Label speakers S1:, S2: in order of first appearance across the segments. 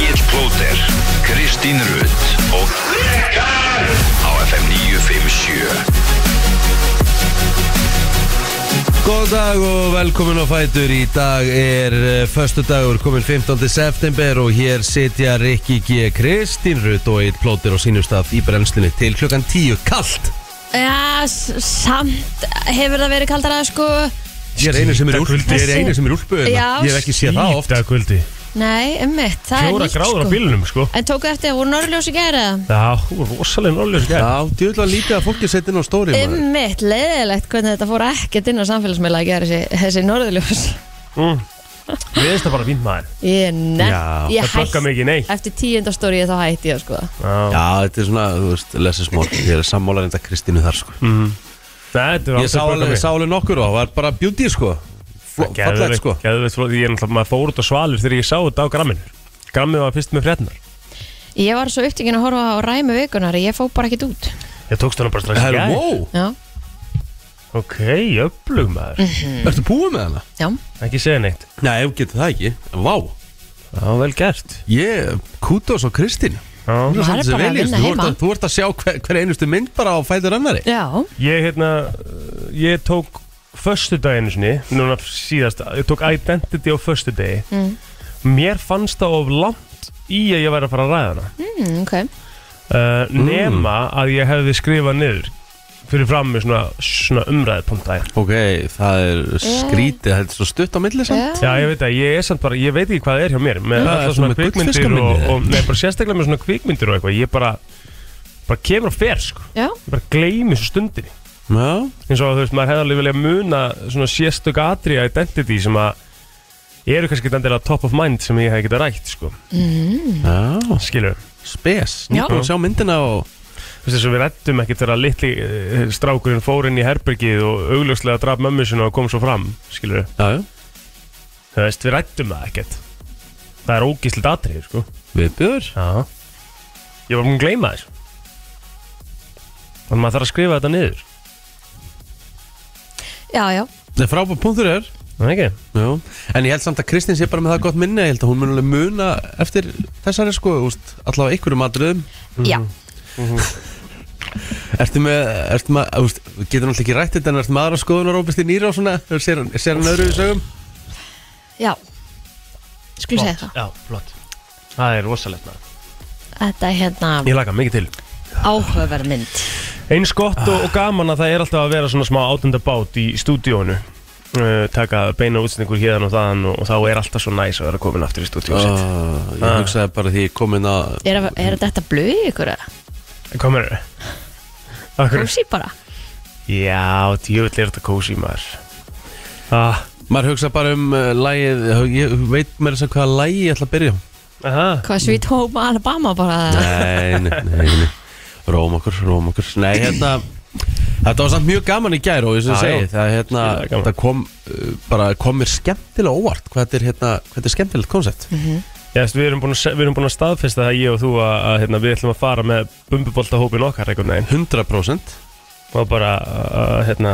S1: Blóter, Kristín Rutt og Rikar á FM 957
S2: Góð dag og velkomin á Fætur Í dag er uh, förstu dagur komin 15. september og hér sitja Rikki G. Kristín Rutt og eitt plótir á sínum stað í brennslunni til klukkan 10 kallt
S3: Já, s- samt hefur það verið kaldara sko
S2: Ég er einu sem er í úlpu,
S4: Skítakvöldi.
S2: ég er einu sem er í úlpu hérna.
S3: Já.
S2: Ég hef ekki séð það oft
S4: Íta kvöldi
S3: Nei, ummitt, það
S4: Fjóra
S3: er nýtt
S4: gráður
S3: sko
S4: á bílunum sko
S3: En tóku eftir, voru norðljós í gera
S4: Já, hún er rosalega norðljós í gær.
S2: Já, djúðlega lítið að fólki setja inn á stóri maður.
S3: Ummitt, leiðilegt hvernig þetta fór ekkert inn á samfélagsmeila að gera þessi, þessi norðljós
S4: mm. Við erum það bara fínt maður
S3: Ég
S2: Já,
S3: nefn, ég
S4: það böggar mig ekki neitt.
S3: Eftir tíundastóri þá hætti ég sko
S4: Já.
S2: Já, þetta er svona, þú veist, lesa smól Ég er sammálarinn að Kristínu þar sko
S4: Mhm. Þetta er
S2: Ég sá alveg, sá alveg nokkur og það var bara beauty sko Fló- Fallegt sko
S4: Geðveikt flott Ég er náttúrulega maður fór út á svalir þegar ég sá þetta á gramminu Grammið var fyrst með frétnar
S3: Ég var svo upptíkin að horfa á ræmi vikunar Ég fó bara ekkert út
S4: Ég tókst hana bara strax í
S2: Herru,
S4: gær.
S2: wow,
S3: Já,
S4: Ok, öflug maður
S2: ertu búið með hana?
S3: já
S4: Ekki segja neitt
S2: Nei, ef getur það ekki, vá
S4: Já, vel gert
S2: Ég, kútos á Kristín
S4: Já.
S3: Maður er bara að vinna
S2: þú ert,
S3: heima.
S2: að, þú ert að sjá hver, hver einustu mynd bara á fætur annari
S3: Já,
S4: Ég hérna uh, Ég tók Föstudaginu sinni Núna síðast Ég tók Identity á föstudagi
S3: Mm.
S4: Mér fannst það of langt Í að ég væri að fara að ræða hana
S3: mm, ok
S4: uh,
S2: Mm.
S4: Nema að ég hefði skrifað niður Fyrir fram með svona, svona umræðpunta
S2: Ok, það er skrítið, það er svo stutt á milli samt
S4: Já, ég veit að ég er samt bara Ég veit ekki hvað það er hjá mér Með
S2: Já, það
S4: alltaf
S2: er
S4: svona
S2: svona með
S4: kvikmyndir
S2: gullfiskaminni,
S4: og,
S2: eða?
S4: og Nei, bara sérstaklega með svona kvikmyndir og eitthvað Ég bara Bara kemur og fer, sko
S3: Já,
S4: Ég bara gleymi svo stundinni
S2: Já,
S4: eins og þú veist, maður hefði alveg viljað muna svona sérstök atri identity sem að eru kannski ekki endilega top of mind sem ég hef getað rætt, sko,
S3: Mm.
S2: já,
S4: skilur
S2: spes
S3: Já.
S2: Nú búin að sjá myndina og
S4: þú veist, þess að við rættum ekkert þegar litli eh, strákurinn fór inn í herbergið og augljóslega draf mömmu sinna og kom svo fram, skilur
S2: Já, já,
S4: þú veist, við rættum það ekkert það er ógíslit atrið, sko
S2: viðbjör
S4: já ég var búinn að gleyma þessu þannig að maður þarf að skrifa þetta niður
S3: já, já
S2: Það er frábæð punktur er
S4: Er það ekki?
S2: Já, en ég held samt að Kristín sé bara með það gott minni Ég held að hún mun alveg muna eftir þessari sko úst, Allavega einhverjum atriðum Mhm.
S3: Já,
S4: Mhm.
S2: Ertu með, ertu með, úst, getur náttúrulega ekki rætt þetta En ertu með aðra skoðunar ópist í nýra og svona Ser, ser hann öðru í sögum?
S3: já Skulle segja það
S4: Flott, já, flott það er rosalegt maður
S3: Þetta er hérna
S4: ég laka mikið til
S3: áhugaverð mynd
S4: Eins gott og, og gaman að það er alltaf að vera svona smá átundabát í stúdíónu uh, taka beina útsendingur hérna og þaðan og, og þá er alltaf svo næs að vera komin aftur í stúdíó sitt Ah.
S2: Uh, ég hugsaði bara því ég kom inn að
S3: Er, að- er þetta blöð í ykkur eða?
S4: Hvað meður Akkur?
S3: Kósi bara
S4: Já, djöfull er þetta kósi maður ah,
S2: Maður hugsa bara um uh, lægið, ég veit mér þess að hvaða lægi ég ætla að byrja um. á.
S4: aha,
S3: Hvað Sweet Home Alabama bara
S2: Nei, nei, nei, nei. Róm okkur, róm okkur Nei, hérna Þetta var samt mjög gaman í gær og eins
S4: Já,
S2: og ég segi
S4: já.
S2: Það, hérna,
S4: Skilja, gaman.
S2: það kom, uh, bara, kom mér skemmtilega óvart Hvað þetta er, hérna, hvað þetta er skemmtilegt koncept
S4: Já, veist, við, erum búin að, se- við erum búin að staðfesta það ég og þú að, að hérna, við ætlum að fara með bumbuboltahópin okkar einhvern veginn
S2: 100%
S4: og bara, að, hérna,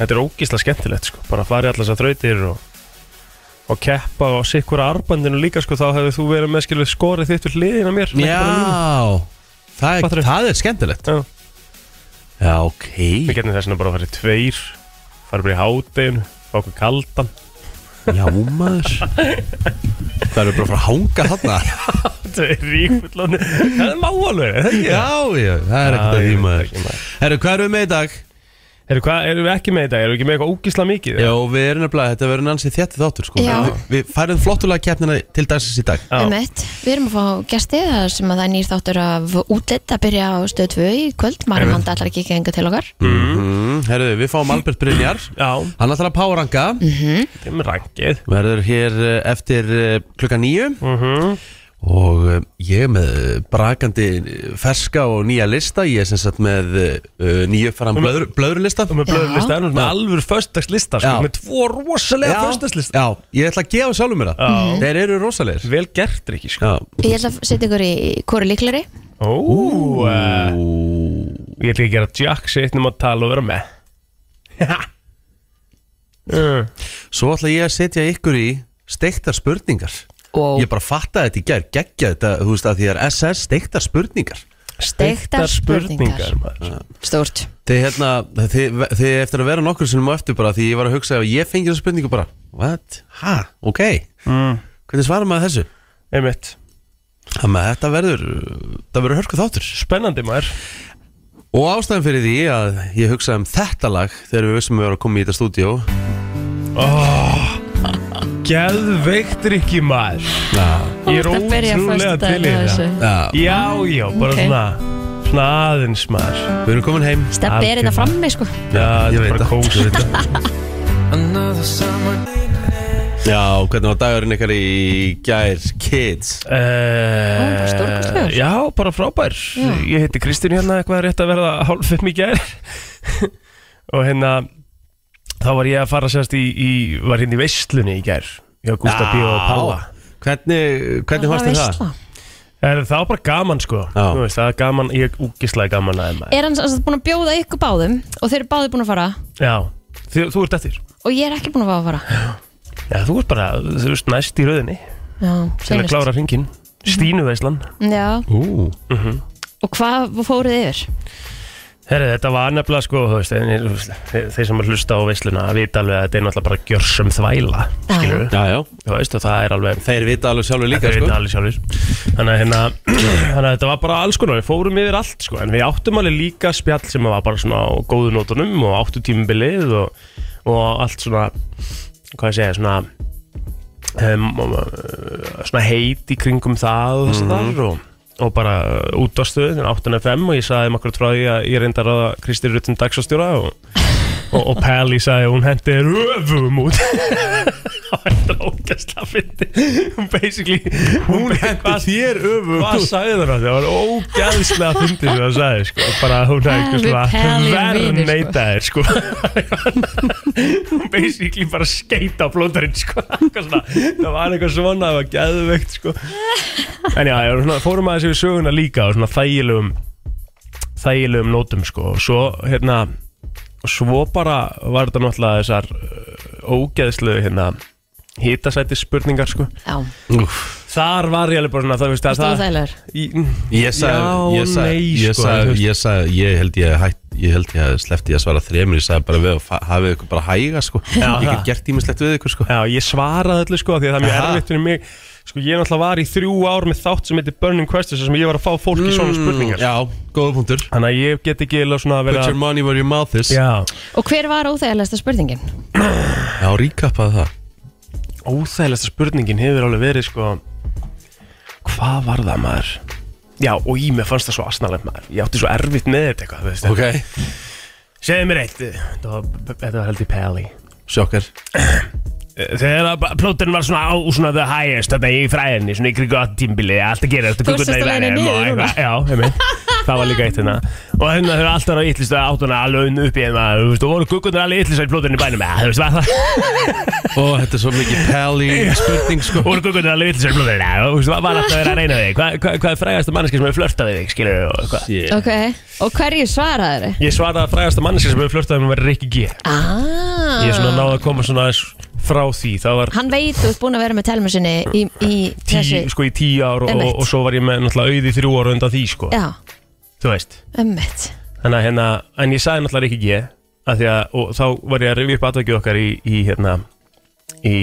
S4: þetta er ógísla skemmtilegt sko, bara farið allas að þrautir og og keppa og sikkur arbandinu líka sko, þá hefur þú verið með skilur skorið þitt við hliðina mér ekki bara mína.
S2: Já, það er,
S4: Fattarðu?
S2: það er skemmtilegt
S4: Já.
S2: Já, ok
S4: Við getum þess vegna bara að fara í tveir fara bara í hádeginu, fá okkur kaldan
S2: Já, maður Það eru bara að fara að hanga þarna
S4: Þetta er ríkvullan Það er máalveg, það er ekki
S2: Já, já, það er ekkert að því maður
S4: maður
S2: Herru, hvað erum við með í dag?
S4: Eru hvað, erum við ekki með þetta? Erum við ekki með eitthvað ógísla mikið?
S2: Já, við erum nefnilega, þetta verður nansið þjættið þáttur sko.
S3: Já.
S2: Við, við færðum flottulega keppnina til dagsins í dag
S4: Já.
S3: um eitt Við erum að fá gesti þar sem að það er nýr þáttur af útlitt að byrja á stöð 2 í kvöld Mari Handa allar ekki gengur til okkar
S2: mm Herðu, við fáum Albert Brynjar
S4: Já,
S2: Hann ætlar að páranga
S4: þetta er með rangið
S2: Verður hér eh, eftir eh, klukka nýju
S4: Mhm.
S2: Og eh, ég er með eh, brakandi eh, ferska og nýja lista Ég er sem sagt með uh, nýju fram blöður, blöðurlista
S4: Og með
S3: Já.
S4: blöðurlista, erum við með alvöru föstdagslista sko,
S2: Já.
S4: Með tvo rosalega föstdagslista
S2: já, ég ætla að gefa sjálfum mér það Þeir eru rosalegir
S4: Vel gert, Ríkis sko.
S2: Já
S3: Ég ætla að setja ykkur í hvori líklari
S4: Ó, eh,
S2: Ú,
S4: Ég ætla ekki að gera Jack sitt nema að tala og vera með Uh,
S3: Eh.
S2: Svo ætla ég að setja ykkur í steiktar spurningar
S3: og
S2: Ég bara fattaði þetta í gær, geggja þetta, þú veist að því er SS steiktar spurningar
S3: Steiktar spurningar.
S4: maður.
S3: stórt
S2: Þið hérna, þið, þið eftir að vera nokkur sinnum á eftir bara því ég var að hugsa að ég fengi þessa spurningu bara What? Ha? Ok
S4: Mm.
S2: Hvernig svarar maður þessu?
S4: Einmitt
S2: Þannig að þetta verður, það verður hörku þáttur
S4: Spennandi maður
S2: Og ástæðan fyrir því að ég hugsaði um þetta lag þegar við vissum að við varum að koma í þetta stúdíó
S4: Ah, Geðveikt Rikki maður
S2: Já,
S4: Ég er
S3: Þú ert að byrja
S4: ótrúlega
S3: föstudaginn
S4: til í
S3: á
S4: þetta
S3: þessu.
S2: já,
S4: Já, já, bara
S3: Ok.
S4: svona Svona aðeins maður
S2: við erum komin heim
S3: Steppi er þetta frammi sko
S4: Já, þetta
S2: Ég
S4: er
S2: veit
S4: bara
S2: það,
S4: kósi
S2: ég veit það Já, hvernig var dagurinn ykkar í gær kids?
S3: Ó, bara
S4: Uh,
S3: stórkostlegur.
S4: já, bara frábær
S3: Já.
S4: Ég heiti Kristín hérna, eitthvað er rétt að verða hálf fimm í gær Og hérna Þá var ég að fara sérst í, í Var hérna í veislunni í gær Já, Gustaf B. og Palla
S2: Hvernig, hvernig varst þið það?
S3: veisla.
S4: Er, það var bara gaman sko
S2: Já.
S4: Þú veist, Það er gaman, ég úkislega gaman að maður
S3: Er hann sannsagt búin að bjóða ykkur báðum og þeir eru báði búin að fara
S4: Já, þú, þú ert eftir
S3: og ég er ekki búin að fá að fara
S4: Já, þú ert bara, þú veist, næst í rauðinni
S3: Já,
S4: Til að
S3: seinast. Mhm.
S4: klára hringin Stínu veislan
S3: Já,
S2: Ú,
S4: Mhm.
S3: og hvað fóruð þið yfir?
S4: Herri, þetta var nefnilega sko, þú veist, en- þú veist, þeir þeir sem að hlusta á veisluna vita alveg að þetta er náttúrulega bara gjörsum þvæla,
S3: Já.
S4: skilur við,
S2: já, já
S4: þú veist, og það er alveg,
S2: Þeir vita alveg sjálfur líka,
S4: þeir
S2: sko
S4: vita alveg sjálfur, þannig að, hérna, þannig að þetta var bara alls konar, við fórum yfir allt sko, en við áttum alveg líka spjall sem var bara svona á góðu nótunum og áttu tímubilið og, og allt svona, hvað ég segja, svona, um, uh, svona heit í kringum það og þess að þar og Mhm. og bara uh, útvastuð, 8.5 og ég sagði þeim akkurat frá því að ég reyndi að ráða Kristi Rutten dagsastjóra og, og, og Pally sagði að hún hendi röfum út það var þetta ógæsla fyndi hún basically hún hendi
S2: þér öfum
S4: Hvað sagði það náttúrulega? Það var ógæðslega fyndið sem það sagði, sko. Bara hún hefði
S3: Ah, við
S4: eitthvað
S3: Pelli erum
S4: verð
S3: vinir, sko.
S4: neitaðir, sko. Hún basically bara skeita á blóðarinn, sko. Eitthvað svona, það var eitthvað svona, það var gæðveikt, sko. En já, já, svona, fórum aðeins yfir söguna líka á svona þægilegum, þægilegum nótum, sko. Og svo, hérna, og svo bara var þetta náttúrulega þessar uh, ógæðslegu, hérna, hitasæti spurningar, sko.
S3: Já,
S4: Þar var ég alveg bara svona, það veist að
S3: það var þægilegur
S4: það...
S2: Ég sagði,
S4: Já,
S2: ég sagði,
S4: nei,
S2: ég
S4: sko,
S2: sagði,
S4: þú veist.
S2: ég sagði, ég held ég hætt, ég held ég að sleppti að svara þremur, ég sagði bara við að fa- hafið ykkur bara hæga, sko Ég
S4: það.
S2: get gert ímislegt við ykkur, sko
S4: Já, ég svaraði öllu sko, því að það er mjög
S2: Aha.
S4: erfitt fyrir mig Sko, ég náttúrulega var í þrjú ár með þátt sem heitir Burning Questions þar sem ég var að fá fólk í svona spurningar
S2: Mm, Já, góða punktur
S4: Þannig að ég get ekki eða svona að
S2: Put
S4: vera
S2: your money where your mouth is
S4: Já,
S3: Og hver var óþægilegasta spurningin?
S2: Já, ríkappaði það
S4: óþægilegsta spurningin hefur alveg verið sko Hvað var það maður? Já, og ég, mér fannst það svo asnalegt maður Ég átti svo erfitt með þetta eitthvað, þú veist
S2: Ok,
S4: Segðu mér eitt, þetta var, þetta var heldur Peli
S2: sjokkar
S4: Þegar að plóturinn var svona á svona the highest þetta í fræðinni, svona í kringu að tímbili allt að gera, þetta
S3: Þú
S4: gutna
S3: ert
S4: í
S3: sérst á leiðinni
S4: verðinum og
S3: niður núna.
S4: eitthvað Já, einmitt, það var líka eitt hérna og hérna þau eru alltaf á ytlistu áttuna alveg unn upp í hérna, þú veist, og voru guggunar alveg ytlistu í plóturinn í bænum, eða, þú veist, var það
S2: Ó, þetta er svo mikið pæli spurning, sko
S4: voru guggunar alveg ytlistu í plóturinn, eða, þú veist, var alltaf að vera að reyna við þig hvað hva, hva er frægasta manneski sem hefur flörtað við þig, skilur og eitthvað
S2: Shit.
S3: Ok, og hverju svaraði þeir?
S4: Ég svaraði að frægasta manneski sem hefur flörtað við mig var Rikki G
S3: Ah,
S4: Ég svona náði að koma svona aðeins frá því, það var
S3: Hann veit þú ert búin að vera með telmu sinni í, í þessi
S4: tí, sko í tíu ár og, og,
S3: Einmitt.
S4: og svo var ég með náttúrulega auði þrjú ára undan því sko,
S3: Já,
S4: þú veist
S3: ömmit
S4: Þannig að hérna, en ég sagði náttúrulega ekki ég að því að, og þá var ég að rifja upp atveikið okkar í, í hérna í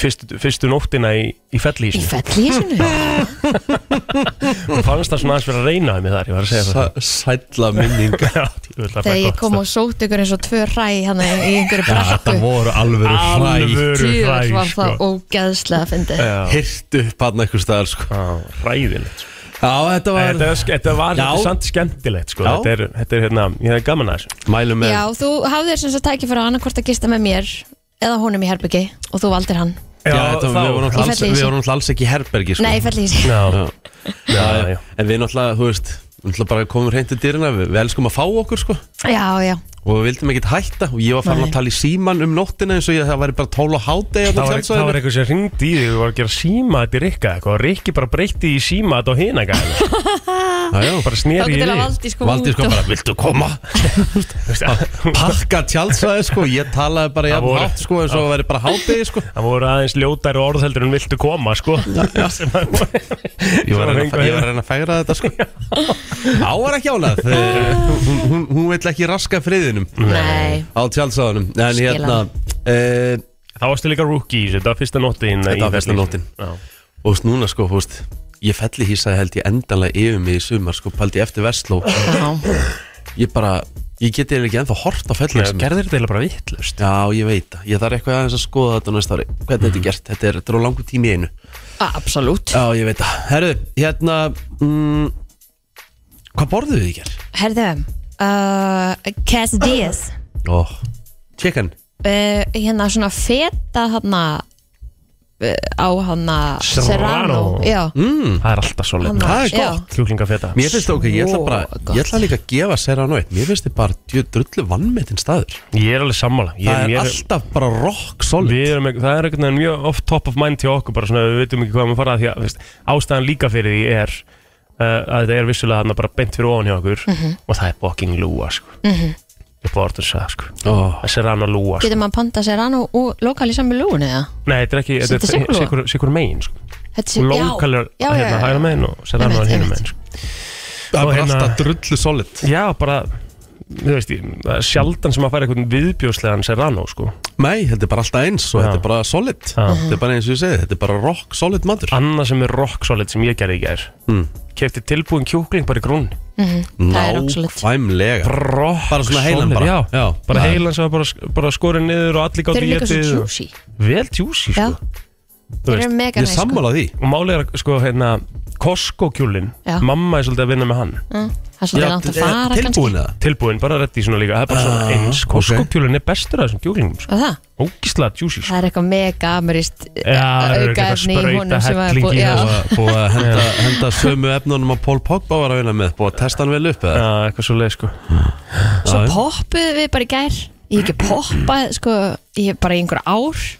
S4: fyrstu, fyrstu nóttina í, í
S3: Í
S4: fellísinu
S3: fellísinu
S4: og fannst það svona aðeins fyrir að reyna með þar, ég var að segja það
S2: Sa- Sælla minning
S4: Já, djöfull, það
S3: Þegar ég kom og sótt ykkur eins og tvö ræ hann í einhverju
S2: Þetta
S3: brekku
S2: voru alvöru hræ
S4: alvöru
S3: Tjúr
S4: hræ
S3: var
S4: sko.
S3: það ógeðslega að fyndi
S4: Já,
S2: Hirtu upp hann eitthvað staðar, sko
S4: á, ræðilegt sko.
S2: Já, þetta var
S4: Þetta, er ske- þetta var
S2: Já.
S4: þetta er samt skemmtilegt sko.
S2: Já.
S4: þetta, er, þetta er hérna, ég hef gaman að þessu
S2: Mælum með
S3: Já, þú hafðir sem svo tækifæra annarkvort að gista með mér eða honum í herbyggi og þú valdir hann
S2: Já, þetta,
S4: þá-
S2: við vorum
S3: Í
S2: náttúrulega alls-
S3: fellihýsi.
S2: við vorum náttúrulega alls ekki í herbergi, sko
S3: Nei, í fellísi
S4: Já,
S2: Já.
S4: já, já
S2: En við náttúrulega, þú veist Við náttúrulega bara komum hreint til dyrina Við, við elskum að fá okkur, sko
S3: já, já
S2: og við vildum ekkert hætta og ég var farin
S3: Nei.
S2: að tala í síman um nóttina eins og ég, það væri bara 12 og hádegi
S4: Það
S2: þarna á
S4: var, e- það var
S2: tjaldsvæðinu.
S4: eitthvað sem ringdi í þig og var að gera síma þetta í Rikka eitthvað og Rikki bara breytti í síma þetta á hina gæðina
S2: Já, já.
S4: bara
S3: Þá
S4: sneri í
S3: getur það
S4: þig
S3: valdi sko
S2: Valdi sko bara, viltu koma? Pakka tjálsvæði sko, ég talaði
S4: Það
S2: bara jafn
S4: voru-
S2: hátt sko eins og það væri bara hádegi sko
S4: Það voru aðeins ljótæri orðheldur en viltu koma sko Sem að-
S2: Ég var að reyna,
S4: Fengu
S2: ég var að, reyna að fegra þetta sko Á var ekki álað hún, hún, hún vill ekki raska friðinum
S3: Nei,
S2: á tjálsvæðunum En
S3: Skil
S2: hérna
S3: hana.
S2: uh,
S4: Þá varstu líka rookie í þessu, þetta var fyrsta nóttin
S2: Þetta var fyrsta nóttin. Og veist, núna sko, þú veist Ég felli hýsaði held ég endanlega yfir mig í sumar sko, paldi eftir Vestló
S3: já,
S2: Ég bara, ég geti eiginlega ekki ennþá hort á felli sem er.
S4: Gerður þetta eiginlega bara vittlust
S2: Já, ég veit það, ég þarf eitthvað aðeins að skoða þetta á næsta ári Hvernig þetta
S4: Mm.
S2: er gert, þetta er, þetta er á langu tími í einu
S3: absolutt
S2: Já, ég veit það. Herru, hérna, mm, hvað borðuðu þið í gerð?
S3: Herðu, um, uh, quesadillas
S2: Ó, chicken.
S3: uh, Hérna svona feta hana uh, á hana
S4: Serrano.
S3: Já,
S4: Það er alltaf svo
S3: Hann-
S4: leið
S2: Mm. Það er
S3: Já.
S2: gott.
S4: Kjúklingafeta
S2: Mér finnst það ok, ég ætla bara,
S3: Svo gott.
S2: ég ætla líka að gefa sér á nátt. Mér finnst þið bara djö, drullu vannmetinn staður.
S4: Ég er alveg sammála ég,
S2: Það er
S4: mér
S2: alltaf bara rock solid.
S4: Við erum, ekki- það er einhvern veginn mjög oft top of mind til okkur bara svona við veitum ekki hvað við fara að því að veist, ástæðan líka fyrir því er uh, að þetta er vissulega þarna bara beint fyrir ofan hjá okkur
S2: Mhm.
S4: og það er bóking lúa sko. mm -hmm. ég borður það sko.
S2: Ó,
S4: þessi rann að lúa sko.
S3: Mhm. getur maður panta serrano og lokal í saman lúinu eða?
S4: Nei, þetta er ekki, þetta
S3: Þetta er sykurlúa?
S4: er sikur, sikur megin sko.
S3: Þetta sé- já,
S4: Lókalir
S3: já, já,
S4: hérna
S3: já.
S4: hægra megin og sér annar
S3: Einmitt,
S4: hinum
S3: einmitt.
S4: megin sko.
S2: það er
S4: Og
S2: bara
S4: hérna-
S2: alltaf drullu solid.
S4: Já, bara, þú veist, ég, það er sjaldan sem að fara einhvern viðbjóðslegan Serrano sko.
S2: Nei, þetta er bara alltaf eins og
S4: Já.
S2: þetta er bara solid.
S4: Já.
S2: Þetta er bara eins og ég segi, þetta er bara rock solid matur.
S4: Annað sem er rock solid sem ég gerði í gær
S2: Mm.
S4: Kefti tilbúin kjúkling bara í grunn
S3: Það er rock solid.
S2: Nákvæmlega.
S4: Rock
S2: Bara svona heilan
S4: solid,
S2: bara.
S4: Já,
S2: Já.
S4: bara
S2: Já.
S4: heilan sem var bara, bara skorið niður og allir
S3: Þeir
S4: gátt
S3: eru
S4: í
S3: líka svo
S4: getið og...
S3: juicy
S4: Vel juicy
S3: Já,
S4: sko. Þú
S3: þeir eru
S4: veist,
S3: mega
S2: Ég er
S3: næs sko.
S2: sammála því.
S4: Og málið er að, sko, hérna Costco kjúlin,
S3: Já.
S4: mamma er svolítið að vinna með hann
S3: Mm, Það er svolítið
S2: Já,
S3: langt að
S2: er-
S3: fara kannski
S2: Tilbúin eða?
S4: eh, Tilbúin, bara reddi svona líka, það er bara
S2: Ah,
S4: svona eins
S2: ok.
S4: Costco kjúlin er bestur af þessum kjúlingum sko.
S3: Og það?
S4: Ógislega juicy sko.
S3: Það er eitthvað mega ameríst
S4: það eru eitthvað sprauta helling í
S3: já,
S4: og-
S2: Búið að- Búið að henda, henda sömu efnunum að Pól Pogba var að vinna með Búið að testa hann vel upp eða?
S4: Já, eitthvað svo leið sko
S3: Svo
S2: Já.
S3: poppuðu við bara í gær Ég hef ekki poppað sko, Ég hef bara í einhver ár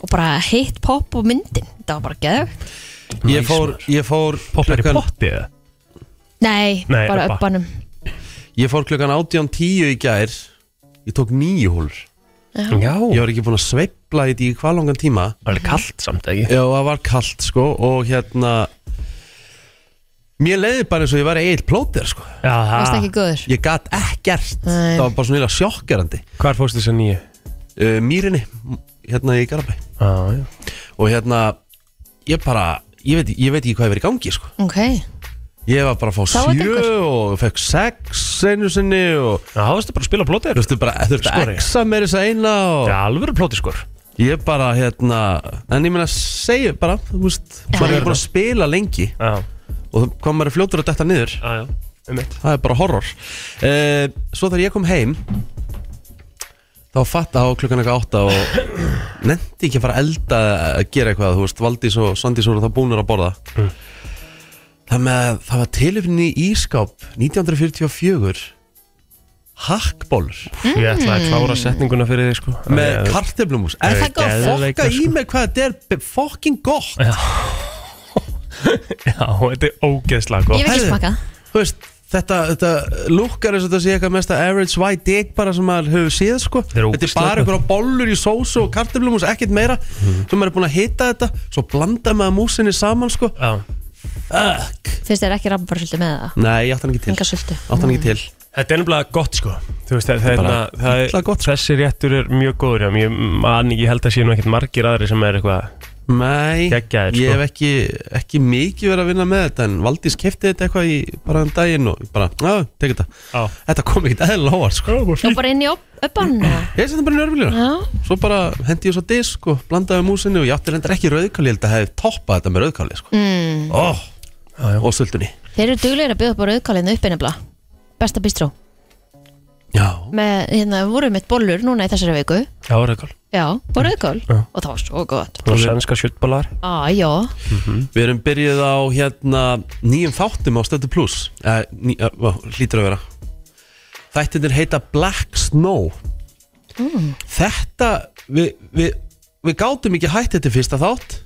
S3: Og bara hitt popp og myndin Það var bara geðvögt
S2: Ég fór, ég fór
S4: Poppar í
S2: klukkan,
S4: potti eða?
S3: Nei,
S4: Nei,
S3: bara
S4: Ebba.
S3: uppanum
S2: ég fór klukkan 18.10 í gær Ég tók nýju hólur
S4: Já
S2: Ég var ekki búin að sveifla í því hvað langan tíma
S4: Það er kallt samt ekki
S2: Já, það var kalt sko Og hérna Mér leiði bara eins og ég var eitt plóter sko
S4: Já,
S3: Varst ekki góður
S2: Ég gat ekkert
S3: Nei.
S2: Það var bara svona eiginlega sjokkerandi
S4: Hvar fórstu þess að nýju?
S2: uh, Mýrinni, hérna í Garabæ
S4: Já, Ah, já
S2: Og hérna, ég bara Ég veit, ég veit ekki hvað ég verið í gangi sko
S3: Ok,
S2: Ég var bara að fá
S3: Þá var
S2: sjö
S3: drengur.
S2: og fekk sex einu sinni og
S4: Já, það varstu bara að spila plótið
S2: þurfti bara þurfti að
S4: Skori.
S2: exa mér þess að eina og
S4: Já, alveg plótið skor
S2: ég bara hérna en ég meina segja bara þú veist, maður er ekki búin að spila lengi
S4: Já,
S2: og hvað maður er fljótur að detta niður
S4: já, já Um eitt
S2: það er bara horror uh, svo þegar ég kom heim þá fatta á klukkan eitthvað átta og nefndi ekki að fara að elda að gera eitthvað, þú veist, Valdís og Svandís voru það búnir að borða
S4: Mm.
S2: það með, það var tilöfni í ískáp 1944 hakkbólur
S4: Ég ætla að klára setninguna fyrir þig sko
S2: með
S4: Ég-
S2: kartöflumús
S4: er
S2: er það ekki að
S4: geðveika,
S2: fokka í
S4: sko.
S2: mig hvað þetta er be- fucking gott
S4: Já, þetta er ógeðslega
S3: ég
S4: gott
S3: hef ekki
S2: Herðu.
S3: smakað
S2: þú veist Þetta, þetta lukkar eins og þetta sé eitthvað mesta average white dick bara sem maður hefur séð sko
S4: er
S2: Þetta er
S4: ógeðslega
S2: bara
S4: gott. Mhm.
S2: einhverja bollur í sósu og kartöflumús, ekkert meira Svo maður er búin að hita þetta, svo blanda maður músinni saman sko
S4: Já
S2: Fuck
S3: Finnst þér ekki rabbarsöldu með það?
S2: Nei, ég átti hann ekki til
S3: Enga sultu.
S2: Átti hann ekki til
S4: Þetta er nefnilega gott sko Þú veist, það, það,
S2: Þetta er
S4: er
S2: bara
S4: na- það, það
S2: illa gott, sko.
S4: gott, Þessi réttur er mjög góður já, ég, man, ég held að sé nú ekkert margir aðri sem er eitthvað
S2: Nei,
S4: Geggjaðir, sko.
S2: ég hef ekki, ekki mikið verið að vinna með þetta En Valdís kefti þetta eitthvað í bara um daginn og ég bara, á, tek þetta
S4: Já.
S2: Þetta kom ekkert eðla óvart sko
S3: Nú bara inn í uppanum
S2: Ég seti bara nörflýra
S3: Já,
S2: Svo bara hendi ég svo disk og blandaði músinni og ég átti reyndar ekki rauðkáli, ég held að hefði toppað þetta með rauðkáli sko. mm. oh,
S4: Já, já.
S2: og sultunni
S3: þeir eru duglegir að byggja upp á rauðkálinu uppinabla Besta bistró
S2: Já,
S3: Með, hérna, voru mitt bollur núna í þessari viku
S4: Já, rauðkál
S3: Já, og rauðkál
S4: Já.
S3: Og það var svo gott
S4: Og sænska sjöttbólar
S3: Á, já,
S4: Mhm.
S2: við erum byrjuð á hérna nýjum þáttum á Stötu Plus eh, ný, eh, ó, hlýtur að vera Þættinir heita Black Snow Þetta við, við, við gátum ekki hætt eftir fyrsta þátt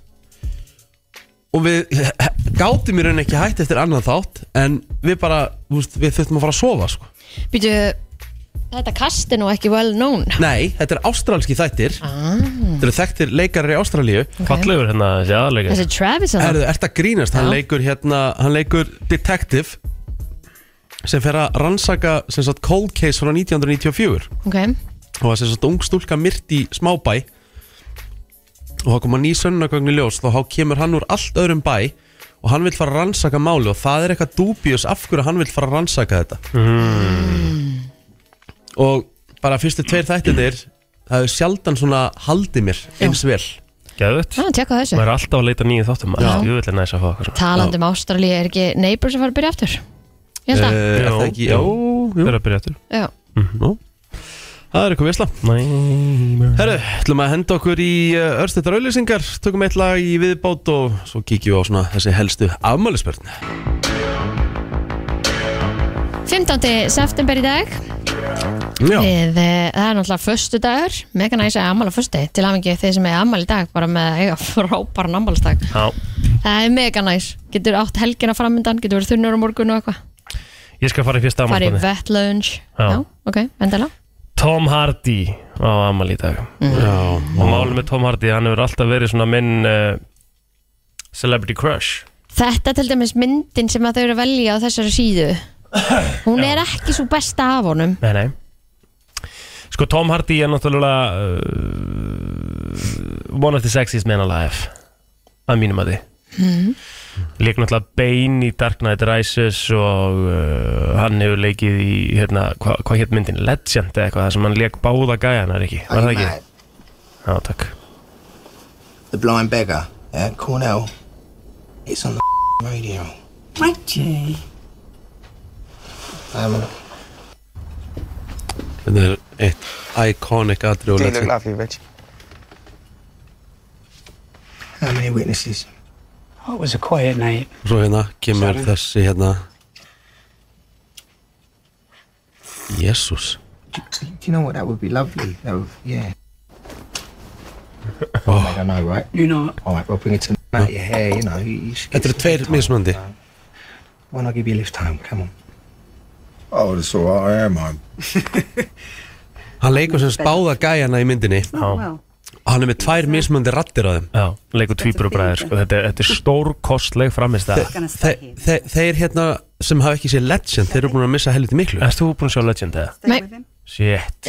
S2: og við gátum í raun ekki hætt eftir annan þátt en við bara, þú veist, við þurftum að fara að sofa sko.
S3: Býtu, þetta kast er nú ekki well known
S2: Nei, þetta er ástralski þættir
S3: ah,
S2: Þetta eru þekktir leikarar í Ástralíu okay.
S4: Fallegur hérna þessi aðalega
S3: Þessi Travis að
S2: Erðu, ert að grínast, hann
S3: Já.
S2: leikur hérna hann leikur detective sem fer að rannsaka sem sagt cold case frá 1994
S3: Ok,
S2: og var sem sagt ung stúlka myrt í smábæ og þá koma ný sönnagögn í ljós þá þá kemur hann úr allt öðrum bæ og hann vil fara að rannsaka máli og það er eitthvað dúbjus af hverju hann vil fara að rannsaka þetta
S4: Hmm.
S2: og bara fyrstu tveir þættinir það hefur sjaldan svona haldið mér eins vel
S4: Gæðut
S3: já, tjekka á þessu
S4: Maður er alltaf að leita nýju þáttum
S2: Já.
S4: Jú vil er næs hérna að fá sko. okkur
S3: Talandi um Ástralíu er ekki Neighbors að fara að byrja aftur Ég held
S2: Eh,
S3: að,
S2: er það ekki,
S4: Jú,
S2: já,
S4: Það er að byrja Mhm. eftir
S3: já
S2: Nú, það er eitthvað visla
S4: Næ
S2: Herru, ætlum að henda okkur í örstættar auðlýsingar Tökum eitt lag í viðbót og svo kíkjum við á svona þessi helstu afmælisbörn
S3: 15. september í dag
S2: Já,
S3: við, eh, Það er náttúrulega föstu dagur Mega næs að ammala föstu Til hafingi þeir sem er ammali í dag Bara með að eiga frábæran ammalistag Það er mega næs Getur átt helgina framundan Getur verið þunnur á morgun og eitthvað
S4: Ég skal fara í fyrsta
S3: Fari í
S4: afmálspannir
S3: wet lounge
S4: Já.
S3: Já, ok, endala
S4: Tom Hardy á amal í dag
S3: Mm.
S2: já
S4: Og málið með Tom Hardy, hann hefur alltaf verið svona minn uh, Celebrity crush
S3: Þetta er til dæmis myndin sem að þau eru að velja á þessari síðu Hún er ekki svo besta af honum
S4: Nei, nei Sko Tom Hardy er náttúrulega uh, One of the sexiest men alive Að mínum að því mm. Leik náttúrulega Bane í Dark Knight Rises Og uh, hann hefur leikið í hérna, hva- Hvað hétt myndin? Legend eða eitthvað Það sem hann leik báða gæjanar ekki Var það ekki? Já, takk
S5: The Blind Beggar at Cornell. It's on the radio.
S6: Reggie.
S5: Um,
S2: Þetta er eitt iconic atri og legend
S5: lovely, Reggie. How many witnesses?
S6: Oh, it was a quiet night.
S2: Svo hérna kemur þessi hérna Jésús
S5: Do you know what? That would be lovely. That would, yeah. I
S2: oh.
S5: don't know, right?
S6: You know,
S5: All right, well, bring it to out your hair, you know. You, you should get
S2: Þetta eru
S5: some
S2: tveir
S5: time.
S2: mismunandi
S5: Why not give you a lift home? Come on.
S7: Oh, that's all right. I am home.
S2: Hann leikur sem spáða gæjana í myndinni
S4: Já,
S2: Hann er með tvær mismunandi rattir á þeim
S4: já leikur tvíburubræður sko. þetta, er- þetta er stórkostleg framist að
S6: gonna stay
S2: Þe,
S6: here.
S2: þe, Þeir hérna sem hafa ekki séð legend Þeir eru búin að missa helviti miklu
S4: Erst þú búin að sjá Legend eða?
S6: Stay
S3: Nei.
S6: with him.
S4: Shit,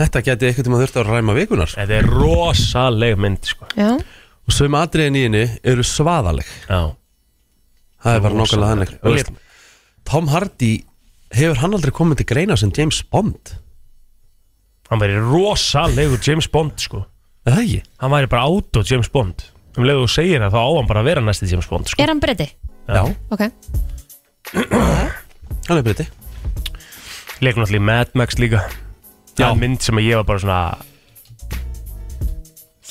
S2: Þetta geti eitthvað tíma þurft að ræma vikunar
S4: þetta er rosaleg mynd sko.
S3: Já,
S2: Og sögum atriðin í henni eru svaðaleg
S4: Já,
S2: Það er bara
S4: Rosaleg.
S2: nákvæmlega þannig
S4: Og
S2: Þú veist, Tom Hardy Hefur hann aldrei komið til greina sem James Bond?
S4: hann væri rosalegur James Bond sko
S2: Er það ekki?
S4: hann væri bara átó James Bond um leið og þú segir það þá á hann bara að vera næsti James Bond sko.
S3: er hann breyti?
S4: Já.
S3: Ok,
S2: Hann er breyti
S4: leikur náttúrulega í Mad Max líka það
S2: Já.
S4: er mynd sem að ég var bara svona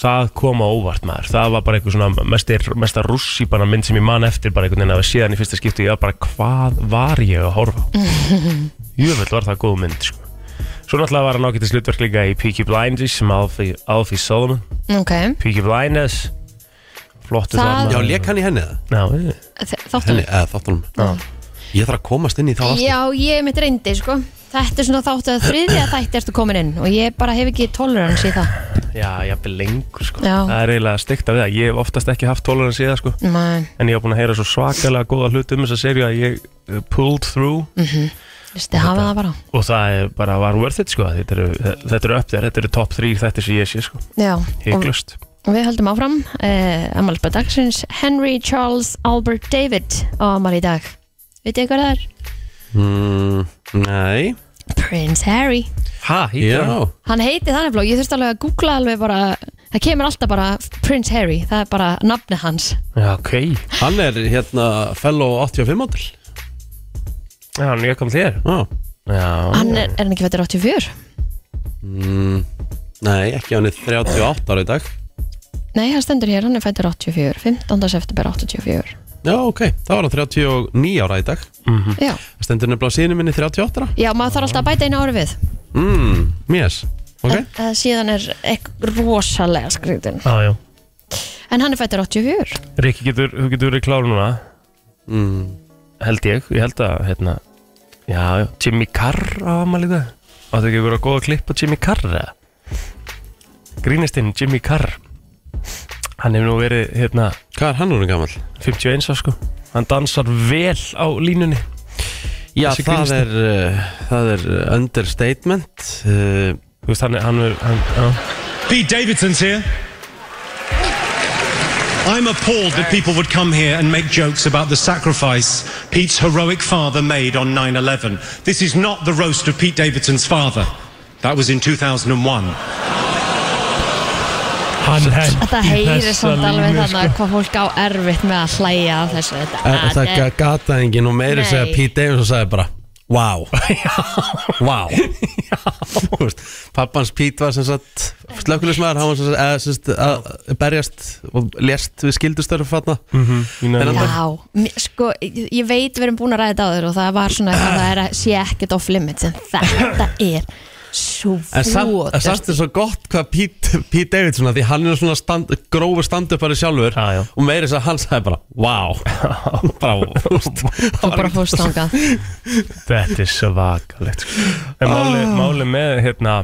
S4: það kom á óvart maður það var bara einhver svona mestir, mesta russi bara mynd sem ég man eftir bara einhvern veginn að séðan í fyrsta skipti ég var bara hvað var ég að horfa á?" jöfnveld var það góð mynd sko. svo náttúrulega var hann ágættis hlutverk líka í Peaky Blinders sem Alfie, Alfie Solomon
S3: ok
S4: Peaky Blinders flottu
S3: Það-
S4: þarna.
S2: Já, lék hann í henni það?
S4: Já, við-
S3: Þ- Þáttunum
S2: Henni, eða þáttunum Ég þarf að komast inn í þá aftur
S3: Já, ég mitt reyndi, sko Þetta er svona þáttu að þriðja þætti ertu komin inn og ég bara hef ekki tolerance í það
S4: já, jafnvel lengur sko.
S3: Já. Mm.
S4: Það er eiginlega steikt af það Ég hef oftast ekki haft tolerans í það sko.
S3: Nei,
S4: En ég hef búin að heyra svo svakalega góða hlut um þess að serju að ég uh, pulled through
S3: Mm. þið mhm, hafa það bara
S4: og það er bara var worth it sko. Þetta eru þetta eru upp þér, þetta eru top 3 þetta sem ég sé sko.
S3: Já, og
S4: Hygglust
S3: og við höldum áfram eh, Amalba dagsins Henry Charles Albert David á Amal í dag Vitið þið hvað það er?
S2: mm, Nei
S3: Prince Harry
S4: Ha, hýttir hann
S2: Já
S3: Hann heiti þannig blóð, ég þurfti alveg að googla alveg bara Það kemur alltaf bara Prince Harry, það er bara nafni hans
S4: Já, ok
S2: Hann er hérna fellow 85 model
S4: Já, hann ég kom þér
S2: Já
S4: Já,
S3: Hann er, er hann ekki fættur 84?
S2: mm, Nei, ekki hann er 38 ára í dag
S3: Nei, hann stendur hér, hann er fættur 84 15. september 84
S2: Já, ok, þá var hann 39 ára í dag
S3: Já,
S2: Það stendur nefnilega á síðinu minni 38 ára
S3: já maður þarf alltaf að bæta einu ári við
S2: mm, Yes, ok
S3: en, uh, Síðan er eitthvað rosalega skrýtin
S4: Já, já
S3: En hann er fættur 84
S4: Rikki getur, þú getur verið klár núna
S2: mm.
S4: Held ég, ég held að hérna Já, já, Jimmy Carr á amal í dag Áttu ekki að vera góð að klippa Jimmy Carr eða? Grínistinn Jimmy Carr Hann hefur nú verið hérna
S2: Hvað er hann núna gamall?
S4: 51 ára sko Hann dansar vel á línunni
S2: Já,
S4: Þessi
S2: það
S4: grínsnir.
S2: er, uh, það er understatement uh,
S4: Þú veist, hann er, hann er, hann, já
S8: Pete Davidson's here. I'm appalled that people would come here and make jokes about the sacrifice Pete's heroic father made on 9 11. This is not the roast of Pete Davidson's father. That was in 2001.
S4: Hann hendur
S3: Þetta heyrir samt alveg þarna hvað fólk á erfitt með að hlæja að þessu Þetta,
S2: en sko. Það
S3: þetta er-
S2: gata enginn og meiri segja
S3: Nei.
S2: Pete Davidson sagði bara Wow Wow Þú veist, Pappans Pete var sem sagt slökulismæður, hann var sem sagt, eða, sem sagt að berjast og lést við skildustörf fatna
S4: Mhm, Þennan
S2: Þennan-
S3: Já, mér- sko, ég ég veit við erum búin að ræða þetta á þér og það var svona eitthvað, það er að sé ekkert off limits en þetta er svo
S2: En samt- en samt
S3: flott
S2: er svo gott hvað Pete, Pete Davidson að því hann er svona stand, grófur standupari sjálfur
S4: Já, já.
S2: og meiri þess að hann sagði bara wow bara, þú veist,
S3: Þú bara fórst þangað
S4: Þetta er svakalegt sko. En máli, máli með hérna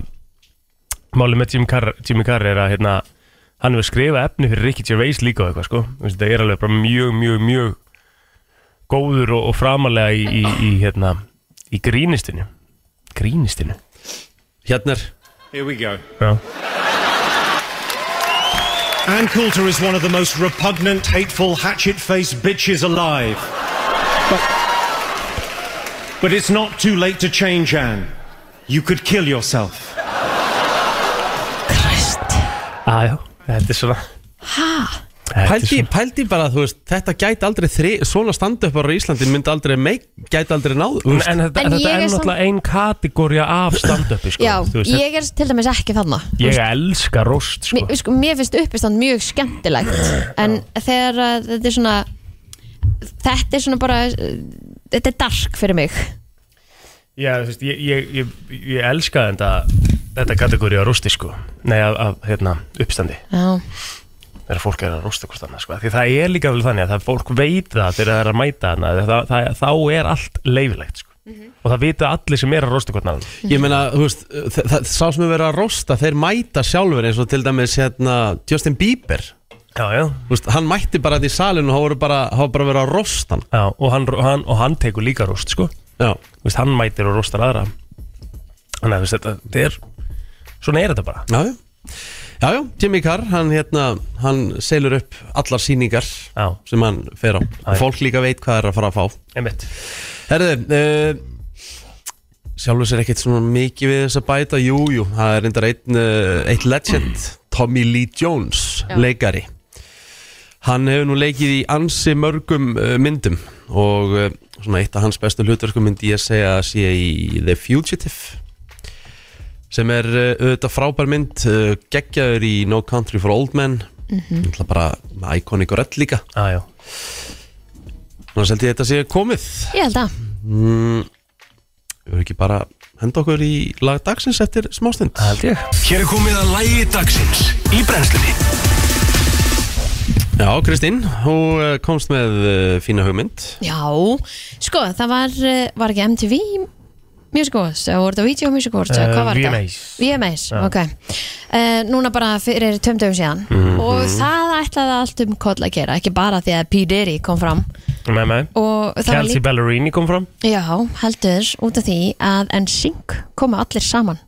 S4: Máli með Jimmy Carr, Jimmy Carr er að hérna Hann hefur skrifað efni fyrir Ricky Gervais líka og eitthvað sko Þú veist, Það er alveg bara mjög, mjög, mjög Góður og, og framalega í, í, í hérna Í grínistinu Grínistinu
S2: hérna er
S8: Here we go.
S4: Já
S8: Ann Coulter is one of the most repugnant, hateful, hatchet-faced bitches alive. But, but it's not too late to change, Anne. You could kill yourself.
S3: Krist
S4: Æjá, þetta er svona Hæ?
S2: Pældi, pældi bara, þú veist, þetta gæti aldrei þri, svona standupar á Íslandi myndi aldrei meik, gæti aldrei náð þú veist.
S4: En þetta,
S3: En
S4: þetta
S3: ég
S4: er
S3: er samt-
S4: náttúrulega ein kategóri af stand-upi sko
S3: Já,
S4: Þú veist,
S3: ég er til dæmis ekki þarna
S4: ég, elska rost sko
S3: mér, sko, mér finnst uppistand mjög skemmtilegt en þegar að þetta er svona þetta er svona bara uh, þetta er dark fyrir mig
S4: Já, þú veist, ég, ég, ég, ég elska þetta, þetta kategóri að rústi, sko. Nei, að, að hérna, uppstandi.
S3: Já,
S4: Þegar fólk er að rústa hvort annað, sko. Því það er líka vel þannig að það fólk veit það þegar það er að mæta hana. Það, það, þá er allt leifilegt, sko.
S3: Mhm.
S4: Og það vita allir sem er að rústa hvort annað.
S2: Ég meina, þú veist, þa- það, sá sem er verið að rosta, þeir mæta sjálfur eins og til dæmis, hérna, Justin Bieber
S4: Já, já.
S2: Þú veist, hann mætti bara þetta í salinu og hann voru bara, hann var bara verið að rosta hann
S4: Já, og hann, og hann, og hann tekur líka rúst, sko.
S2: Já,
S4: Þú veist, hann mætir og rústar aðra. Þannig að þú veist, þetta, þetta er, svona er þetta bara.
S2: já, já Já, já, Jimmy Carr, hann hérna, hann selur upp allar sýningar
S4: Já.
S2: sem hann fer á
S4: já.
S2: Fólk líka veit hvað er að fara að fá
S4: Einmitt.
S2: Herðu, uh, sjálfur sér ekkert svona mikið við þess að bæta, jú, jú, það er reyndar einn, uh, eitt legend, Tommy Lee Jones, leikari. Hann hefur nú leikið í ansi mörgum uh, myndum og uh, svona eitt af hans bestu hlutverkum myndi ég segja að sé í The Fugitive sem er uh, auðvitað frábær mynd, uh, geggjaður í No Country for Old Men, mm -hmm. bara iconic og rödd líka.
S4: Já, já.
S2: Þannig seldi ég þetta sé komið.
S3: ég held að
S2: Mm, Við höfum ekki bara að henda okkur í lag dagsins eftir smástund
S4: Það held ég.
S1: Hér er komið að lægi dagsins í brennslunni
S2: Já, Kristín, hún eh, komst með eh, fína hugmynd
S3: Já, sko, það var, eh, var ekki MTV Music Awards, eða voru þetta Video Music Awards, eða
S4: Eh,
S3: hvað var þetta?
S4: VMAs.
S3: VMAs, ok uh, Núna bara fyrir tömdöfum síðan
S4: Mhm.
S3: og það ætlaði allt um koll að gera ekki bara því að P. Diddy kom fram
S4: Með, með.
S3: og það var
S4: Kelsey Ballerini kom fram.
S3: líka Já, heldur, út af því að NSYNC komu allir saman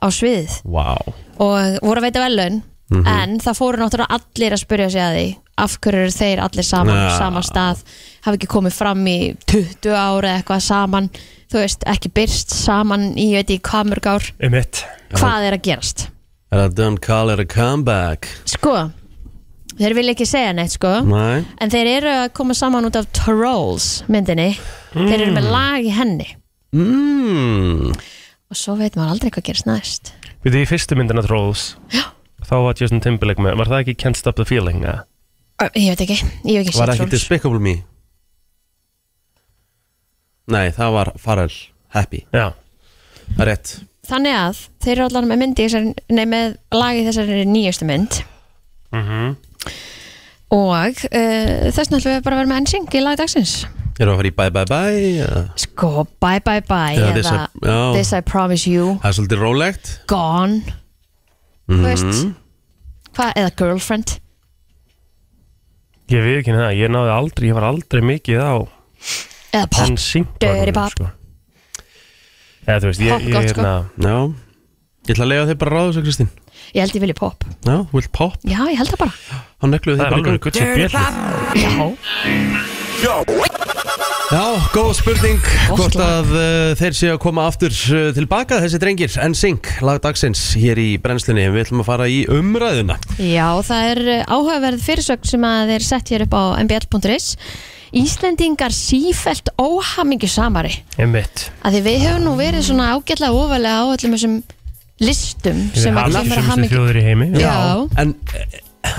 S3: á sviðið
S2: Vá
S3: og voru að veita velun en það fóru náttúrulega allir að spyrja sig að því af hverju eru þeir allir saman
S2: Ja.
S3: sama stað, hafa ekki komið fram í 20 ára eða eitthvað saman þú veist, ekki byrst saman í, ég veit ekki hvað mörg ár,
S4: Einmitt.
S3: hvað er að gerast
S2: Er það don't call it a comeback?
S3: sko, þeir vilja ekki segja neitt sko,
S2: Næ
S3: en þeir eru að koma saman út af Trolls myndinni þeir eru með lag í henni
S2: mm.
S3: og svo veit maður aldrei hvað gerist næst
S4: Við þið í fyrstu myndina Trolls Þá var Justin Timberlake með Var það ekki Can't Stop the Feeling? eða?
S3: Ö, ég veit ekki, ég hef ekki
S2: Var
S3: séð
S2: ekki
S3: Trolls
S2: Despicable Me? Nei, það var Farrell Happy
S4: Já
S2: Það er rétt
S3: Þannig að þeir eru allan með myndi þessar, nei, með lagi þessari nýjustu mynd
S4: Mhm.
S3: og uh, þess náttúrulega við bara að vera með ensing í lagi dagsins
S2: Erum við að fara í bye bye bye eða?
S3: Sko, bye bye bye
S2: Já,
S3: eða
S2: this
S3: this, I
S2: I- já.
S3: promise you,
S2: Það er svolítið rólegt Mhm.
S3: gone Þú veist Hvað, eða girlfriend
S4: Ég við ekki það, ég náði aldrei, ég var aldrei mikið á
S3: eða pop,
S4: En syngt
S3: Dirty pop.
S4: sko.
S2: sko.
S4: Eða þú veist, ég, hérna-
S3: Pop
S4: ég,
S3: gott,
S4: ég,
S3: sko.
S2: Já Ég ætla að lega þig bara að ráða þessu Kristín
S3: ég held ég vilja pop
S2: Já, þú vilt pop
S3: Já, ég held það bara
S2: Hann negluði
S4: það
S2: þig
S4: er
S2: bara í
S4: alveg
S2: gang
S4: gutt sem björn
S2: Já, góð spurning
S3: Gott
S2: Hvort
S3: lag.
S2: að uh, þeir séu að koma aftur uh, tilbaka Þessi drengir, NSYNC, lag dagsins Hér í brennslunni Við ætlum að fara í umræðuna
S3: Já, það er eh, áhugaverð fyrirsögn sem að þeir sett hér upp á mbl.is Íslendingar sífelt óhamingju samari
S4: Ég mitt
S3: að því við höfum nú verið svona ágætlega ofalega á öllum þessum listum sem að kemur að hamingju
S4: þjóður í heimi
S3: Já.
S2: En, eh,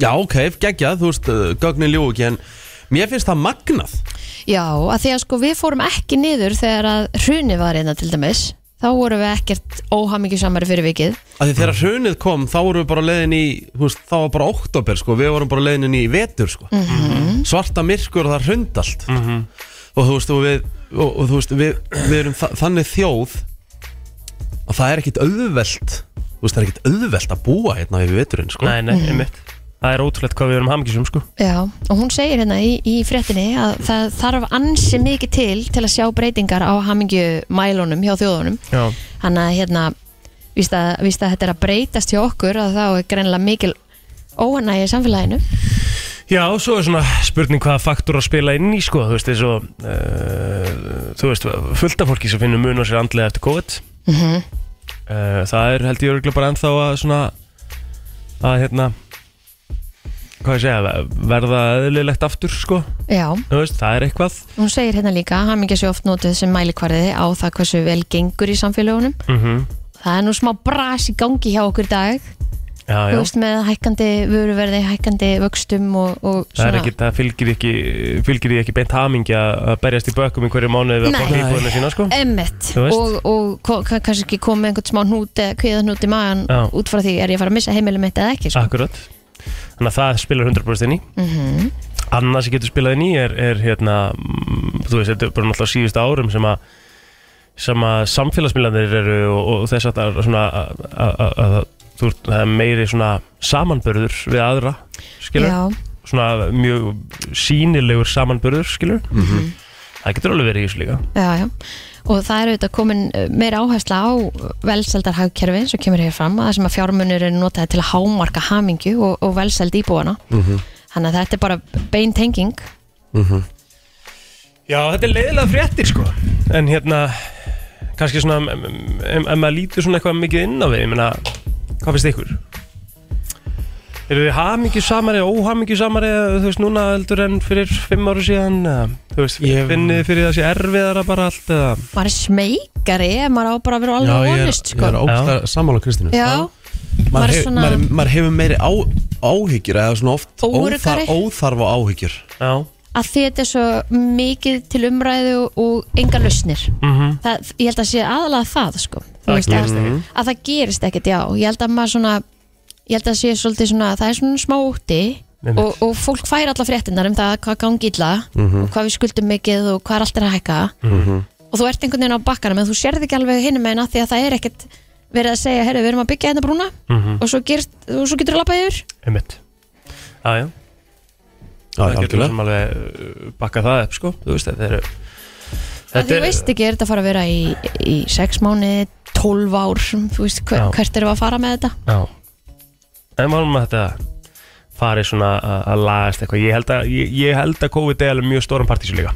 S2: já, ok, geggjað Þú veist, uh, gögnin ljóðu ekki En mér finnst það magnað
S3: Já, að því að sko við fórum ekki niður þegar að hruni var einna til dæmis þá vorum við ekkert óhamingju samari fyrir vikið
S2: Af því þegar hrunið kom þá vorum við bara leiðin í þú veist, þá var bara oktober sko, við vorum bara leiðin í vetur sko.
S3: Mhm.
S2: svarta myrkur og það hrund allt
S4: Mhm.
S2: og þú veist og við, og, og, þú veist, við, við erum þa þannig þjóð og það er ekkit auðvelt þú veist það er ekkit auðvelt að búa hérna yfir veturinn sko.
S4: Nei, nei, ég mitt Það er ótrúlegt hvað við erum hamingisum, sko
S3: Já, og hún segir hérna í, í fréttinni að það þarf ansi mikið til til að sjá breytingar á hamingju mælunum hjá þjóðunum
S4: Já
S3: Þannig að hérna víst að, víst að þetta er að breytast hjá okkur og þá er greinlega mikil óanægi í samfélaginu
S4: Já, og svo er svona spurning hvaða faktor að spila inn í, sko Þú veist, eins og uh, Þú veist, fullt af fólki sem finnur mun á sér andlega eftir COVID
S3: Mhm.
S4: uh, Það er held ég örgulega bara ennþá að svona Að hérna Hvað ég segja, verða eðlilegt aftur, sko
S3: Já,
S4: Þú veist, það er eitthvað
S3: hún segir hérna líka að hamingja sé oft notuð sem mælikvarði á það hversu vel gengur í samfélagunum
S4: Mhm.
S3: Það er nú smá bras í gangi hjá okkur í dag
S4: Já,
S3: Þú
S4: já
S3: veist með hækkandi vöruverði, hækkandi vöxtum og, og
S4: Það, er
S3: svona
S4: ekki, það fylgir, ekki, fylgir því ekki beint hamingja að berjast í bökkum í hverju mánuði við að
S3: Nei.
S4: borga íbúðina sína sko.
S3: Emmett
S4: Þú veist.
S3: og, og ko- ka- kannski ekki komið einhvern smá hnút eða kviðahnút í magan
S4: Já.
S3: út frá því er ég að fara að missa heimilum mitt eða ekki sko. Mhm.
S4: Akkurat Þannig að það spilar 100% inn í Annað sem getur spilað inn í er, er hérna, mm, þú veist, þetta er bara náttúrulega síðust árum sem að sem að samfélagsmiðlanir eru og, og þess að það er svona að- að- að- að- þú veist, það er meiri svona samanbörður við aðra skilur,
S3: Já,
S4: svona mjög sínilegur samanbörður skilur það getur alveg verið í þessu líka
S3: já, já og það er auðvitað komin eh, meira áhersla á velseldarhagkerfi sem kemur hér fram að það sem að fjármunur er notaði til að hámarka hamingju og, og velseld íbúana þannig að þetta er bara beintenging
S4: Já, þetta er leiðilega fréttir sko En hérna, kannski svona em- em- em- Ef maður lítur svona eitthvað mikið inn á við Ég meina, hvað finnst ykkur? Eru þið hamingju samari Óhamingju samari, þú veist, núna Eldur en fyrir fimm ára síðan eða, Þú veist,
S2: Ég-
S4: finnið þið fyrir þessi erfiðara bara allt eða,
S3: maður er smeikari ef maður á bara að vera alveg
S2: ég er,
S3: honest
S2: ég er
S3: sko.
S2: ógsta sammála Kristínu
S3: já, maður
S2: maður,
S3: er
S2: hef,
S3: svona-
S2: maður, maður hefur meiri á, áhyggjur eða svona oft
S3: Óruggari.
S2: óþar, óþarfa áhyggjur
S4: Já,
S3: að því þetta er svo mikið til umræðu og enga lausnir það, ég held að sé aðalega það sko. Þú veist, að, að það gerist ekkert já, ég held að maður svona ég held að sé svolítið svona, það er svona smá úti
S4: Einmitt.
S3: og, og fólk fær alla fréttinnar um það hvað gangi illa og hvað við skuldum mikið og hvað er allt er að hækka og þú ert einhvern veginn á bakkanum en þú sérð ekki alveg hinum meina því að það er ekkert verið að segja, herru, við erum að byggja hérna brúna og, svo gerst, og svo getur þú labbað yfir
S4: Mhm, einmitt Já, já,
S2: Já,
S4: það getur
S2: algjörlega.
S4: sem alveg uh, bakka það upp sko Þú veist, þetta eru
S3: Þetta þú veist ekki, er þetta að fara að vera í, í sex mánuði, 12 ár þú veist, hver,
S4: Já.
S3: hvert erum við að fara með þetta
S4: Já En málum að þetta farið svona að- að lagast eitthvað ég held að, ég, ég held að COVID er alveg mjög stóran partísu líka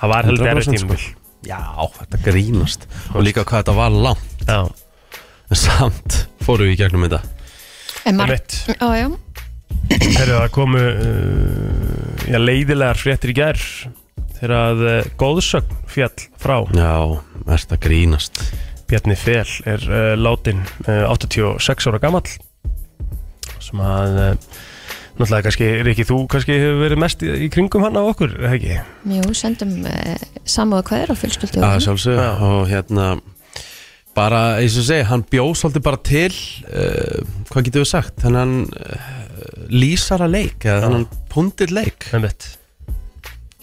S4: Það var heldur erfið
S2: 100% sko.
S4: tímabil
S2: Já, þetta grínast Og líka hvað þetta var langt
S4: Já,
S2: En Samt fóru við í gegnum þetta
S3: en
S4: það
S3: maður,
S4: mitt
S3: á, já,
S4: Þegar það komu uh, já, leiðilegar fréttir í gær þegar að uh, góðsögn fjall frá
S2: Já, þetta grínast
S4: Bjarni Fel er uh, látin uh, 86 ára gamall sem að uh, Náttúrulega kannski, Riki, þú kannski hefur verið mest í, í kringum hann á okkur, eða ekki?
S3: Jú, sendum uh, samúða kveður og fjölskyldu
S2: að sjálfsögðu og hérna bara, eins og ég segi, hann bjó svolítið bara til uh, hvað getur við sagt þannig hann uh, lýsara leik eða þannig hann pundir leik
S4: Einmitt.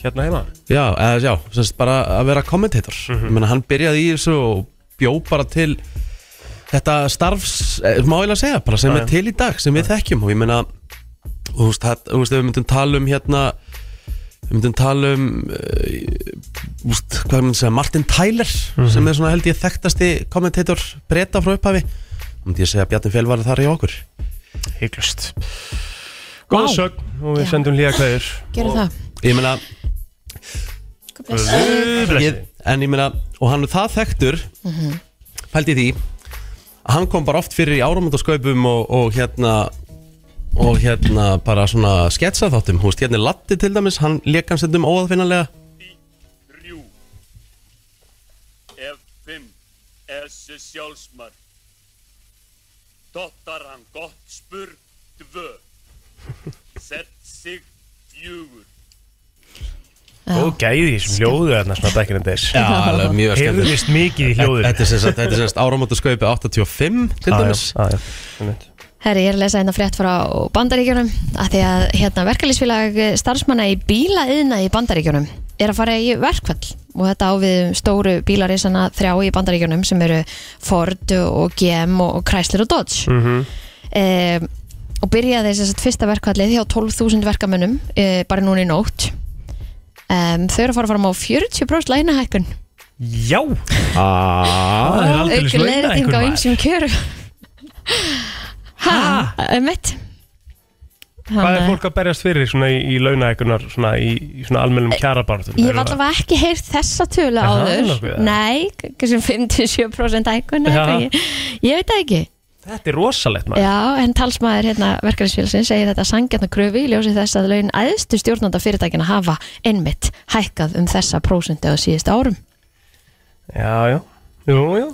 S4: Hérna heima?
S2: já, eða já, semst bara að vera kommentator
S4: Mhm.
S2: ég meina hann byrjaði í þessu og bjó bara til þetta starfs, eh, má ég að segja bara sem
S4: Já,
S2: er
S4: já.
S2: til í dag, sem við þekkjum og ég meina, og þú veist, það- þú veist ef við myndum tala um hérna við myndum tala um eh, þú veist, hvað myndum segja, Martin Tyler
S4: Mhm.
S2: sem er svona held ég þekktasti kommentator breyta frá upphafi Þá myndi ég segja að Bjarni Fjell var þar í okkur
S4: Hygglust. Góða
S3: Vá.
S4: sögn og við
S3: Já.
S4: sendum hlýja kveður.
S3: Gerum það
S2: ég meina,
S3: Guð blessi.
S2: ég, en ég meina og hann er það þekktur mm pældi í því að hann kom bara oft fyrir í áramöndaskaupum og, og hérna og hérna bara svona sketsa þáttum húst, hérna er Latti til dæmis hann leik hann stundum óaðfinnalega
S9: F5 S sjálfsmark Dottar hann gott spurg Dvö Sett sig fjögur
S4: Góð gæði í þessum hljóðu þarna svona back in the days.
S2: já, alveg mjög skemmt
S4: Heyrðist mikið í hljóðinu.
S2: þetta er sem sagt, þetta er sem sagt áramöndasköpi 85 til
S4: Já, já,
S2: dæmis
S4: já, já, einmitt.
S3: Herri, ég er að lesa einna frétt frá bandaríkjunum að því að hérna, verkalýsfélag starfsmanna í bílaiðna í bandaríkjunum er að fara í verkfall og þetta á við um stóru bílarísana þrjá í bandaríkjunum sem eru Ford og GM og Chrysler og Dodge mm
S10: Mhm.
S3: og byrjaði þess að fyrsta verkfallið hjá 12.000 verkamönnum e, bara núna í nótt Um, þau eru að fara að fara á 40% lænahækkun
S4: Já Ah,
S2: Ah.
S4: Það er aldrei
S3: aukur
S4: svona
S3: leiðting á einsum kjöru ha, emitt
S4: Hvað er fólk að berjast fyrir svona í, í launaækunar svona í, í svona almennum kjarabartum?
S3: Ég hef allavega ekki heyrt þessa tölu
S4: um Er það
S3: áður
S4: nokkuð, eða?
S3: Nei, kannski um 57% hækkun eða
S4: Já.
S3: eitthvað, ég, ég veit það ekki
S4: Þetta er rosalegt maður
S3: Já, en talsmaður hérna, verkefnisfélagsin segir þetta sangjarnar kröfi í ljósi þess að laun æðstu stjórnanda fyrirtækina hafa einmitt hækkað um þessa prósundu á síðustu árum
S4: Já, já, jú, jú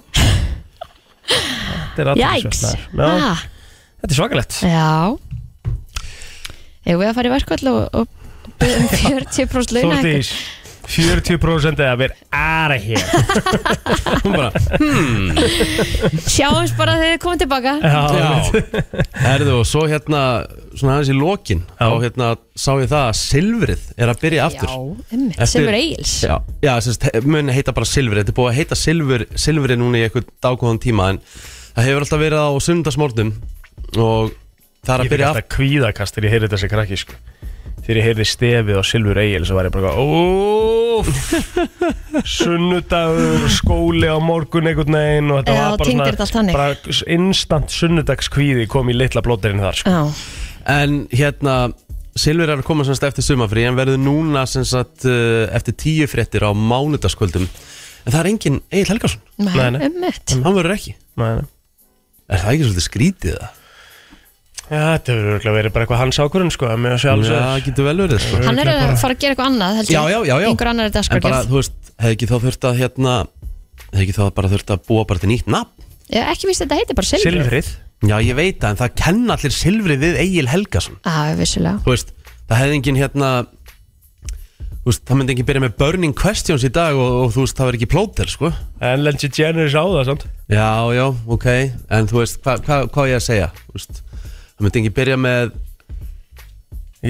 S4: Þetta er
S3: Jæks
S4: athyglisvert, maður. Já,
S3: Ha,
S4: Þetta er svakalegt
S3: Já Ef við að fara í verkvall og, og byrja um 40% laun
S4: Þórtís 40% eða við erum hér "Hmm."
S2: hún bara,
S3: Sjáumst bara þegar þið komum tilbaka
S2: já herðu og svo hérna svona aðeins í lokin
S4: Já.
S2: og hérna sá ég það að Silfrið er að byrja aftur
S3: einmitt,
S2: Eftir-
S3: sem eru eigils
S2: Já, já sérst, mun heita bara Silfri Þetta er búið að heita Silfur, Silfri núna í eitthvað dágóðan tíma En það hefur alltaf verið á sundagsmornum Og það er
S4: Ég
S2: að
S4: fyrir
S2: byrja
S4: alltaf kvíðakast þegar ég heyrði þessi krakki sko Þegar ég heyrði stefið á Silfur Egil svo var ég bara óf sunnudagur, skóli á morgun einhvern veginn og þetta
S3: Já,
S4: var bara
S3: tengdir þetta allt þannig.
S4: bara instant sunnudagskvíði kom í litla blóterinn þar sko.
S3: Já,
S2: af En hérna Silfur er að koma semst eftir sumafrí En verður núna sem sagt eh, Eftir tíu fréttir á mánudagskvöldum En það er engin Egil Helgarsson
S4: Nei, nei.
S3: ummitt
S2: Hann verður ekki
S4: Nei, nei.
S2: Er það ekki svolítið skrítið það?
S4: Já, þetta hefur örugglega verið bara eitthvað hans ákvörðun sko, að mér að sjá alls
S2: Já,
S4: að-
S2: getur vel verið sko.
S3: Hann er
S4: Örugglega
S3: að
S4: bara-
S3: fara að gera eitthvað annað heldur
S2: Já, já, já, já.
S3: Einhver annar er
S2: En bara,
S3: dagskrargerð
S2: þú veist, hefði ekki þá þurft að hérna Hefði ekki þá bara þurft að búa bara til nýtt nafn
S3: Ég hef ekki víst að þetta heitir bara silfrið
S4: Silfrið
S2: Já, ég veit það, en það kenna allir Silfri við Egil Helgason
S3: Já, vissulega
S2: Þú veist, það hefði engin hérna Þú veist, það myndi engin byrja með Burning Questions í dag og, og þú veist, það var ekki plóter, sko
S4: En Lengi Generis á það samt
S2: Já, já, ok, en þú veist, hvað hva, hva á ég að segja? Þú veist, það myndi engin byrja með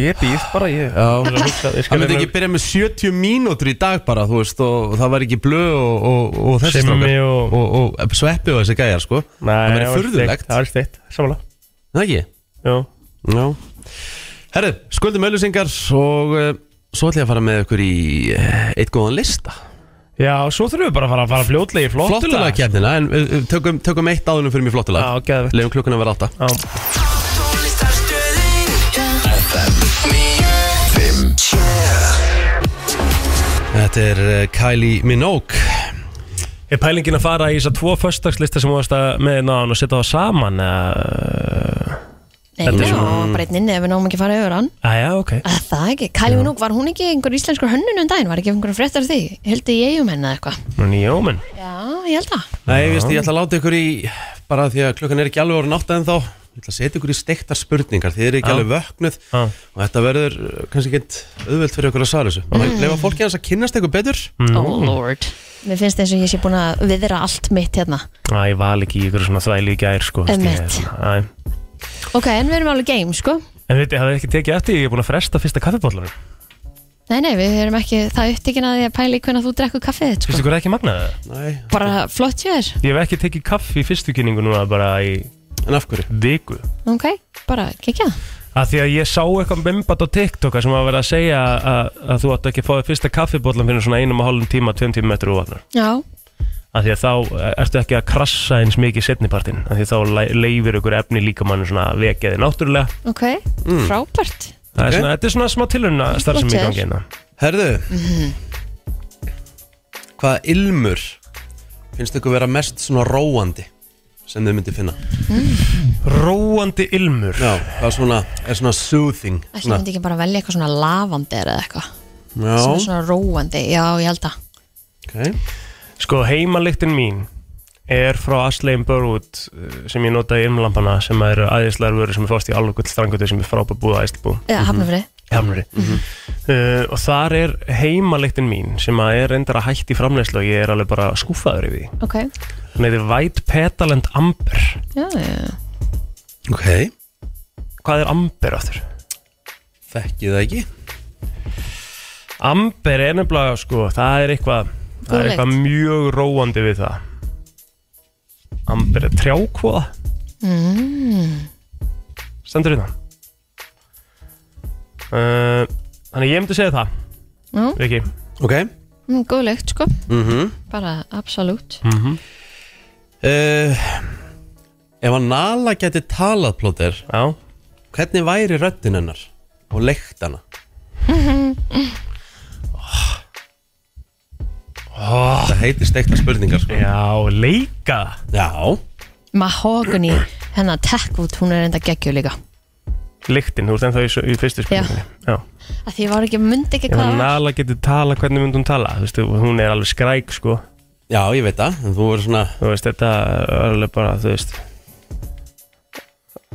S4: Ég býð bara, ég
S2: Já,
S4: Ég er að hugsa- ég skal
S2: það myndi
S4: reyna-
S2: engin byrja með 70 mínútur í dag bara, þú veist og, og það var ekki blöð og, og, og þessi
S4: Simmi
S2: strákar.
S4: og-
S2: og, og, og sveppi og þessi gæjar, sko
S4: Nei,
S2: Það væri
S4: var steikt,
S2: furðulegt,
S4: Það var steikt, samanlega
S2: það ekki?
S4: Já,
S2: Já Herru, skuldum öllusingar og uh, svo ætla ég að fara með ykkur í uh, eitt góðan lista
S4: Já, svo þurfum við bara að fara, fara fljótlega í
S2: Flottulega
S4: flottulega
S2: kemdina, en við við tökum, tökum eitt áðunum fyrir mér flottulega
S4: Já, geðvegt.
S2: Leifum klukkuna vera átta
S4: Já.
S2: Þetta er uh, Kylie Minogue
S4: Er pælingin að fara í þess að tvo föstagslista sem þú varst að með náðan og setja það saman eða-
S3: Nei, já, bara einn Ah. inni ef við náum ekki að fara yfir hann
S4: Æja, Ah, ok
S3: að Það ekki, Kæli Minúk, var hún ekki einhver íslenskur hönnun um daginn, var ekki einhver fréttar af því Hildi ég um henni eða eitthvað
S4: Nú nýjóminn
S3: Já, ég held að
S2: Nei, ég veist, ég ætla að láta ykkur í bara því að klukkan er ekki alveg orðin átta en þá Ég ætla að setja ykkur í steiktar spurningar Þið eru ekki
S4: Já.
S2: alveg vöknuð Og þetta verður uh, kannski ekkert auðvelt fyrir ykkur að svara þessu mm.
S3: Mm.
S2: Leifa fólki hans að kynnast ykkur betur
S4: Mm.
S3: Oh lord Mér finnst eins og ég sé búin að viðra allt mitt hérna
S4: Æ, ég val ekki í ykkur svona þvæli í gær sko, veist, ég er
S3: Einmitt.
S4: svona, æ.
S3: Ok, en við erum alveg game, sko
S4: En veit, ég hafði ekki tekið eftir, ég er búin að fresta fyrsta kaffibóllanum
S3: Nei, nei, við erum ekki það upptíkin að því að pæla í hvernig þú drekku kaffið þitt,
S4: Fyrstu
S3: sko.
S4: ykkur ekki magnaði það?
S2: Nei
S3: Bara flott hjá þér,
S4: Ég hef ekki tekið kaffi í fyrstu kynningu núna bara í
S2: En af hverju?
S4: Viku
S3: ok, bara kekja
S4: Af því að ég sá eitthvað mymbat á TikTok sem var verið að segja að, að þú átt ekki að fá þér fyrsta kaffibóllan fyrir svona einum og hálfum tíma, tveim tíma metru og vagnar.
S3: Já,
S4: Af því að þá eh, ertu ekki að krassa eins mikið setnipartin. Af því að þá le- leifir ykkur efni líka mann svona að vekja þig náttúrulega.
S3: ok,
S4: Mm.
S3: frábært
S4: Það
S3: Ok.
S4: er svona, þetta er svona smá tilhörna starf sem
S3: Flott
S4: í
S3: hjá
S4: gangi
S3: þér.
S4: hérna.
S2: Herðu,
S3: Mhm.
S2: hvaða ilmur finnst ykkur vera mest svona róandi sem þið myndi finna?
S4: Mm. Róandi ilmur?
S2: Já, það er svona, er svona soothing
S3: Ætli myndi ekki bara velja eitthvað svona lavandi eða eitthvað
S2: Já.
S3: Sem er svona róandi, já, ég held að
S2: Okay.
S4: Sko heimalyktin mín er frá Asleim Börwood sem ég nota í ilmlampana sem eru æðislegar vörur sem er fórst í alveg gull strangutu sem er frábæð búið að æslebú
S3: Já, Hafnarfirði.
S4: Hafnafri
S3: Mhm.
S4: uh, og þar er heimalyktin mín sem að er reyndar að hætti framleyslu og ég er alveg bara skúfaður yfir því
S3: Ok,
S4: Þannig þetta er White Petal and Amber
S3: já, já
S2: Ok
S4: Hvað er Amber áttur?
S2: Þekki það ekki
S4: Amber er nefnilega sko, það er eitthvað það er
S3: Góð
S4: eitthvað mjög róandi við það Amber er trjákvoða
S3: mm.
S4: stendur hérna. innan uh, Þannig ég myndi segja það
S3: Já.
S4: Viki
S2: Ok
S3: mm, Góð lykt, sko
S2: mm
S3: Bara absolutt
S4: -hmm.
S2: Eh, Ef að Nala geti talað plóter
S4: Já.
S2: Hvernig væri röddin hennar og leiktana?
S4: oh.
S2: Það heitir steikta spurningar sko.
S4: Já, leika
S2: Já
S3: Mahogany, hennar Techwood, hún er enda geggju líka
S4: Lyktin, þú ert ennþá í, s- í fyrstu spurningunni Já,
S3: Að því ég var ekki, myndi ekki
S4: Ef
S3: hvað
S4: að
S3: það var
S4: Nala getur tala, hvernig myndi hún tala? Þú veist, hún er alveg skræk, sko
S2: Já, ég veit það, en þú verður svona
S4: Þú veist, þetta er alveg bara, þú veist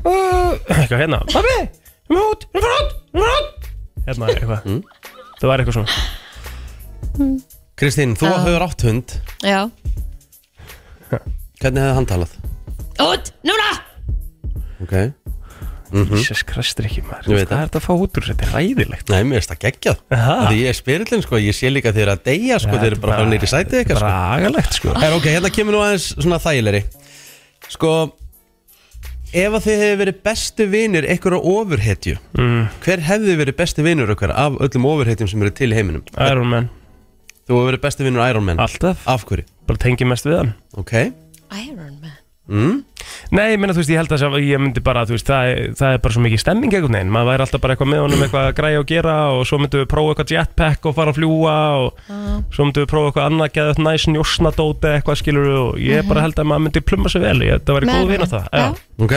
S4: Eitthvað hérna Pabbi, um út, um fara út, um fara út Hérna, eitthvað
S2: Mm.
S4: Það var eitthvað svona
S2: Kristín, þú
S3: Já.
S2: hefur átt hund
S3: Já,
S2: Hvernig hefði hann talað?
S3: út, núna
S2: Ok mm
S4: Jesus Christ, ekki maður
S2: Ég veit
S4: Hvað er þetta að fá út úr, þessu? þetta er ræðilegt
S2: Nei, mér finnst það geggjað Af Því ég er spyrillin, sko, ég sé líka þeirra að deyja sko,
S4: Já,
S2: Þeir eru bara
S4: þetta
S2: frá nýri
S4: þetta
S2: sætið
S4: er
S2: eitthvað sko.
S4: bara agalegt, sko.
S2: Er, ok, hérna kemur nú aðeins svona þægilegri Sko Ef að þið hefur verið bestu vinir Ekkur á ofurhetju
S4: Mm.
S2: Hver hefði verið bestu vinur okkar af öllum ofurhetjum sem eru til í heiminum?
S4: Iron Man
S2: Þú hefur verið bestu vinur Iron Man
S4: Alltaf,
S2: Af hverju?
S4: bara tengi mest við hann
S2: Ok
S3: Iron Man
S2: mm.
S4: Nei, ég meina, þú veist, ég held að sem- ég myndi bara, þú veist, það, er- það er bara svo mikið stemming einhvern veginn, maður væri alltaf bara eitthvað með honum eitthvað að græja og gera og svo myndum við prófa eitthvað jetpack og fara að fljúa og svo myndum við prófa eitthvað annað geða eitthvað næs njósnadóti eitthvað skilur og ég bara held að maður myndi plumma sig vel, ég, það væri
S3: Mhm. Með
S4: góð vina
S3: honum,
S4: það
S3: já.
S2: Ok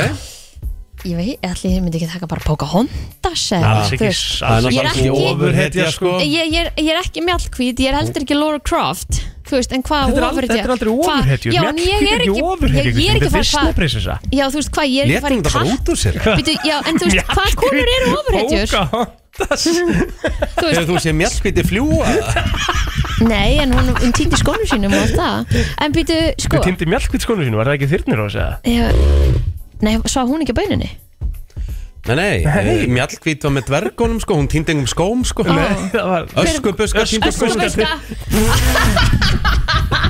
S3: Ég veit, allir myndi ekki taka bara Pocahontas eða,
S4: Alls
S3: þú
S4: ekki,
S3: veist.
S4: alls
S3: Ég er
S4: ekki
S3: ekki-
S4: ofurhetja sko
S3: Ég, ég, er, ég er ekki mjallkvít, ég er heldur ekki Laura Croft Þú veist, en hvað
S4: Þetta er aldrei, þetta er aldrei ofurhetju,
S3: Já, en ég er ekki
S4: ofurhetju,
S3: ég, ég er
S4: þetta er
S3: ekki að fara að
S4: Disney-prinsessa.
S3: Já, þú veist hvað, ég er ekki að fara
S2: Létum
S3: í
S2: þetta bara
S3: kall
S2: út úr sér
S3: Býtu, Já, en þú veist, hvað konur eru ofurhetjur?
S4: Pocahontas
S3: Þú
S2: Hefur
S3: veist,
S2: þú séð mjallkviti fljúa?
S3: nei, en hún, hún týndi skónu sínum og allt það En býtu, sko
S4: Þú týndi mjölkvitt skonu sínu, var það ekki þyrnir á þess að?
S3: já, Nei, svo hún ekki á bauninni
S2: Nei, nei,
S4: Nei.
S2: mjallkvít var með dvergunum sko Hún týndi engum skóm sko
S3: Ó.
S4: Nei, það var
S2: Öskubuska týndi
S4: Öskubuska.
S2: skóm
S3: Ah. Öskubuska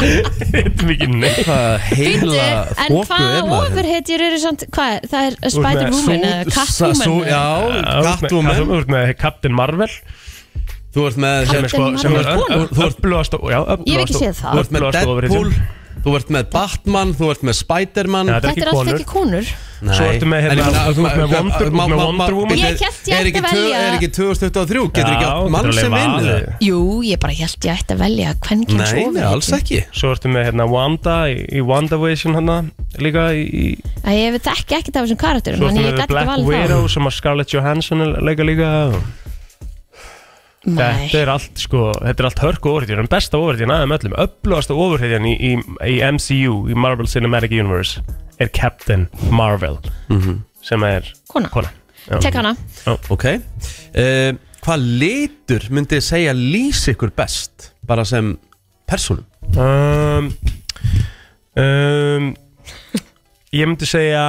S4: Þetta er mikið neitt
S2: Hvað
S3: Býtu,
S2: heila
S3: en
S2: þóku
S3: hvað
S2: er maður?
S3: ofurhetjur eru samt Hvað, það er Spider-Woman eða
S2: Sú- sa- sú-
S3: Catwoman eða-
S2: Já,
S4: Þú
S2: Catwoman
S4: ert með Captain Marvel
S2: Þú ert með hérna,
S4: sem er sko, sem er
S3: Marvel
S2: kona?
S4: öflugast og, já, öflugast
S3: Ég hef ekki séð það.
S2: Þú ert með Deadpool Þú ert með Batman, þú ert með Spiderman
S4: Já, þetta
S3: Þetta er alltaf ekki konur
S2: Nei.
S4: Svo ertu með, hérna,
S2: En ég meina,
S4: þú ert með
S2: ma-
S4: Wonder-
S2: ma-
S4: með
S2: ma-
S4: Wonder Woman.
S2: bíddu,
S3: Ég hélt ég
S2: er
S3: ætti
S2: ekki
S3: að
S2: tvö-
S3: velja-
S2: Er ekki 2023, getur ekki átt mann sem vinur
S3: Jú, ég bara held ég ætti að velja hvernig kynns
S2: Nei, nei, alls ekki
S4: Svo ertu með hérna Wanda í, í WandaVision hana líka í, í-
S3: Æ, ég veit ekki ekkert af þessum karakterum
S4: Svo ertu
S3: Þannig ég
S4: með
S3: gæti ekki
S4: Black
S3: valið
S4: Widow sem að Scarlett Johansson er leika líka og-
S3: þá
S4: Þetta
S3: Nei,
S4: er allt sko, þetta er allt hörku ofurhetjur en besta ofurhetjan aðeim öllum, öflugasta ofurhetjan í, í, í MCU, í Marvel Cinematic Universe er Captain Marvel sem er
S3: Kona.
S4: Já.
S3: Tek hana.
S4: Já.
S2: Ok uh, Hvað litur myndi ég segja lýs ykkur best bara sem persónum?
S4: um, um, Ég myndi segja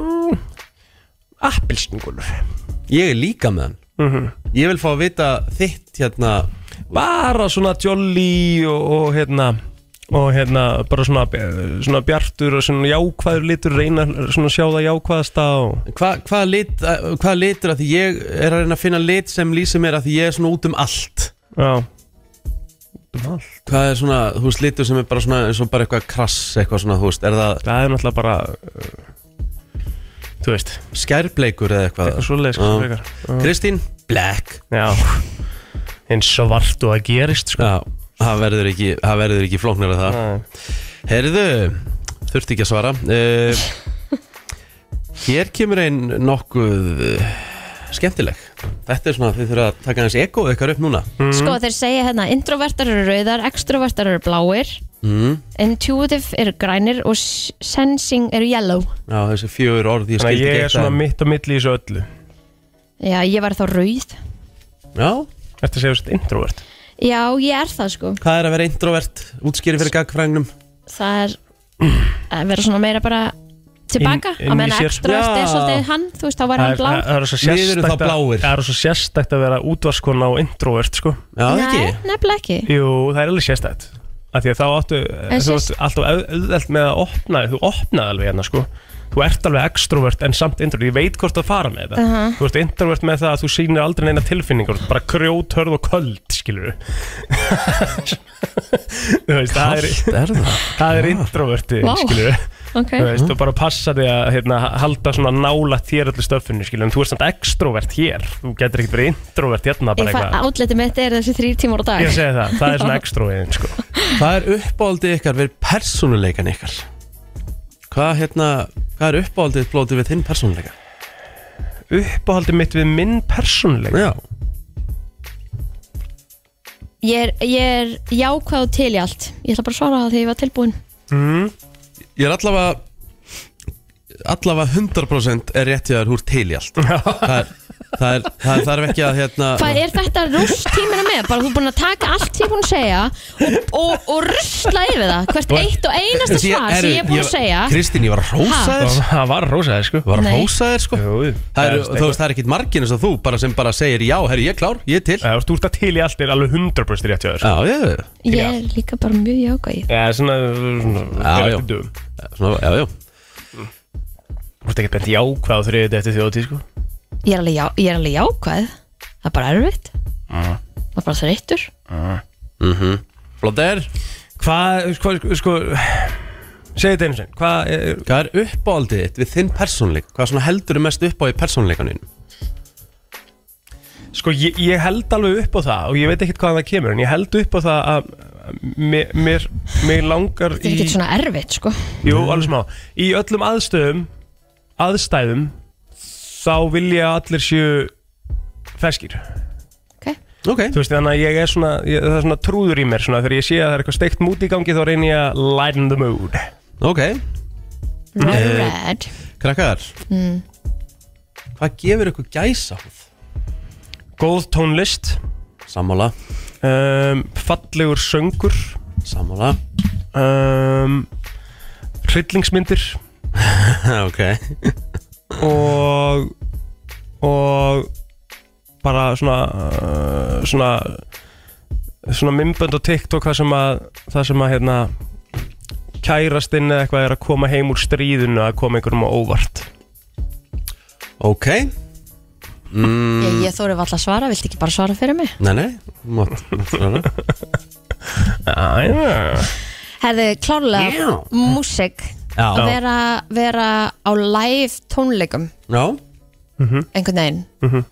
S4: mm, Appelsningulur
S2: Ég er líka með hann
S4: Mhm.
S2: Ég vil fá að vita þitt hérna
S4: Bara svona jolly og, og hérna og hérna bara svona,
S2: eh,
S4: svona bjartur og svona jákvæður litur reyna svona sjá það jákvæðasta og
S2: Hva, hvað, lit, eh, hvað litur að því ég er að reyna að finna lit sem lýsir mér að því ég er svona út um allt
S4: Já um allt.
S2: Hvað er svona, þú veist, litur sem er bara svona eins og bara eitthvað krass, eitthvað svona, þú veist, er það
S4: Það er náttúrulega bara uh, Þú veist
S2: skærbleikur eða eitthvað?
S4: Eitthvað svoleiðis,
S2: Já.
S4: frekar. Já.
S2: Kristín, black
S4: Já En svart og það gerist sko.
S2: Já, það verður ekki, það verður ekki flóknar að það
S4: Nei.
S2: Herðu, þurfti ekki að svara uh, Hér kemur einn nokkuð uh, skemmtileg Þetta er svona, þið þurfa að taka hans ego ykkar upp núna Mm.
S3: Sko þeir segja hérna introvertar eru rauðar, extrovertar eru bláir
S2: mm.
S3: intuitive eru grænir og s- sensing eru yellow
S2: Já, þessi fjögur orð ég
S4: Þannig að
S2: skildi
S4: ég
S2: ekki
S4: er svona
S2: eitt
S4: mitt á milli í þessu öllu
S3: Já, ég var þá rauð
S2: Já,
S4: Þetta séu svona introvert
S3: Já, ég er það sko
S2: hvað er að vera introvert? Útskýri fyrir gagfrægnum
S3: Það er að vera svona meira bara tilbaka
S4: Inn- inn
S3: að
S4: í
S3: menna
S4: sér.
S3: extrovert er
S2: Já.
S3: svolítið hann þú veist, þá var hann blá
S4: það er svo
S2: Við erum
S4: sérstakt
S2: þá
S4: að-
S2: bláir.
S4: það er svo sérstakt að vera útvarskona og introvert sko.
S2: Já, það ekki
S3: Nei, nefnilega ekki
S4: Jú, það er alveg sérstakt Af því að þá áttu,
S3: En
S4: þú
S3: sérst-
S4: áttu alltaf au- auðvelt með að opna Þú opnaði alveg hérna sko Þú ert alveg extrovert en samt introvert Ég veit hvort það fara með það Þú ert introvert með það að þú sýnir aldrei neina tilfinningur Bara grjót, hörð og köld, skilur Þú veist, það er,
S2: Allt er það
S4: það er introverti,
S3: Vá.
S4: skilur
S3: Ok,
S4: Þú veist, og bara passa þig að hérna, halda svona nála þér öllu stöffinu, skilur En þú ert samt extrovert hér Þú getur ekkert verið introvert hérna bara
S3: ég fann
S4: eitthvað
S3: átliti mitt er þessi þrýr tímar á dag
S4: Ég segi það, það er svona extrovertin, sko
S2: Hvað er uppáldið ykkar við persónuleikan ykkar? Hvað, hérna, hvað er uppáldið blótið við þinn persónuleika?
S4: uppáhaldið mitt við minn persónuleik
S2: Já,
S3: Ég er, ég er jákvæð og til í allt Ég ætla bara að svara það þegar ég var tilbúin
S4: mm.
S2: ég er allavega allavega 100% er rétt hjá þér húr til í allt það, er, það, er, það þarf ekki að hérna
S4: Ah.
S3: Hvað er þetta rúst tímina með? Bara þú er búin að taka allt sem ég er búin að segja og, og, og rusla yfir það Hvert eitt og einasta
S2: Þessi-
S3: svar sem ég er búin að segja
S2: Kristín, ég var að hrósa
S3: Ha?
S2: þér sko.
S4: það var rosaði sko
S2: Ég var að
S3: Nei.
S2: hrósa þér sko
S4: Jú,
S2: Það er, þú veist, það er ekkit margin eins og þú bara sem bara segir já, herri, ég er klár, ég er til Já,
S4: það Þú ert að til í allt er alveg 100% rétt hjá þér sko.
S2: já, já,
S3: Ég er líka bara mjög jákvæð
S4: Já, svona svona-
S2: Já,
S4: fyrir
S2: já.
S4: eftir dögum.
S2: Svona, já, já.
S4: Þú ert ekkert bent jákvæð á þriðið eftir þjóðtíð sko
S3: Ég er alveg, já, ég er alveg jákvæð Það er bara erfitt Það er bara þreyttur
S2: Mhm. Blóter,
S4: Hvað, sko, sko, sko Segðu þetta einu sem Hvað eh, er
S2: hvað er uppáaldið þitt við þinn persónleik? Hvað svona heldur mest upp á í persónleikaninu?
S4: Sko, ég, ég held alveg upp á það og ég veit ekkert hvaðan það kemur en ég held upp á það að mér, mér, mér langar
S3: Þetta er ekkert svona erfitt sko
S4: Jú, alveg smá Í öllum aðstöðum aðstæðum þá vilja allir séu feskir
S3: okay.
S2: Ok,
S4: Þú veist, þannig að ég er svona, ég, það er svona trúður í mér svona, þegar ég sé að það er eitthvað steikt mút í gangi þá reynir ég að lighten the mood
S2: ok,
S3: Red,
S2: Eh,
S3: red
S2: krakkar
S11: Mm.
S2: Hvað gefur ykkur gæsa?
S4: Góð tónlist
S2: Sammála,
S4: um, fallegur söngur
S2: sammála
S4: um, hryllingsmyndir
S2: Ok
S4: og og bara svona uh, svona svona mymbönd og TikTok það sem að það sem að hérna kærastinn eða eitthvað er að koma heim úr stríðinu að koma einhverjum á óvart
S2: Ok, Mm.
S3: Ég, ég þóri alltaf að svara, viltu ekki bara svara fyrir mig?
S2: nei nei Mátt svara
S4: Æja
S3: Herði, klárlega
S2: Já.
S3: músík að
S2: Já,
S3: vera, vera á live tónleikum
S2: já Mhm,
S3: einhvern veginn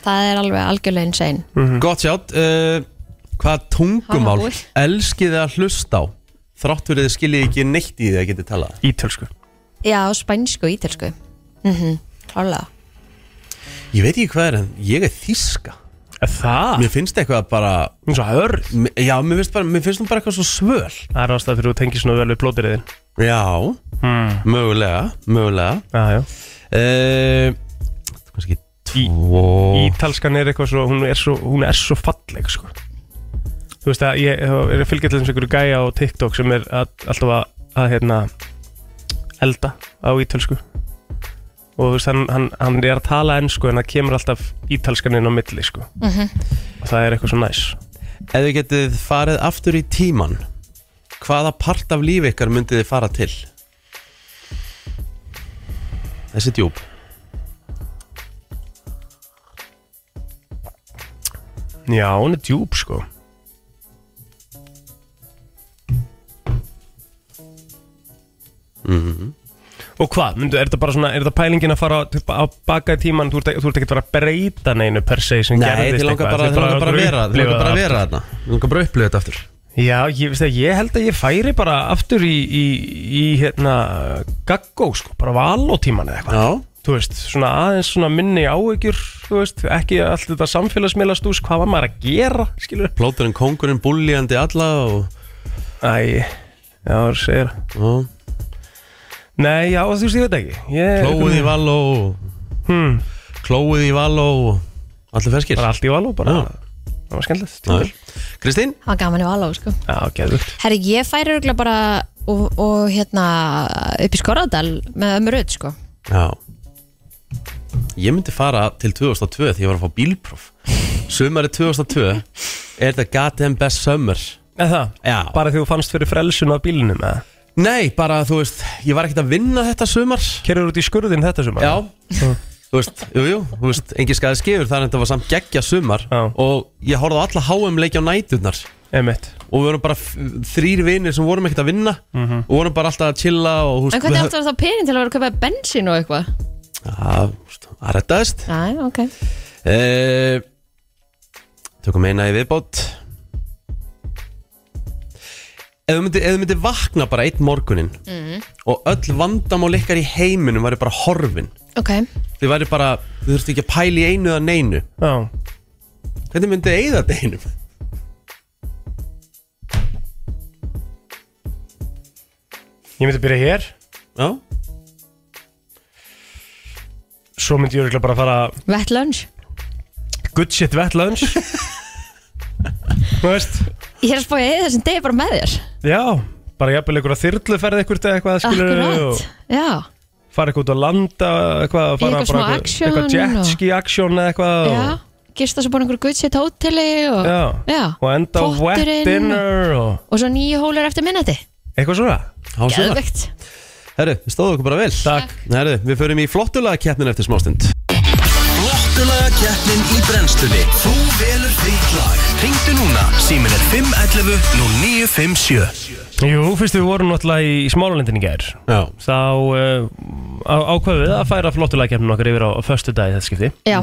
S3: Það er alveg algjörlega insane
S2: mhm. Gott sjátt uh, Hvað tungumál
S3: Ha, ha, úr.
S2: elskið þið að hlusta á? Þrátt fyrir þið skiljið ekki neitt í því að getið talað
S4: Ítölsku
S3: Já, á spænsku, og ítelsku mm Klárlega
S2: Ég veit ekki hvað er en ég er þíska
S4: Er Það?
S2: Mér finnst eitthvað bara
S4: Hún er svo hörð
S2: m- Já, mér finnst, bara, mér finnst hún bara eitthvað svo svöl
S4: Það er ástæð fyrir að þú tengir svona vel við blótiriðin
S2: Já, mögulega, mögulega
S4: Já, já
S2: uh, Kannski tvo
S4: Ítalskan er eitthvað svo, hún er svo, hún er svo falleg sko. Þú veist að ég ég er að fylgja til þess einhverju gæja á TikTok sem er að, alltaf að, að hérna, elda á ítalsku og þú veist hann, hann, hann er að tala ennsku en það kemur alltaf ítalskan inn á milli sko.
S3: Mhm.
S4: og það er eitthvað svo næs
S2: Ef þið getið farið aftur í tíman Hvaða part af lífi ykkar myndið þið fara til? Þessi djúb
S4: Já, hún er djúb sko
S2: Mhm.
S4: Og hvað, myndu, er þetta bara svona, er þetta pælingin að fara til- á baka í tíman, þú ert, þú ert ekki að fara að breyta neinu per se sem
S2: Nei,
S4: gerðist
S2: þið
S4: eitthvað,
S2: langar bara,
S4: þetta er
S2: þið langar bara að
S4: að
S2: vera Þið
S4: upplifa
S2: langar bara að
S4: það
S2: vera
S4: aftur.
S2: þarna Þið langar bara að upplifa þetta aftur
S4: Já, ég, veist það, ég held að ég færi bara aftur í, í, í hérna, gaggó sko, bara valótíman eða eitthvað
S2: Já,
S4: Þú veist, svona aðeins svona minni áhyggjur, þú veist, ekki allt þetta samfélagsmiðlastús, hvað var maður að gera, skilur
S2: plóturinn kóngurinn, búljandi alla og,
S4: Æ, já, þú segir það.
S2: og
S4: Nei, já, þú veist, ég veit ekki ég,
S2: Klóið í val og
S4: hmm,
S2: Klóið í val og Allir ferskir
S4: Bara allt í való, bara
S2: Já.
S4: Það var skemmtilegt
S2: Já.
S4: tímabil.
S2: Kristín?
S3: Það var gaman í való, sko.
S4: Já, geðvögt
S3: Herri, ég færi örgulega bara og, og hérna upp í Skorradal með ömmu rödd, sko.
S2: Já Ég myndi fara til 2002 því ég var að fá bílpróf Sumari 2002 Er þetta goddamn best summer
S4: Eða það,
S2: Já
S4: bara því þú fannst fyrir frelsun af bílinum eða
S2: Nei, bara þú veist Ég var ekkert að vinna þetta sumar
S4: Kerur út í skurðin þetta sumar
S2: Já Þú veist, jú, jú, þú veist, engin skæði skefur þar en þetta var samt geggja sumar
S4: Já.
S2: og ég horfði á alla HM leikja á næturnar
S4: Einmitt.
S2: og við vorum bara f- þrír vinir sem vorum ekkert að vinna
S4: Mhm.
S2: og vorum bara alltaf að chilla og þú
S3: En
S2: veist,
S3: hvernig
S2: við-
S3: áttu það þá pening til að vera að kaupa bensín og eitthvað?
S2: Já, þú veist, það rettaðist
S3: Æ, ok.
S2: Eh, Tökum eina í viðbót Ef þú myndir myndi vakna bara einn morguninn
S3: Mm.
S2: og öll vandamál ykkar í heiminum væri bara horfin
S3: Ok.
S2: þið væri bara, þið þurftu ekki að pæla í einu eða neinu
S4: Já,
S2: hvernig myndið þið eigða deginum?
S4: ég myndi byrja hér
S2: Já,
S4: Svo myndi ég örugglega bara fara
S3: Vett lunch.
S4: good shit wet lunch Þú veist
S3: Ég er að spója eða þessum degi bara með þér.
S4: Já, bara jafnvel einhverja þyrluferð eitthvað eða eitthvað skilur
S3: Akkurat. Já.
S4: fara eitthvað út að landa eitthvað,
S3: Í
S4: fara
S3: eitthvað smá
S4: bara
S3: action
S4: eitthvað
S3: og-
S4: jetski action eða eitthvað
S3: Já. Gista svo búin einhverju gutt sétt hóteli og...
S4: Já.
S3: Já.
S4: og enda á wet
S3: Potturinn.
S4: dinner og
S3: Og svo nýju hólur eftir minnati.
S4: eitthvað svona
S2: á sumar
S3: Geðvegt.
S2: Herru, við stóðum okkur bara vel
S4: Takk.
S2: Herru, við förum í flottulega keppnin eftir smástund
S1: Flottulaga keppnin í brennslunni Þú velur þitt lag Ringdu núna, símin er 511 0957
S4: Jú, fyrst við vorum náttúrulega í smálulendin í gær
S2: Já,
S4: þá uh, á- ákváðum við að færa flottulega kemnum okkar yfir á, á föstu dag þetta skipti
S3: Já.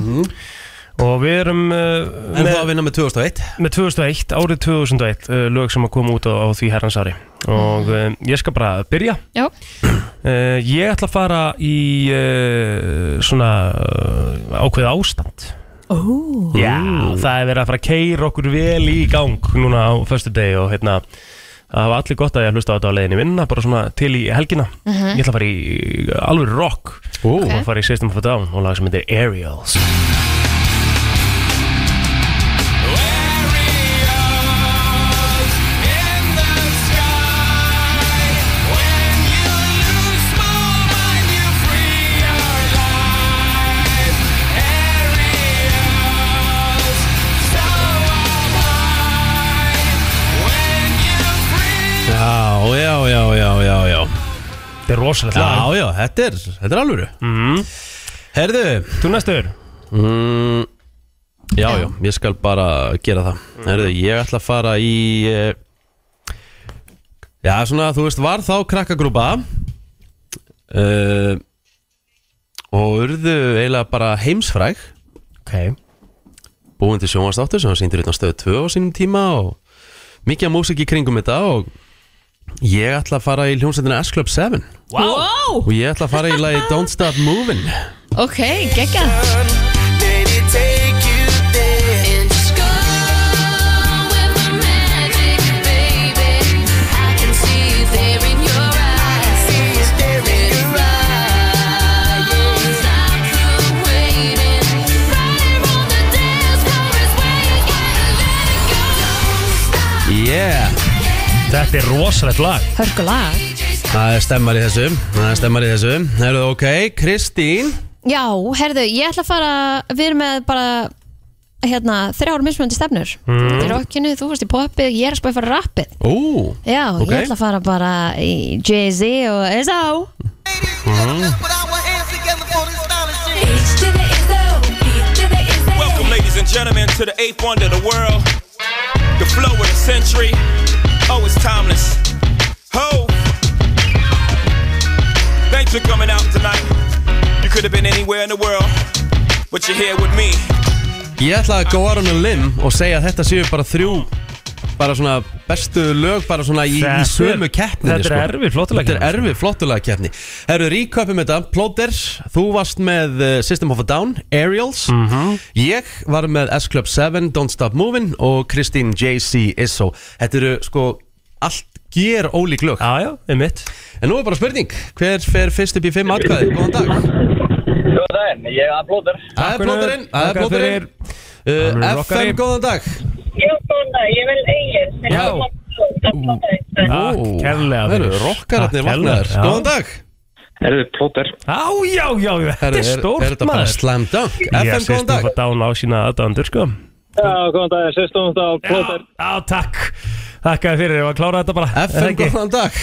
S4: og við erum uh,
S2: Mhm. en
S4: með,
S2: þá að vinna með 2001
S4: með 2001, árið 2001 uh, lög sem að koma út á, á því herransári og uh, ég skal bara byrja
S3: Mhm. Já.
S4: uh, ég ætla að fara í uh, svona uh, ákveð ástand
S3: Ó.
S4: Já, það er verið að fara að keira okkur vel í gang núna á föstu degi og hérna það var allir gott að ég hlusta á þetta á leiðinni í vinna bara svona til í helgina
S3: Mhm.
S4: ég ætla að fara í alveg rock
S2: Ó.
S4: og fara í System of a Down og lag sem heitir Aerials
S2: Já, já, já, já, já, já
S4: Þetta er rosalegt lag
S2: Já, já, þetta er, þetta er alvöru
S4: mm.
S2: Herðu
S4: Þú næstur
S2: mm, Já, já, ég skal bara gera það Herðu, ég ætla að fara í eh, Já, svona, þú veist, var þá krakkagrúpa uh, Og urðu eiginlega bara heimsfræg
S4: Ok
S2: Búin til sjónvastáttur sem hann sýndir utan stöðu 2 á sínum tíma Og mikið af músik í kringum þetta Og ég ætla að fara í hljómsveitina S-Club 7
S3: Wow.
S2: Og ég ætla að fara í lagi Don't Stop Movin'
S3: Ok, geggjað.
S11: Go with the magic, baby. I can see there in your eyes.
S4: Þetta er rosalegt lag
S3: Hörku lag
S2: Það er stemmar í þessu Það er stemmar í þessu Herðu, ok, Kristín
S3: Já, herðu, ég ætla að fara Við erum með bara hérna, þrjár mismunandi stefnur
S2: Mm.
S3: Þetta er rockinu, þú varst í popið, ég er að spá að fara í rappið
S2: Ú
S3: Já,
S2: Ok.
S3: ég ætla að fara bara í Jay-Z og S.O.
S2: mm.
S11: Welcome, ladies and gentlemen, to the eighth wonder of the world. The flow of the century. Oh, it's timeless. Ho! Thanks for coming out tonight. You could have been anywhere in the world, but you're here with me.
S2: Ég ætla að go out on a limb og segja að þetta séu bara þrjú bara svona bestu lög bara svona í,
S4: Þetta
S2: í
S4: er-
S2: sömu keppni
S4: þetta er erfið flottulega
S2: Þetta er erfið flottulega keppni Herru, ríköpum þetta Plóter, þú varst með eh, System of a Down, Aerials
S4: Mhm.
S2: Ég var með S-Club 7, Don't Stop Movin' og Kristín JC Isso Þetta eru sko allt ger ólík lög Já, já, er mitt En nú er bara spurning, hver fer fyrst upp í fimm atkvæði? Góðan dag
S12: Góðan daginn, ég er plóður.
S2: Það er plóterinn, það er plóterinn
S12: Hann
S2: uh,
S12: er rockari.
S2: FM, góðan dag
S13: Já, góðan dag, ég vil eigin.
S2: Já.
S4: Takk kærlega
S2: Það eru rokkararnir vaknaðir Góðan dag
S12: Erðu plóter
S4: Já, já, já, já, þetta
S2: Herru,
S4: er
S2: er-
S4: stórt
S2: er þetta bara slam dunk? FM, góðan dag.
S4: Ég sést nú að á sína aðdæðandur, sko
S12: Já, góðan dag, sérstofum þetta plóter.
S4: Já,
S2: Ah.
S4: takk Þakkaði fyrir, ég var að klára þetta bara
S12: FM, góðan
S2: dag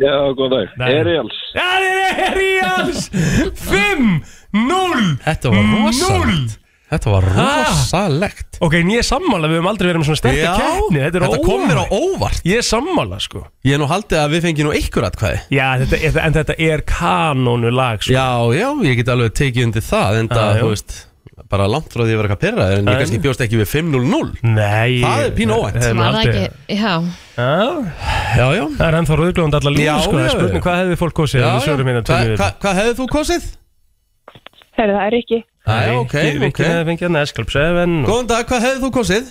S12: Já, góðan dag.
S4: Nei.
S12: Erials.
S4: Já, það er Ríals 5, 0
S2: Þetta var rosalegt. Þetta var rosalegt
S4: Ok, en ég er sammála, við höfum aldrei verið með svona sterkar
S2: Já,
S4: kæmni Þetta,
S2: þetta kom mér á óvart
S4: Ég er sammála, sko
S2: Ég er nú haldið að við fengjum nú ykkur atkvæði
S4: Já, þetta, þetta- en þetta er kanónu lag, sko
S2: Já, já, ég get alveg tekið undir það En
S4: Já,
S2: það,
S4: Ah, já.
S2: þú veist, bara langt frá því að vera eitthvað pyrraður En
S4: En-
S2: ég kannski bjóst ekki við 5-0-0
S4: Nei
S2: Það er pínu óvænt.
S4: hefði
S3: Var það
S4: aldrei-
S3: ekki, já
S4: Já,
S2: já, já
S4: Það er ennþá rauðglóðan allar
S2: Já,
S4: líka, sko Það
S2: já,
S4: er spurning
S2: já.
S4: hvað hefði fólk kosið
S2: Já,
S4: ef við
S2: já.
S4: svörum hérna
S2: Hvað-
S4: tveimur.
S2: hvað- Hvað hefði þú kosið?
S13: Herðu, það er ekki.
S2: Æ, ok,
S4: Rikki-
S2: ok
S4: Rikki hefði fengið hérna S-Club 7 og-
S2: Góðan dag, hvað hefði þú kosið?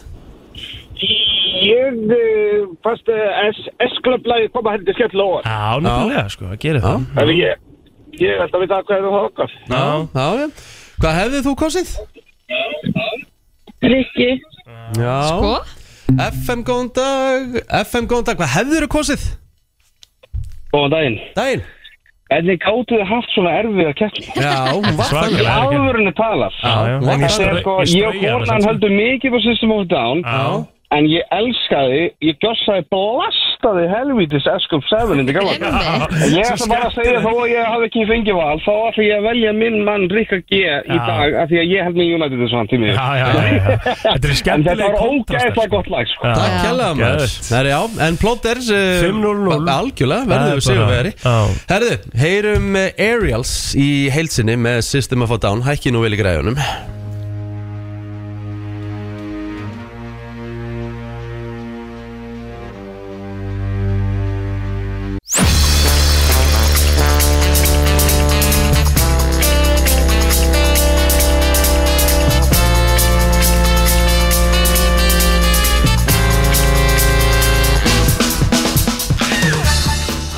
S12: Ég uh, fast uh, S-klublaði koma henni til skemmtilega óvart.
S4: Já, náttúrulega, sko, það gerir það
S12: Það er ég. Ég ætla að vita hvað er það okkar.
S2: Já, já, já Hvað hefði þú kosið?
S13: Rikki.
S2: Já
S13: Sko?
S2: FM, góðan dag FM, góðan dag, hvað hefði þú kosið?
S12: Góðan daginn.
S2: Daginn.
S12: En þið gáttu þið haft svona erfið að keppna.
S2: Já, hún var
S12: Í
S2: þannig.
S12: alvörunni talar.
S2: Já, já. En ég
S12: Þetta er
S2: strauk-
S12: sko, ég
S2: ég
S12: og
S2: strauja hana
S12: konan
S2: samt.
S12: höldum mikið á System of a Down.
S2: Já.
S12: En ég elskaði, ég gjössaði blastaði helvítis S-Club 7 indi gamla. daga.
S4: Einmitt.
S12: En Ég
S4: Svo
S12: ætla bara að segja þó að ég hafi ekki fengið val, þá ætla ég að velja minn mann Rikka G í
S4: Já.
S12: dag, af því að ég held með United þessu hann tímið.
S4: Já, já, já, já. Þetta er
S12: En þetta
S4: skemmtileg
S12: var
S4: kontrastar, sko.
S12: ógæðislega gott lag, sko.
S2: Takk
S4: Já.
S2: kjærlega maður
S4: Geðveikt.
S2: Það er já, en Plóter uh,
S4: 5-0-0. Það
S2: Algjörlega,
S4: er
S2: verður við
S4: bara-
S2: sigurveri Herðu, heyrum eh, Aerials í heilsinni með System of a Down Hækki nú vel í græjunum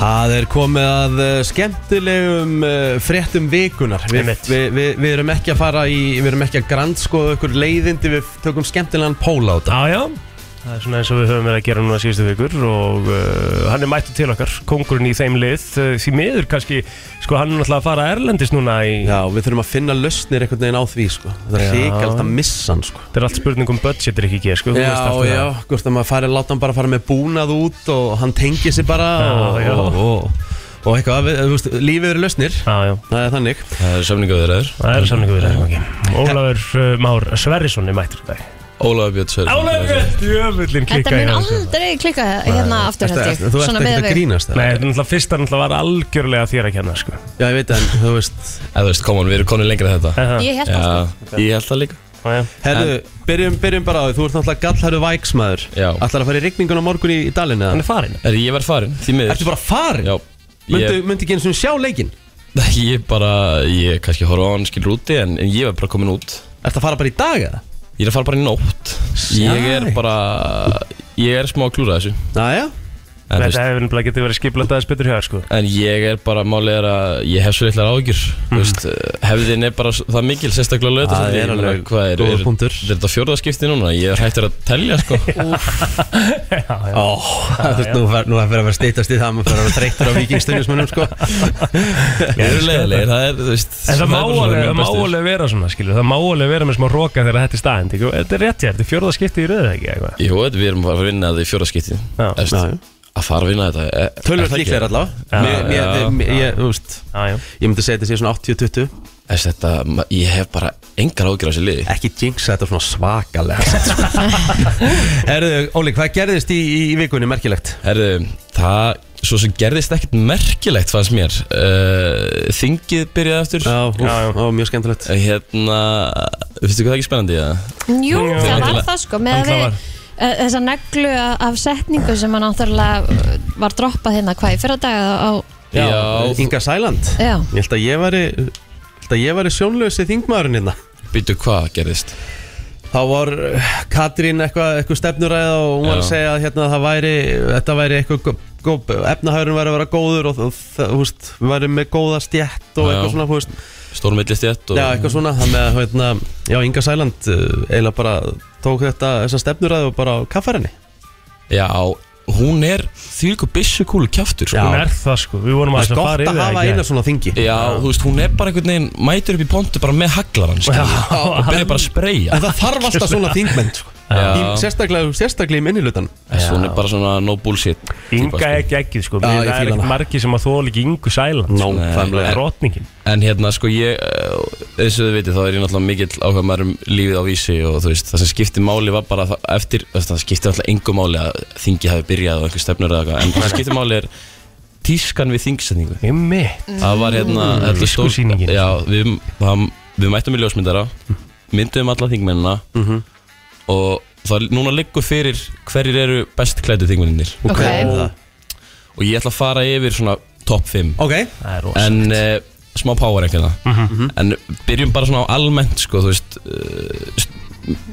S2: Það er komið að eh, skemmtilegum eh, fréttum vikunar Við vi, vi, vi erum ekki að fara í, við erum ekki að grandskoða ykkur leiðindi Við tökum skemmtilegan pól á þetta
S4: Já, já Það er svona eins og við höfum verið að gera núna síðustu vikur og uh, hann er mættur til okkar, kongurinn í þeim lið, uh, því miður kannski, sko hann er náttúrulega að fara erlendis núna í...
S2: Já, við þurfum að finna lausnir einhvern veginn á því, sko. Það er hrikald að missa hann, sko.
S4: Þetta er allt spurning um budgetir ekki ekki, sko, þú veist
S2: Já,
S4: allt
S2: já,
S4: það.
S2: hvort að maður fari, láta hann bara fara með búnað út og hann tengi sig bara
S4: Já,
S2: og,
S4: já.
S2: og, og, og eitthvað, við, þú veist, lífið eru lausnir
S4: Já, já
S2: Það er þannig
S14: Það er samningaviðræður
S4: Það er samlingu við það, ekki. Ólafur uh, Már Sverrisson er mættur í dag.
S14: Ólafur Björn Sverrisson
S4: Ólafur Björn, jöfullin
S3: Þetta
S4: klikka
S3: mun aldrei klikka hérna aftur held
S2: ertu-
S3: ég
S2: ertu- þú ert
S3: Svona
S2: ekkert
S3: miðað
S2: að
S3: við-
S2: grínast,
S4: Nei, þetta er náttúrulega fyrsta náttúrulega var algjörlega þér að kenna, sko.
S2: Já, ég veit en, þú veist
S14: Eða þú veist, koman, við erum komin lengra en þetta
S4: Ég hélt
S3: sko.
S4: það, sko.
S14: Já, Ég held það líka
S2: Herðu, byrjum, byrjum bara á því, þú ert náttúrulega gallhæru væksmaður Já Ætlar að fara í rigningun á morgun í, í dalinn eða?
S4: Hann er farin
S14: Er ég verið farin, því miður
S2: Ertu bara farin?
S14: Já
S2: Myndu, myndu ekki eins og sjá leikinn?
S14: Nei, ég bara, ég kannski horfa á hann skilur úti en, en ég var bara komin út
S2: Ertu að fara bara í dag eða?
S14: Ég er að fara bara í nótt Ég er bara, ég er smá að klúra þessu
S2: Næja
S14: En,
S4: Þetta hefur nefnilega getið verið skiplat aðeins betur hjá þér, sko
S14: En ég er bara, málið er að ég hef svo litlar ágjur
S4: Mhm.
S14: mm. veist, eh, Hefðin er bara s- það mikil, sérstaklega lögðu
S2: Það er alveg
S14: hvað er,
S2: góður
S14: er, er, er þetta fjórðaskipti núna? Ég er hættur að telja sko
S2: Ó, þú veist, nú fer- nú er að vera að vera stýttast í það maður fer að vera þreyttur á vikingstæðismunum sko
S14: Við erum leiðilegir, það er, þú veist
S4: En það má
S14: bara svona
S4: alveg-
S14: mjög
S4: það má
S14: bestir.
S4: alveg vera svona, skilur Það má alveg vera með smá roka þegar þetta er staðin ekki? Þetta er rétt hér, þetta er fjórða skipti í röðu, ekki? Eitthvað.
S14: Jú, þetta- við erum að fara að vinna þetta í fjórðaskipti Að fara að vinna þetta e, er- er
S2: Tölvöld
S14: það ekki?
S2: líklega allavega
S14: Já,
S2: Mér- mér-
S14: já.
S2: mér- Ég, þú veist Ég myndi segja þetta sé svona 80-20
S14: Þess þetta, ma- ég hef bara engar ágjur á þessu liði
S2: Ekki jinxa þetta svona svakalega Herðu, Óli, hvað gerðist í, í, í vikunni merkilegt?
S14: Herðu, það svo sem gerðist ekkert merkilegt fannst mér uh, Þingið byrjaði aftur Já,
S2: úf, já, já. mjög skemmtilegt
S14: Hérna, finnstu hvað það er ekki spennandi í það?
S3: Jú,
S14: Jú.
S3: það var
S14: Náttúrulega-
S3: það sko með að
S14: Náttúrulega
S3: við eh, þessa neglu af setningu sem hann náttúrulega eh, var droppað hérna hvað í fyrra daga á
S2: Já, Inga Sæland
S3: Já.
S2: Ég held að ég væri, held að ég væri sjónlösi þingmaðurinn hérna
S14: Býtu hvað gerðist?
S2: Þá var uh, Katrín eitthvað eitthva stefnuræða og hún var
S14: Já.
S2: að segja að hérna, það væri, þetta væri eitthvað gó- gó- efnahagurinn væri að vera góður og það, það, þú veist, við væri með góða stjætt
S14: Já,
S2: og
S14: já.
S2: eitthvað svona, þú veist
S14: Stórmillistjætt og
S2: Já, eitthvað svona, það með, hérna, já, Inga Sæland uh, eiginlega bara tók þetta, þessa stefnuræðu og bara kaffar henni
S14: Já, hún er þvílíku byssukúlu kjaftur sko.
S4: Hún er það, sko, við vorum aðeins að fara yfir það í gær.
S2: svona þingi
S14: Já, þú veist, hún er bara einhvern veginn mætur upp í pontu bara með haglaran skilur við,
S2: Já.
S14: og byrjar bara að spreyja
S2: En það þarf alltaf svona þingmenn sko.
S14: Já.
S2: Í- sérstaklega, sérstaklega í minnilutan
S14: Þessi hún er bara svona no bullshit
S4: Inga er ekki ekki, sko Mér- Það er ekki margi sem að þóla ekki Ingu Sæland sko. Það er Rotningin
S14: En hérna sko ég, eh, eins og þið veitir þá er ég náttúrulega mikill áhuga maður um lífið á vísi og þú veist, það sem skipti máli var bara það, eftir, þú veist, það skipti náttúrulega engu máli að þingi hafi byrjað og einhver stefnur eða eitthvað en það skipti máli er tískan við þingsetningu
S4: Himmi
S14: Það var hérna
S4: Mm.
S14: þetta stór-
S4: Tískusýningin.
S14: Já, við, það, við mættum í ljósmyndara mynduðum alla þingmennina
S2: Mhm.
S14: og það núna liggur fyrir hverjir eru best klædu þingmenninir
S2: Og hver Ok. er það?
S14: og ég ætla að fara yfir svona top 5
S2: okay.
S14: en uh, smá power ekki það
S2: Mhm.
S14: en byrjum bara svona á almennt sko, þú veist uh,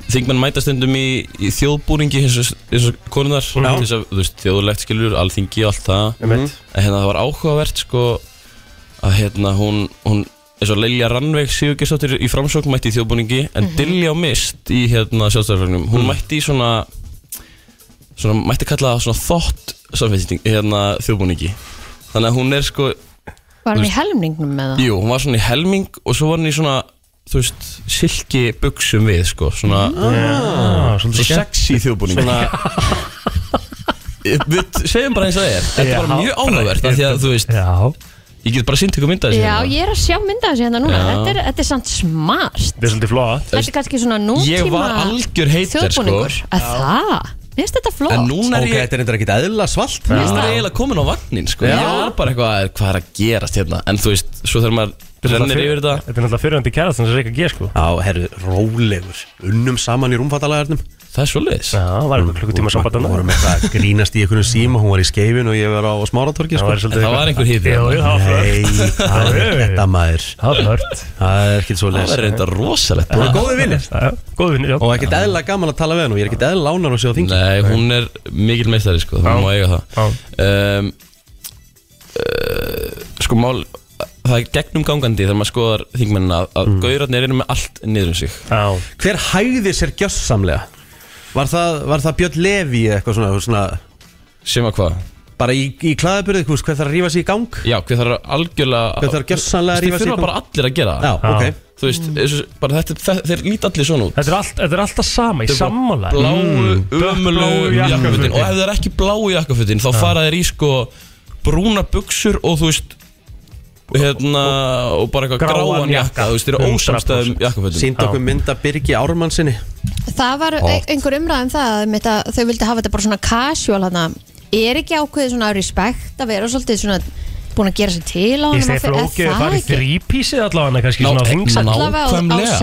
S14: þingmenn mæta stundum í, í þjóðbúringi eins og- eins og konunar mm
S4: Já.
S14: -hmm. veist, þjóðlegt skilur, alþingi og allt það
S4: Einmitt.
S14: en hérna það var áhugavert sko að hérna hún, hún eins og Lilja Rannveig Sigurgestóttir í framsókn mætti í þjóðbúningi en Dilja Mist í hérna sjálfstæðarflögnum hún mætti í svona svona, mætti kalla það svona þótt samfélsting, hérna þjóðbúningi þannig að hún er sko
S3: var hann
S14: þú
S3: í helmingnum með það
S14: Jú, hún var svona í helming og svo var hún í svona, þú veist, silki buksum við, sko, svona
S4: Ah,
S14: Svo
S4: svolítið skemmt.
S14: sexy þjóðbúning
S4: Svona-
S14: Við segjum bara eins og það er Þetta
S4: Já,
S14: var mjög ánægvert af því að, þú veist Já Ég get bara sínt ykkur sko. mynda þessi
S3: Já, ég er að sjá mynda þessi hérna núna
S14: Já.
S3: þetta er, þetta er samt smart
S4: Þetta er svolítið flott
S3: Þetta er kannski svona nútíma
S14: Ég var algjör heiter, sko
S3: þjóðbúningur. Að Það, mér finnst þetta flott
S14: En núna er ég
S2: þetta er eitthvað ekki eðla svalt
S14: Mér finnst
S3: Já.
S14: það eiginlega komin á vagnin, sko
S3: Já.
S14: Ég var bara eitthvað, hvað er að gerast hérna En þú veist, svo þegar maður rennir yfir þetta
S4: Þetta er náttúrulega fyrirhandi kærast þannig að reyka gér sko
S2: Já, herru, rólegur Unnum saman í rúmfattalagarnum
S14: Það er svo leiðis
S4: Já, var eitthvað klukkutíma samband
S2: Hún var með það grínast í einhvernum síma Hún var í skeifin og ég var á smáratorki
S4: Það var svolítið Það var eitthvað- einhver hiti. Jú, jú, það var flört.
S2: Nei, það er
S4: Jú, jú.
S2: þetta maður
S4: Það var flört
S2: Það er ekkert svo les
S14: Það er reynda rosalegt
S2: Hún er góði vinnir
S4: Góði vinnir, já
S2: Og ekkert eðla gaman að tala við henn Og ég er ekkert eðla lánar að sjá þingi
S14: Nei, hún er mikil meistari sko,
S2: Já.
S14: það má eiga það um, uh, Sko mál, það er gegnum gangandi þegar maður skoðar þingmennina að, að gaurarnir eru með allt niður um sig
S4: Mm. Já.
S2: Hver hægði sér gjössamlega? Var það, var það Björn Levi eitthvað svona, svona
S14: Sem að hvað?
S2: Bara í, í klæðaburði, hvað þarf að rífa sig í gang?
S14: Já, hver þarf algjörlega
S2: Hver þarf gjörsamlega að rífa sig í
S14: Þeir
S2: gang?
S14: þurfa bara allir að gera það
S2: Já, ok.
S14: Þú veist, eins og- bara þetta, þetta, þeir líti allir svona út
S4: Mm. Þetta er, allt, þetta er alltaf sama í
S14: Þetta er bara
S4: sammála
S14: Bláu,
S2: Mm.
S4: Dökkbláu
S14: ömulegu jakkafutin Mm, Og ef það er ekki bláu jakkafutin Þá fara þeir í sko brúna buksur Og þú veist Hérna, og bara eitthvað
S2: Gráan
S14: gráan
S2: jakka.
S14: jakka Þú veist, þeir eru ósamstæðum jakkafutin
S2: Sýndi okkur mynd af Birgi Ármannsinni
S3: Það var
S2: Hot.
S3: ein- einhver umræðum það einmitt að þau vildi hafa þetta bara svona casual hana. er ekki ákveðið svona respekt að vera svolítið svona búin að gera sér til
S4: Ég
S3: á honum
S4: segi
S3: að fer- er
S4: flókið að fara í
S3: ekki?
S4: þrípísi allavega kannski
S14: Ná-
S4: svona á þingsal
S3: Allavega á- á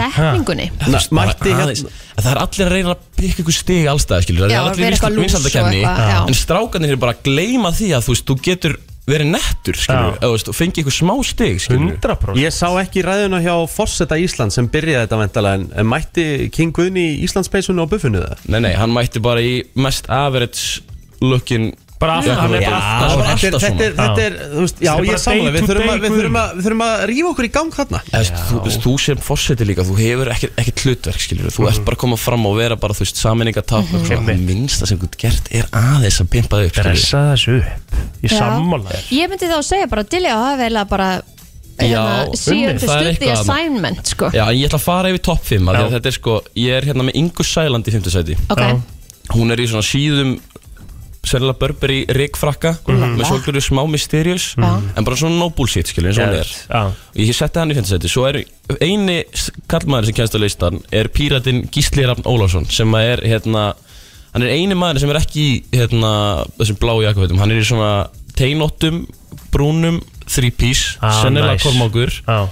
S3: setningunni
S14: Þú veist, bara
S2: mætti hérna-
S14: aðeins- að Það er allir að reyna að pikka ykkur stig allstæð
S3: Já,
S14: skilur, það er
S3: vera
S14: allir
S3: eitthvað lús og
S14: vinsaldakefni
S3: eitthvað, já.
S14: en strákanir eru bara að gleyma því að þú veist, þú getur verið nettur skilur, eða, þú veist, og fengi ykkur smá stig skilur.
S4: 100%
S2: Ég sá ekki ræðuna hjá Fosseta Ísland sem byrjaði þetta ventala en en mætti King Guðni í Íslandspeysunni á buffinu það
S14: Nei, nei, hann mætti bara í mest average lookin
S4: Bara alltaf, hann er bara alltaf
S2: svona Þetta er, þetta er, þetta er, þú veist, já,
S14: Þetta er
S2: ég
S14: bara
S2: er samlega Við
S14: day to
S2: þurfum að-
S14: day
S2: við þurfum að- við þurfum að rífa okkur í gang þarna
S14: Eða, þú, veist, þú, veist, þú sem fórseti líka, þú hefur ekkert, ekkert hlutverk skilur, þú
S4: Mhm.
S14: ert bara að koma fram og vera bara þú veist saminningatap mm -hmm. og minnsta sem þú ert gert er aðeins að pimpa þig upp skilurðu.
S4: Dressa þessu upp, ég
S3: Já.
S4: sammála þér.
S3: Ég myndi þá segja bara til ég að hafa eiginlega bara hérna, síðan
S14: það er
S3: stundi
S14: eitthvað þarna.
S3: assignment sko
S14: Já, en ég ætla að fara yfir topp 5 að þetta er sko, ég er hérna með Ingu Sæland í 5. sæti
S3: Ok. Já.
S14: Hún er í svona síðum sérlega Burberry rikfrakka
S4: Mhm.
S14: með svolítið smá mysterious en bara svona no bullshit skilur eins og hún er og ég setti hann í 5. sæti svo er eini s- kallmaður sem kennst á listan er píratinn Gísli Rafn Ólafsson sem að er hérna hann er eini maður sem er ekki í hérna, þessum bláu jakkafötum hann er í svona teinóttum brúnum þrípís,
S4: Ah,
S14: sennilega
S4: nice.
S14: kormákur
S4: Já.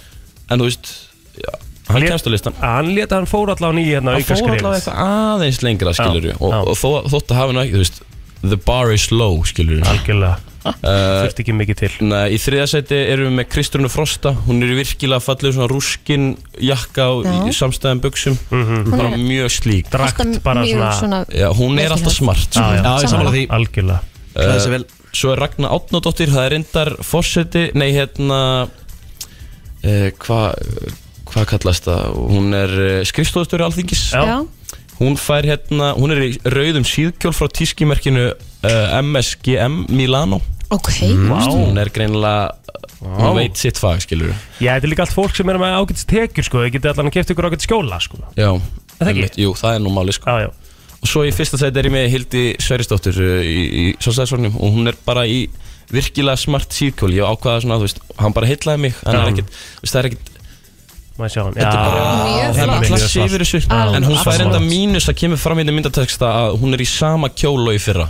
S14: en þú veist já, hann kemst á listan
S4: hann leta hann fór allavega nýja hérna
S14: hann fór allavega eitthvað aðeins lengra skilur við og, og þó, þótt að hafa nú ekki, þú veist the bar is low skilur við
S4: algjörlega
S14: þurft
S4: ekki mikið til
S14: Nei, í þriðasæti erum við með Kristrunu Frosta hún er í virkilega fallið svona rúskin jakka og
S3: Já.
S14: í samstæðan buksum
S4: Mhm.
S3: Hún
S14: bara
S3: er-
S14: mjög slík
S3: Drakt Alltaf bara mjög svona- svona-
S14: já, hún er alltaf smart sko.
S4: Já, já,
S14: ég sammála því Eh,
S4: algjörlega
S2: Klæði sig vel.
S14: svo er Ragnar Átnadóttir, það er reyndar fórseti, nei hérna uh, hvað hva kallast það, hún er uh, skrifstofstöru alþingis
S3: Já.
S14: hún fær hérna, hún er í rauðum síðkjól frá tískimerkinu uh, MSGM Milano
S3: Ok,
S14: Vá. hún er greinilega hún veit sitt fag, skilur
S4: Já, þetta er líka allt fólk sem er með ágætis tekjur sko, þau getið allan að kæfta ykkur ágætis skóla sko.
S14: já,
S4: það ekki?
S14: einmitt, jú, það er nú máli sko.
S4: já, já.
S14: og svo í fyrsta sæti er ég með Hildi Sverrisdóttir uh, í, í sjálfstæðisvörnum og hún er bara í virkilega smart síðkjól, ég ákvaða svona, þú veist hann bara heitlaði mig, hann
S4: Já.
S14: er ekkit þú veist, það er ekkit
S4: Má ég sjá hann?
S14: Þetta er bara, það er bara klassi yfir þessu En hún fær enda mínus að kemur fram í þetta myndateksta að hún er í sama kjóla í fyrra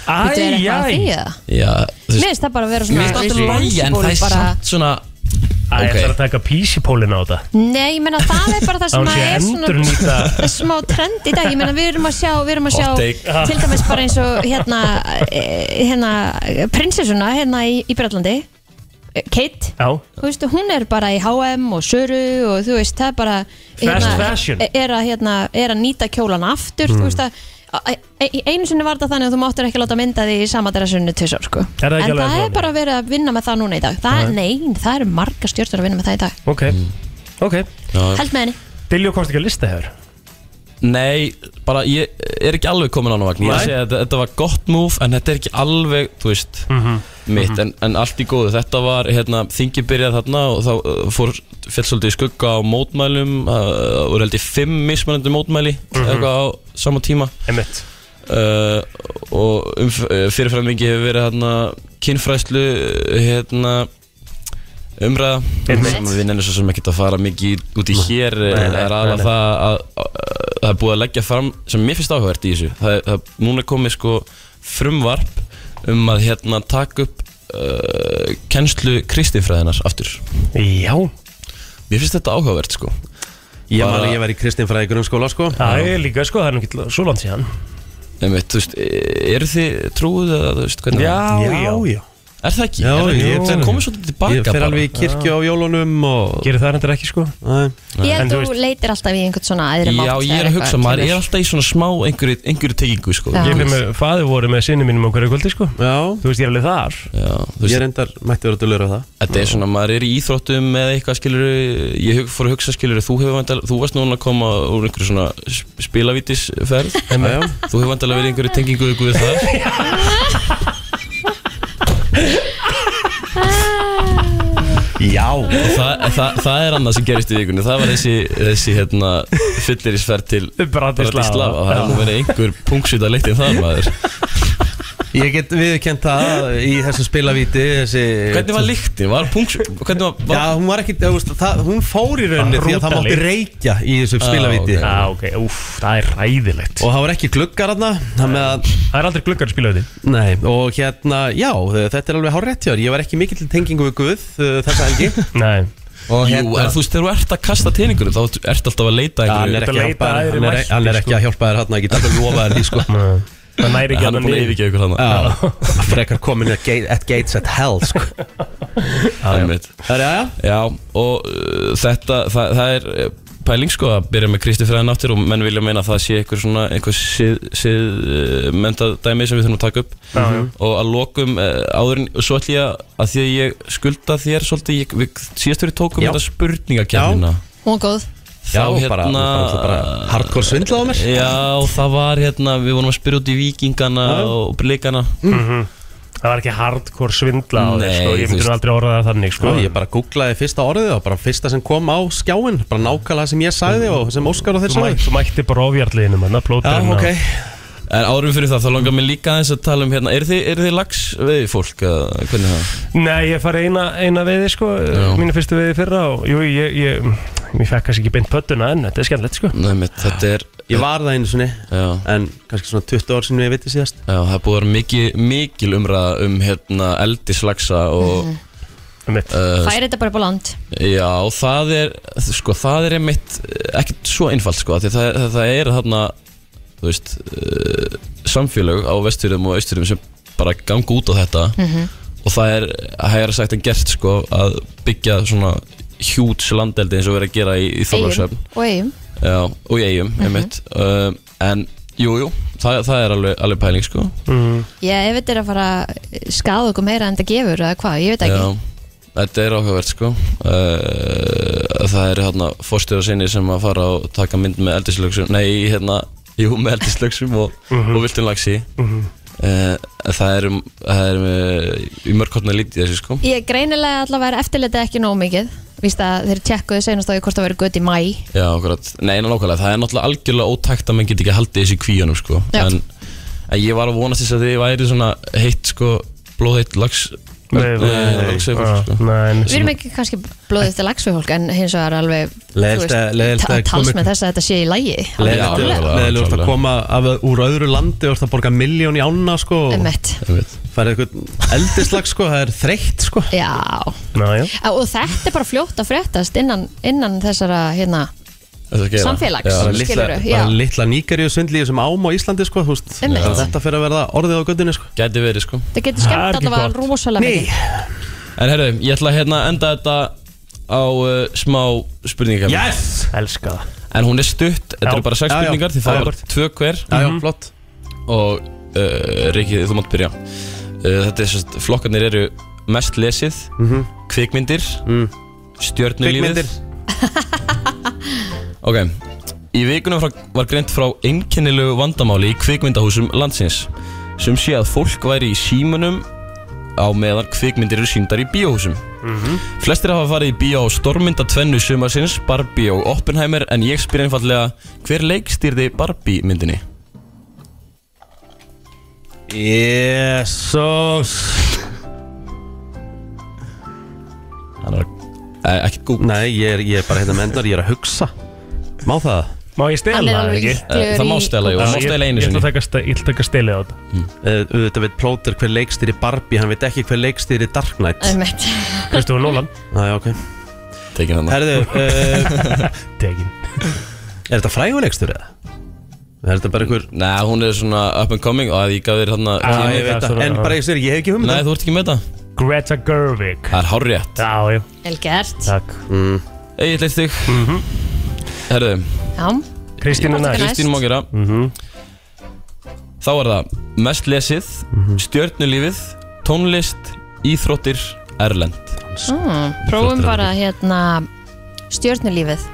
S3: þetta er eitthvað að því eða?
S14: Já,
S3: Mér
S14: þú veist
S3: finnst það bara að vera svona
S14: Mér finnst alltaf lægi en það er
S3: bara-
S14: samt svona
S4: Æ,
S14: Ok.
S4: það er að taka písipólinn á þetta
S3: Nei, ég meina það er bara það sem
S4: Þá
S3: að
S4: sé
S3: er svona
S4: endurnýta-
S3: það er smá trend í dag, ég meina við erum að sjá við erum að
S4: Hot
S3: sjá
S4: take. Ah.
S3: til dæmis bara eins og hérna eh, hérna prinsessuna hérna í, í Breitlandi eh, Kate,
S4: Já.
S3: þú veist, hún er bara í H&M og Söru og þú veist, það er bara hérna,
S4: Fast fashion.
S3: er að, hérna, er að nýta kjólan aftur,
S4: Mm.
S3: þú veist að a- e- einu sinni var það þannig að þú máttir ekki láta mynda því í sama dressunni tvisar sko
S4: Er það ekki
S3: en
S4: alveg
S3: það
S4: þannig?
S3: er bara verið að vinna með það núna í dag það, nei, það eru marga stjórnur að vinna með það í dag
S4: Ok,
S14: Mm.
S4: ok
S3: held með henni
S4: Dilljó komst ekki að lista hefur
S14: Nei, bara ég er ekki alveg komin á hann vagn Ég
S4: Nei.
S14: segi að þetta- þetta var gott move en þetta er ekki alveg, þú veist
S4: Mhm.
S14: mitt, en, en allt í góðu þetta var, hérna, þingi byrjaði þarna og þá uh, fór, fell svolítið í skugga á mótmælum, uh, voru held ég fimm mismunandi mótmæli,
S4: Mhm.
S14: eitthvað á sama tíma
S4: Einmitt
S14: uh, og um, uh, fyrirframingi hefur verið hérna kynfræðslu uh, hérna umræða
S4: Einmitt. Mhm.
S14: sem við nefnum svo sem ekkert að fara mikið í- út í hér
S4: Nei,
S14: nei,
S4: nei,
S14: Eh, er
S4: nei, nei.
S14: alveg það að að- að það er búið að leggja fram sem mér finnst áhugavert í þessu það, er- það, núna er komið sko frumvarp um að hérna taka upp uh, kennslu kristinfræðinar aftur
S4: Já
S14: Mér finnst þetta áhugavert sko
S2: Ég man að ég var í kristinfræði grunnskóla sko
S4: Það er líka sko, það er nú ekki svo langt síðan
S14: Einmitt, þú veist, e, eru þið trúið eða þú veist hvernig
S4: Já, já, já.
S14: Er það ekki?
S2: Já,
S14: er það ekki?
S2: ég er
S14: það
S2: þannig.
S14: komið svolítið tilbaka
S2: Ég fer alveg í kirkju á jólunum og
S4: Gerir það endur ekki sko
S2: Nei
S3: Ég held að þú leitir alltaf í einhvern svona aðri mátt
S14: Já, ég er að hugsa, maður er alltaf í svona smá einhverju, einhverju tekingu sko
S3: Já.
S4: Ég fyrir með faður voru með sinni mínum á hverju kvöldi sko
S2: Já
S4: Þú veist, ég er alveg þar
S14: Já,
S2: Ég reyndar mætti vera dölur á það
S14: Þetta er svona, maður er í íþróttum eða eitthvað skilur Ég hug- fór að hugsa skilur Þú hefur vandal, þú varst núna að koma úr einhverju svona sp- spilavítisferð
S2: Já, já.
S14: Þú hefur vandal að vera einhverju tengingu ykkur við það Já það, það, það er annað sem gerist í vikunni Það var þessi, þessi hérna, fyllirisferð til
S4: Bratislava.
S14: Bratislava. Það
S4: Já.
S14: er nú verið einhver punksvita leitt í það maður
S2: Ég get viðkjönt það í þessu spilavíti þessi,
S14: Hvernig var lyktin? Var punks, hvernig var, Ah, var...
S2: Já, hún var ekki, þú veist, það, hún fór í rauninni því að það mátti reykja í
S14: Ah,
S2: þessu spilavíti
S4: Já, Ah, ok, úff, það er ræðilegt
S2: Og það var ekki gluggar þarna Það
S4: er aldrei gluggar í spilavíti
S2: Nei, og hérna, já, þetta er alveg hárétt hjá þér. Ég var ekki mikill tengingu við Guð uh, þessa helgi
S4: Nei
S2: Og
S14: Jú,
S2: hérna-
S14: en þú veist, þegar þú ert að kasta teiningur þá ertu alltaf að leita
S2: Já, hann
S14: einhverju
S2: er ekki að hjálpa þér hann er- Hann er ekki að hjálpa þér hann Ég get alltaf lofa þér því sko
S4: sko. Það næri ekki
S2: Hann er
S4: hann
S2: búin að
S4: niður.
S14: yfirgefa ykkur
S2: hann Já Frekar komin at gate- at gates at hell sko
S14: Það er mitt
S2: Það er já
S14: Já, og uh, þetta, það, það er uh, pæling sko að byrja með Kristi fræðin áttir og menn vilja meina að það sé einhver svona einhver siðmyndað dæmi sem við þurfum að taka upp Mhm.
S4: Já, já.
S14: og að lokum eh, áður en og svo ætlum ég að- að því að ég skulda þér svolítið, ég, við síðast verið tókum
S2: Já.
S14: þetta spurningakefnina
S3: Hún er góð
S2: Já,
S14: hérna-
S2: bara- bara- bara hardcore svindla á mér.
S14: Já, það var hérna, við vorum að spyrja út í vikingana
S4: Já.
S14: og blikana
S4: Mhm. Það var ekki hardcore svindla á þér,
S14: Nei,
S4: sko, ég
S14: þú
S4: myndi nú
S14: veist.
S4: aldrei orða það þannig, sko.
S2: Sko, ég bara googlaði fyrsta orðið og bara fyrsta sem kom á skjáin bara nákvæmlega sem ég sagði og sem Óskar og þeir
S4: Þú mætti,
S2: sagði
S4: þú mætti bara ofjarlíðinu manna, plóterinn
S14: Ah, ok. En árum fyrir það, þá langar mér líka aðeins að tala um hérna, er þið, er þið lags við fólk, eða hvernig er það?
S4: Nei, ég fari eina, eina veiði, sko,
S14: Já.
S4: mínu fyrstu veiði fyrra og jú, ég, ég, ég fekk kannski ekki beint pöttuna en þetta er skemmtilegt, sko.
S14: Nei, mitt, þetta er
S2: Ég var það einu sinni
S14: Já.
S2: en kannski svona 20 ár sinni ég viti síðast
S14: Já, það er búið að vera mikil, mikil umræða um hérna, eldislagsa og eh,
S3: Mhm.
S4: um
S3: Færi þetta bara upp á land
S14: Já, það er sko, það er einmitt eh, ekkert svo einfalt sko, af því að það, það, það er þarna þú veist, uh, samfélög á vesturum og austurum sem bara ganga út á þetta
S15: Mhm.
S14: og það er hægara sagt en gert sko, að byggja svona hjúts landeldi eins og verið að gera í, í Þorlóksöfn
S3: og eigum
S14: Já, og í eigum, einmitt um, en jú, jú, það, það er alveg, alveg pæling sko
S4: mm.
S3: Já, ef þetta er að fara að skaða okkur meira en þetta gefur eða hvað, ég veit ekki
S14: Já, þetta er áhugavert sko uh, Það eru hérna fórstjóra sinni sem að fara og taka mynd með eldislöksum Nei, hérna, jú, með eldislöksum og,
S4: Mhm.
S14: og viltum lagsi uh
S4: Mhm.
S14: Það er, um, það er uh, í mörgkornar lítið í þessu sko
S3: Ég greinilega allavega er eftirlitið ekki nóg mikið Víst að þeir tjekkuðu senast á því hvort það verið gött í mæ
S14: Já, akkurat, nei, ná, nákvæmlega, það er náttúrulega algjörlega ótækt að menn get ekki haldið þessi kvíunum, sko
S3: Já.
S14: en, en ég var að vonast þess að þið væri svona heitt, sko, blóðheitt lags
S4: Nei,
S14: eh,
S4: nei,
S14: lagsveifur,
S4: já,
S14: sko.
S4: nei.
S3: Við erum ekki kannski blóðið til lags við fólk en hins vegar alveg
S2: Leiðilegt að- leiðilegt að
S3: tals
S2: komi-
S3: með þess að þetta sé í lægi
S2: Leðilegt að koma af, úr öðru landi og það borga miljón í ána sko og
S3: Einmitt.
S2: fara eitthvað eldislag sko, það er þreytt sko
S3: Já,
S4: Ná, já
S3: Á, og þetta er bara fljótt að fréttast innan, innan þessara hérna Samfélags,
S2: bara litla,
S3: skilurðu, já.
S2: bara litla nýgarju svindlíu sem ám á Íslandi sko, þú veist
S3: Einmitt.
S2: Þannig að þetta fyrir að verða orðið á göttinni sko
S14: Gæti verið sko
S3: Það getur skemmt allavega rosalega mikið
S14: En herru, ég ætla að hérna enda þetta á uh, smá spurningakefni
S4: Yes! Elska það
S14: En hún er stutt, þetta
S4: Já.
S14: eru bara sex
S4: Já, já.
S14: spurningar Þið
S4: Já,
S14: fáið
S4: já.
S14: bara tvö hver Mhm.
S4: Já, já,
S14: flott Og uh, Riki, þú mátt byrja uh, Þetta er sérst, flokkarnir eru mest lesið
S2: Mhm.
S14: Kvikmyndir
S4: Mm.
S14: Stjörnulífið
S2: Kvikmyndir.
S14: Ok Í vikunum frá, var greint frá einkennilegu vandamáli í kvikmyndahúsum landsins sem sé að fólk væri í símunum á meðan kvikmyndir eru síndar í bíóhúsum
S4: Mhm.
S14: Flestir hafa farið í bíó á stormynda tvennu sumarsins, Barbie og Oppenheimer en ég spyr einfallega, hver leikstýrði Barbie myndinni?
S2: Jesus
S14: Hann er að Ekkert gúl
S2: Nei, ég er, ég er bara hérna mennar, ég er að hugsa Má það?
S4: Má ég stela
S2: Hann er
S4: það
S2: alveg
S4: ekki?
S2: ýklegur Eh, það má í- stela, jú,
S4: Já,
S2: það má
S4: ég-
S2: stela einu
S4: Ég ætla
S2: sinni.
S4: að taka ste- ég ætla að taka stelið á þetta
S2: Uh, auðvitað veit plóter hver leikstýri Barbie hann veit ekki hver leikstýri Dark Knight
S3: Einmitt.
S4: Kristofur Nólan
S2: Næja, ok
S14: Tekin hann
S2: Herðu uh,
S4: Tekin
S2: Er þetta frægulegstur eða? Er þetta bara einhver
S14: Nei, hún er svona up and coming og að ég gaf þér hann
S4: Ah,
S14: að
S2: Já, ég veit það En bara ég sér, ég hef ekki hugmynd um-
S14: Nei, þú ert ekki með það
S4: Greta Gerwig
S14: Það er hárrétt
S4: Já, já
S3: Vel gert
S4: Takk
S2: mm.
S14: Egil leitt þig Herðu
S3: Já,
S4: Kristín er næst.
S14: Kristín má gera Þá er það mest lesið, stjörnulífið, tónlist, íþróttir, erlend
S3: mm, prófum bara hérna stjörnulífið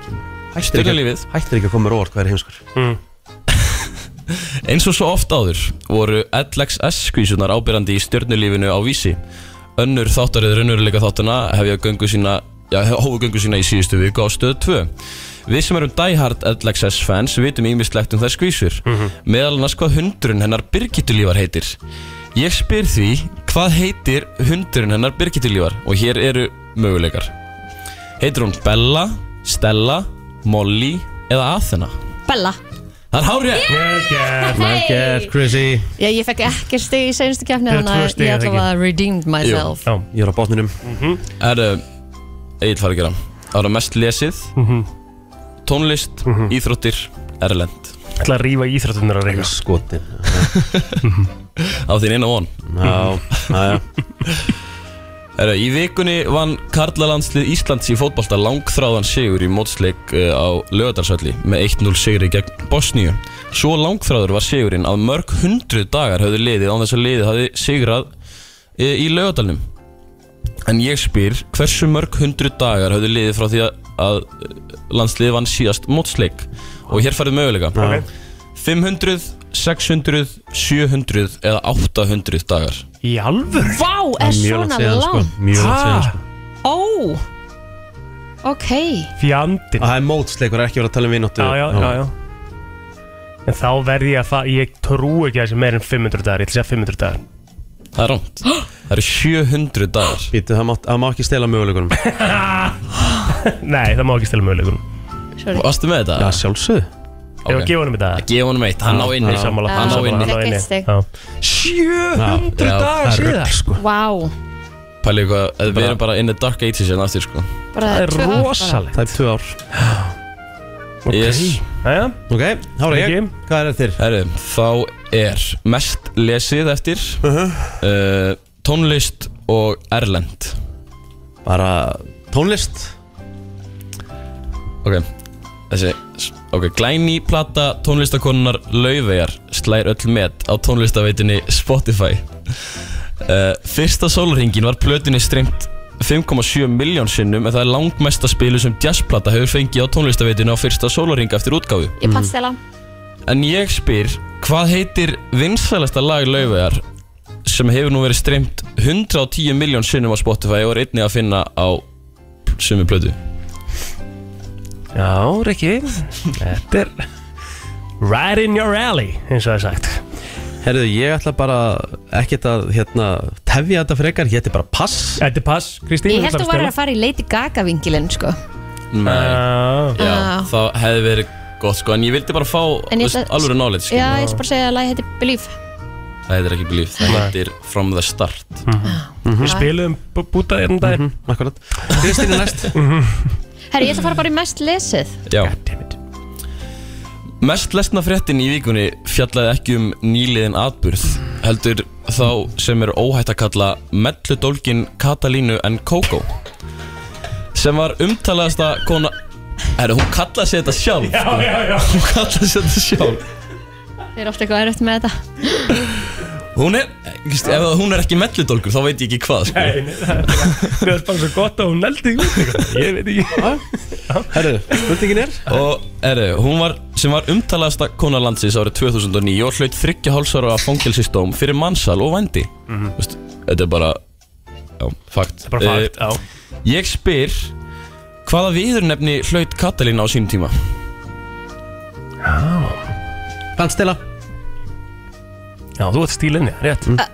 S14: Hættir ekki-
S2: Hættir ekki að koma rór hvað er heimskur
S4: mm.
S14: Eins og svo oft áður voru LXS-skvísunar ábyrjandi í stjörnulífinu á vísi. Önnur þáttarið raunveruleika þáttana hefja göngu sína Já, hófu göngu sína í síðustu viku á stöðu 2 Við sem erum diehard LXS fans vitum ímislegt um þær skvísur meðal annars hvað hundurinn hennar Birgittulífar heitir Ég spyr því hvað heitir hundurinn hennar Birgittulífar og hér eru möguleikar Heitir hún Bella, Stella, Molly eða Athena?
S3: Bella
S14: Það er hárið
S4: Vel gert
S3: Vel gert,
S2: Chrissy
S3: Já, ég fekk ekkert stig í seinustu kefni
S14: Það eru
S3: þannig
S14: tvö
S3: að
S14: stig,
S3: ég
S14: er það
S3: allavega redeemed myself
S4: Já,
S2: ég er á botninum
S4: Mhm.
S14: Er uh, Egil fara að gera Það var mest lesið
S4: Mhm.
S14: Tónlist, íþróttir, erlend
S4: ætla að rífa íþróttunar að reyna
S2: Skotin
S14: Á þín eina von
S2: Já, já
S14: Herra, í vikunni vann Karlalandslið Íslands í fótbolta langþráðan sigur í mótsleik eh, á lögadarsölli með 1-0 sigri gegn Bosníu. Svo langþráður var sigurinn að mörg hundruð dagar höfðu liðið án þess að liðið hafði sigrað eh, í lögadalnum. En ég spyr, hversu mörg hundruð dagar höfðu liðið frá því að- að landsliðið vann síðast mótsleik? Og hér farið möguleika.
S4: Ok.
S14: 500, 600, 700 eða 800 dagar.
S4: Í alvöru?
S3: Vá, er svona langt Ó Ok
S4: Fjandinn
S2: Ah, Það er mótsleikur, ekki verið að tala um vinóttu
S4: Já, já, já, já En þá verð ég að fara, ég trú ekki að þessi meir en 500 dagar, ég ætla að segja 500 dagar
S14: Það er rámt Það eru 700 dagar
S2: Býtu, það má, það má ekki stela möguleikunum
S4: Nei, það má ekki stela möguleikunum
S3: Sorry.
S14: Varstu með þetta?
S2: Já, sjálfsögð
S4: Ég var að gefa honum þetta
S14: Að gefa honum eitt, hann á inni.
S4: Ég er sammála,
S14: Hann á
S4: sammála,
S14: inni.
S4: hann á
S3: Ah, Fékk eitt stig.
S4: Já.
S14: 700 dagar síðan.
S4: sko.
S3: Vá
S14: Pæli eitthvað, eða við erum bara in the dark ages hérna aftur sko
S3: Bara
S4: Það er
S3: tvö ár bara.
S4: rosalegt.
S2: Það er tvö ár
S14: Yes
S4: Jæja
S2: Ok, þá er ég Hvað er þér?
S14: Herru, þá er mest lesið eftir uh, Tónlist og Erlend
S2: Bara tónlist
S14: Ok, þessi Ok, glæni plata tónlistakonunnar Laufeyjar slær öll met á tónlistaveitinni Spotify uh, Fyrsta sólringin var plötunni streymt 5,7 miljón sinnum en það er langmesta spilu sem jazzplata hefur fengið á tónlistaveitinu á fyrsta sólring eftir útgáfu
S3: Ég pastela
S14: En ég spyr, hvað heitir vinsælasta lag Laufeyjar sem hefur nú verið streymt 110 miljón sinnum á Spotify og er einnig að finna á sumi plötu?
S4: Já, Rikki Þetta er Right in your alley, eins og það er sagt
S2: Herðu, ég ætla bara ekkert að hérna, tefja þetta frekar, ég ætti bara pass
S4: Þetta er pass, Kristín
S3: Ég held þú varir að fara í Lady Gaga vingilinn sko
S14: Nei Já,
S3: Ah.
S14: það hefði verið gott sko En ég vildi bara fá
S3: En ég
S14: veist,
S3: ætla-
S14: alvöru knowledge sko.
S3: Já, ég skal bara segja að lagi heiti Believe
S14: Það heitir ekki Believe, það heitir From the Start
S4: Við
S3: Ah.
S4: spilum búta einn dag mm
S2: -hmm. Akkurat Kristín er næst
S3: Herri, ég ætla að fara bara í mest lesið
S14: Já Mest lesna fréttin í vikunni fjallaði ekki um nýliðin atburð heldur þá sem er óhætt að kalla melludólgin Katalínu en Kókó sem var umtalaðasta kona Herru, hún kallaði sér þetta sjálf
S4: Já,
S14: sko.
S4: já, já.
S14: Hún kallaði sér þetta sjálf
S3: Þið er ofta eitthvað erögt með þetta
S14: Hún er, Kristi, ef hún er ekki melludólgur þá veit ég ekki hvað sko.
S4: Nei, nei, það er bara- mér er bara svo gott að hún neldi út sko. eitthvað. Ég veit
S2: Ah.
S4: ekki
S2: Herru, spurningin er
S14: Og eru, hún var, sem var umtalaðasta kona landsins árið 2009 og hlaut þryggja hálsvara af fangelsistóm fyrir mannsal og vændi
S4: Mhm.
S14: Vist, Þetta er bara, já, fakt Eh,
S4: er bara fakt, já.
S14: Ég spyr, hvaða viðurnefni hlaut Katalín á sínum tíma?
S2: Plantstela
S4: Já, þú ert stílinni, rétt
S3: Ah.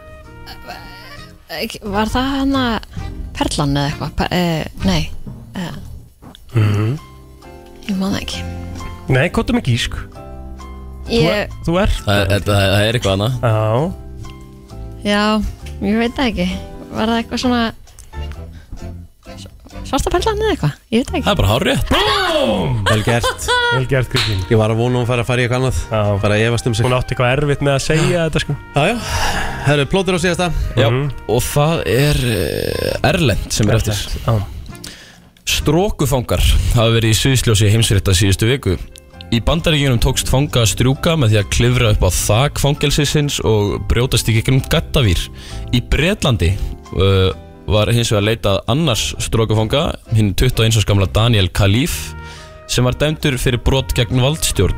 S3: Ekki- Eh, Var það hana Perlan eða eitthvað? Per, uh, nei, uh,
S4: Mhm.
S3: ég man það ekki
S4: Nei, kottum ekki sko. ísk
S3: Ég,
S4: Þú ert
S14: Það, það, það, það er eitthvað annað
S4: Já
S3: já, ég veit það ekki Var það eitthvað svona Svarta perlan eða eitthvað? Ég veit það ekki
S14: Það er bara hárið
S4: Búm
S2: Vel gert
S4: Vel gert, Kristín
S2: Ég var að vona að hún fara að fara í eitthvað annað
S4: Já.
S2: Fara að efast um sig
S4: Hún átti eitthvað erfitt með að segja þetta sko Mhm.
S2: Já, já Herru, plótur á síðasta
S14: Já, og það er eh, Erlend sem er eftir
S4: já.
S14: Strókufangar hafa verið í sviðsljósi heimsrétta síðustu viku Í bandaríkjunum tókst fanga að strjúka með því að klifra upp á þak fangelsisins og brjótast í gegnum gattavír. Í Bretlandi uh, var hins vegar leitað annars strókufanga, hinn 21 árs gamla Daniel Khalif, sem var dæmdur fyrir brot gegn valdstjórn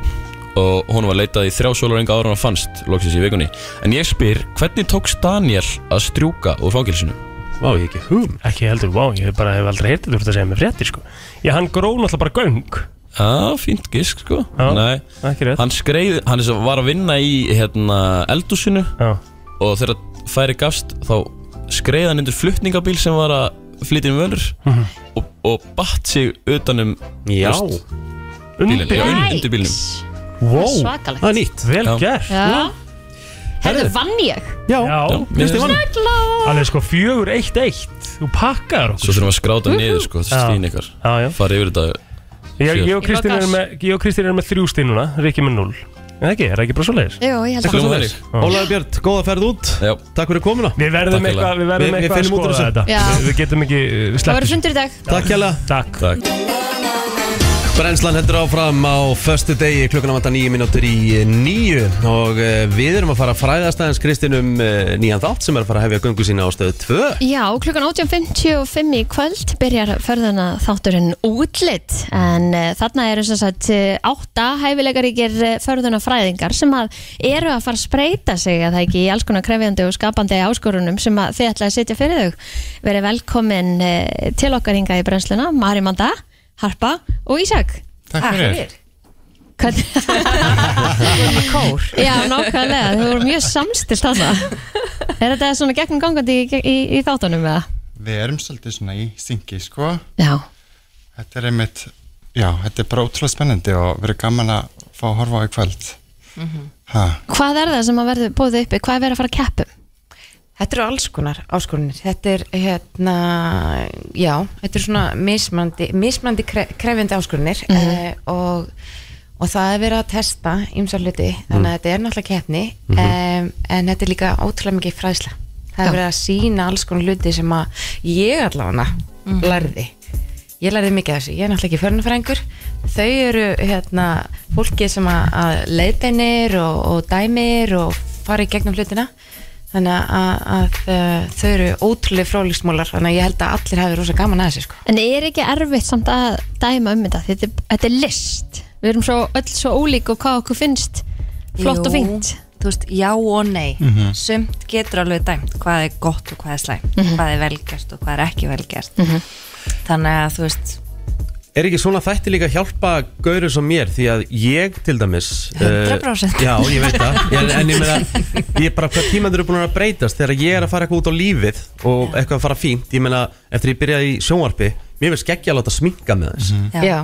S14: og hún var leitað í þrjá sólarenga ára hann fannst loksins í vikunni. En ég spyr, hvernig tókst Daniel að strjúka úr fangelsinu?
S2: Vá, ég ekki hugum
S4: Ekki heldur, vá, ég hef bara hef aldrei heyrtið þú ert að segja mér fréttir sko Já, hann gróð náttúrulega bara göng
S14: Já, fínt gisk sko
S4: Já,
S14: Nei,
S4: ekki rétt.
S14: Hann skreið, hann er svo- var að vinna í hérna, eldúsinu
S4: Já.
S14: Og þegar færi gafst þá skreið hann undir flutningabíl sem var að flytja um völur
S4: Mhm.
S14: og, og batt sig um, utanum
S2: Já.
S14: Undir,
S3: Undir-
S14: já,
S3: Yikes.
S14: undir bílnum
S4: Wow,
S3: svakalegt.
S2: það er nýtt
S4: Vel
S14: Já.
S4: gert
S3: Já Herðu,
S4: Herðu.
S3: vann ég?
S2: Já,
S4: Já.
S14: Kristín vann.
S3: Snælla
S4: Alveg sko fjögur eitt eitt Þú pakkar
S14: Svo
S4: okkur
S14: þurfum við að skráta niður sko, þetta
S4: Já.
S14: er stíðin ykkar
S4: Já, já
S14: Farið yfir þetta
S4: Ég, ég og
S3: Ég fá
S4: Kristín
S3: gas.
S4: erum með, ég og Kristín erum með þrjú stíð núna, Rikki með 0 En ekki, er það ekki bara svo leiðis?
S3: Jú, ég held að það.
S2: Ólaður Björn, góða ferð út Já. Takk fyrir komuna
S4: Við verðum eitthvað, við verðum eitthvað að skoða þetta
S3: Já.
S4: Við- Við getum ekki, eh, við
S3: Það verður
S4: sleppum
S3: fundur í dag.
S2: Takk hérlega
S4: Takk,
S2: Takk. Brennslan hendur áfram á förstu degi klukkan að vanda nýju mínútur í nýju og eh, við erum að fara að fræðast aðeins Kristinn um eh, nýjan þátt sem er að fara að hefja göngu sína á stöðu 2
S3: Já, klukkan 18.55 í kvöld byrjar ferðana þátturinn útlitt en uh, þarna eru sem sagt eh, átta hæfileikaríkir ferðuna fræðingar sem að eru að fara að spreita sig að það ekki í alls konar krefjandi og skapandi áskorunum sem að þið ætlaði að setja fyrir þau. Verið velkomin uh, til okkar hinga í brennsluna, Mari Manda, Harpa og Ísak.
S15: Takk
S3: Ah,
S15: fyrir.
S3: Hvernig? Kór. Já, nákvæmlega, þau voru mjög samstilt þarna. Er þetta svona gegnum gangandi í, í, í þáttunum eða?
S15: Við erum svolítið svona í syngi, sko.
S3: Já.
S15: Þetta er einmitt, já, þetta er bara ótrúlega spennandi og verður gaman að fá að horfa á í kvöld.
S3: Mhm.
S15: Ha,
S3: Hvað er það sem að verður bóðið uppi? Hvað er verið að fara að keppu?
S10: Þetta eru alls konar áskorunir. Þetta er hérna, já, þetta eru svona mismandi, mismandi krefjandi áskorunir mm og, og það er verið að testa ymsa hluti, þannig að þetta er náttúrulega keppni mm en þetta er líka ótrúlega mikið fræðsla. Það er verið að sína alls konar hluti sem að ég allavega lærði. Ég lærði mikið af þessu, ég er náttúrulega ekki förnufræðingur. Þau eru hérna fólki sem að, að leiðbeinir og, og dæmir og fara í gegnum hlutina þannig að, að, að þau eru ótrúlega fróliksmólar þannig að ég held að allir hafi rosa gaman að þessu sko.
S3: En er ekki erfitt samt að dæma um þetta? Þetta, er- þetta er list. Við erum svo, öll svo ólík og hvað okkur finnst flott og
S10: Jú,
S3: fínt.
S10: þú veist, já og nei
S3: Mhm.
S10: sumt getur alveg dæmt hvað er gott og hvað er slæmt
S3: Mhm.
S10: hvað er velgjast og hvað er ekki velgjast þannig að þú veist
S2: Er ekki svona þætti líka að hjálpa gauru sem mér því að ég til dæmis eh,
S10: 100%.
S2: Já, ég veit það en, en ég meina, ég bara hvað tímandur eru búin að breytast þegar ég er að fara eitthvað út á lífið og eitthvað að fara fínt, ég meina eftir ég byrjaði í sjónvarpi, mér veist ekki að láta sminka með þess
S10: Já. Já.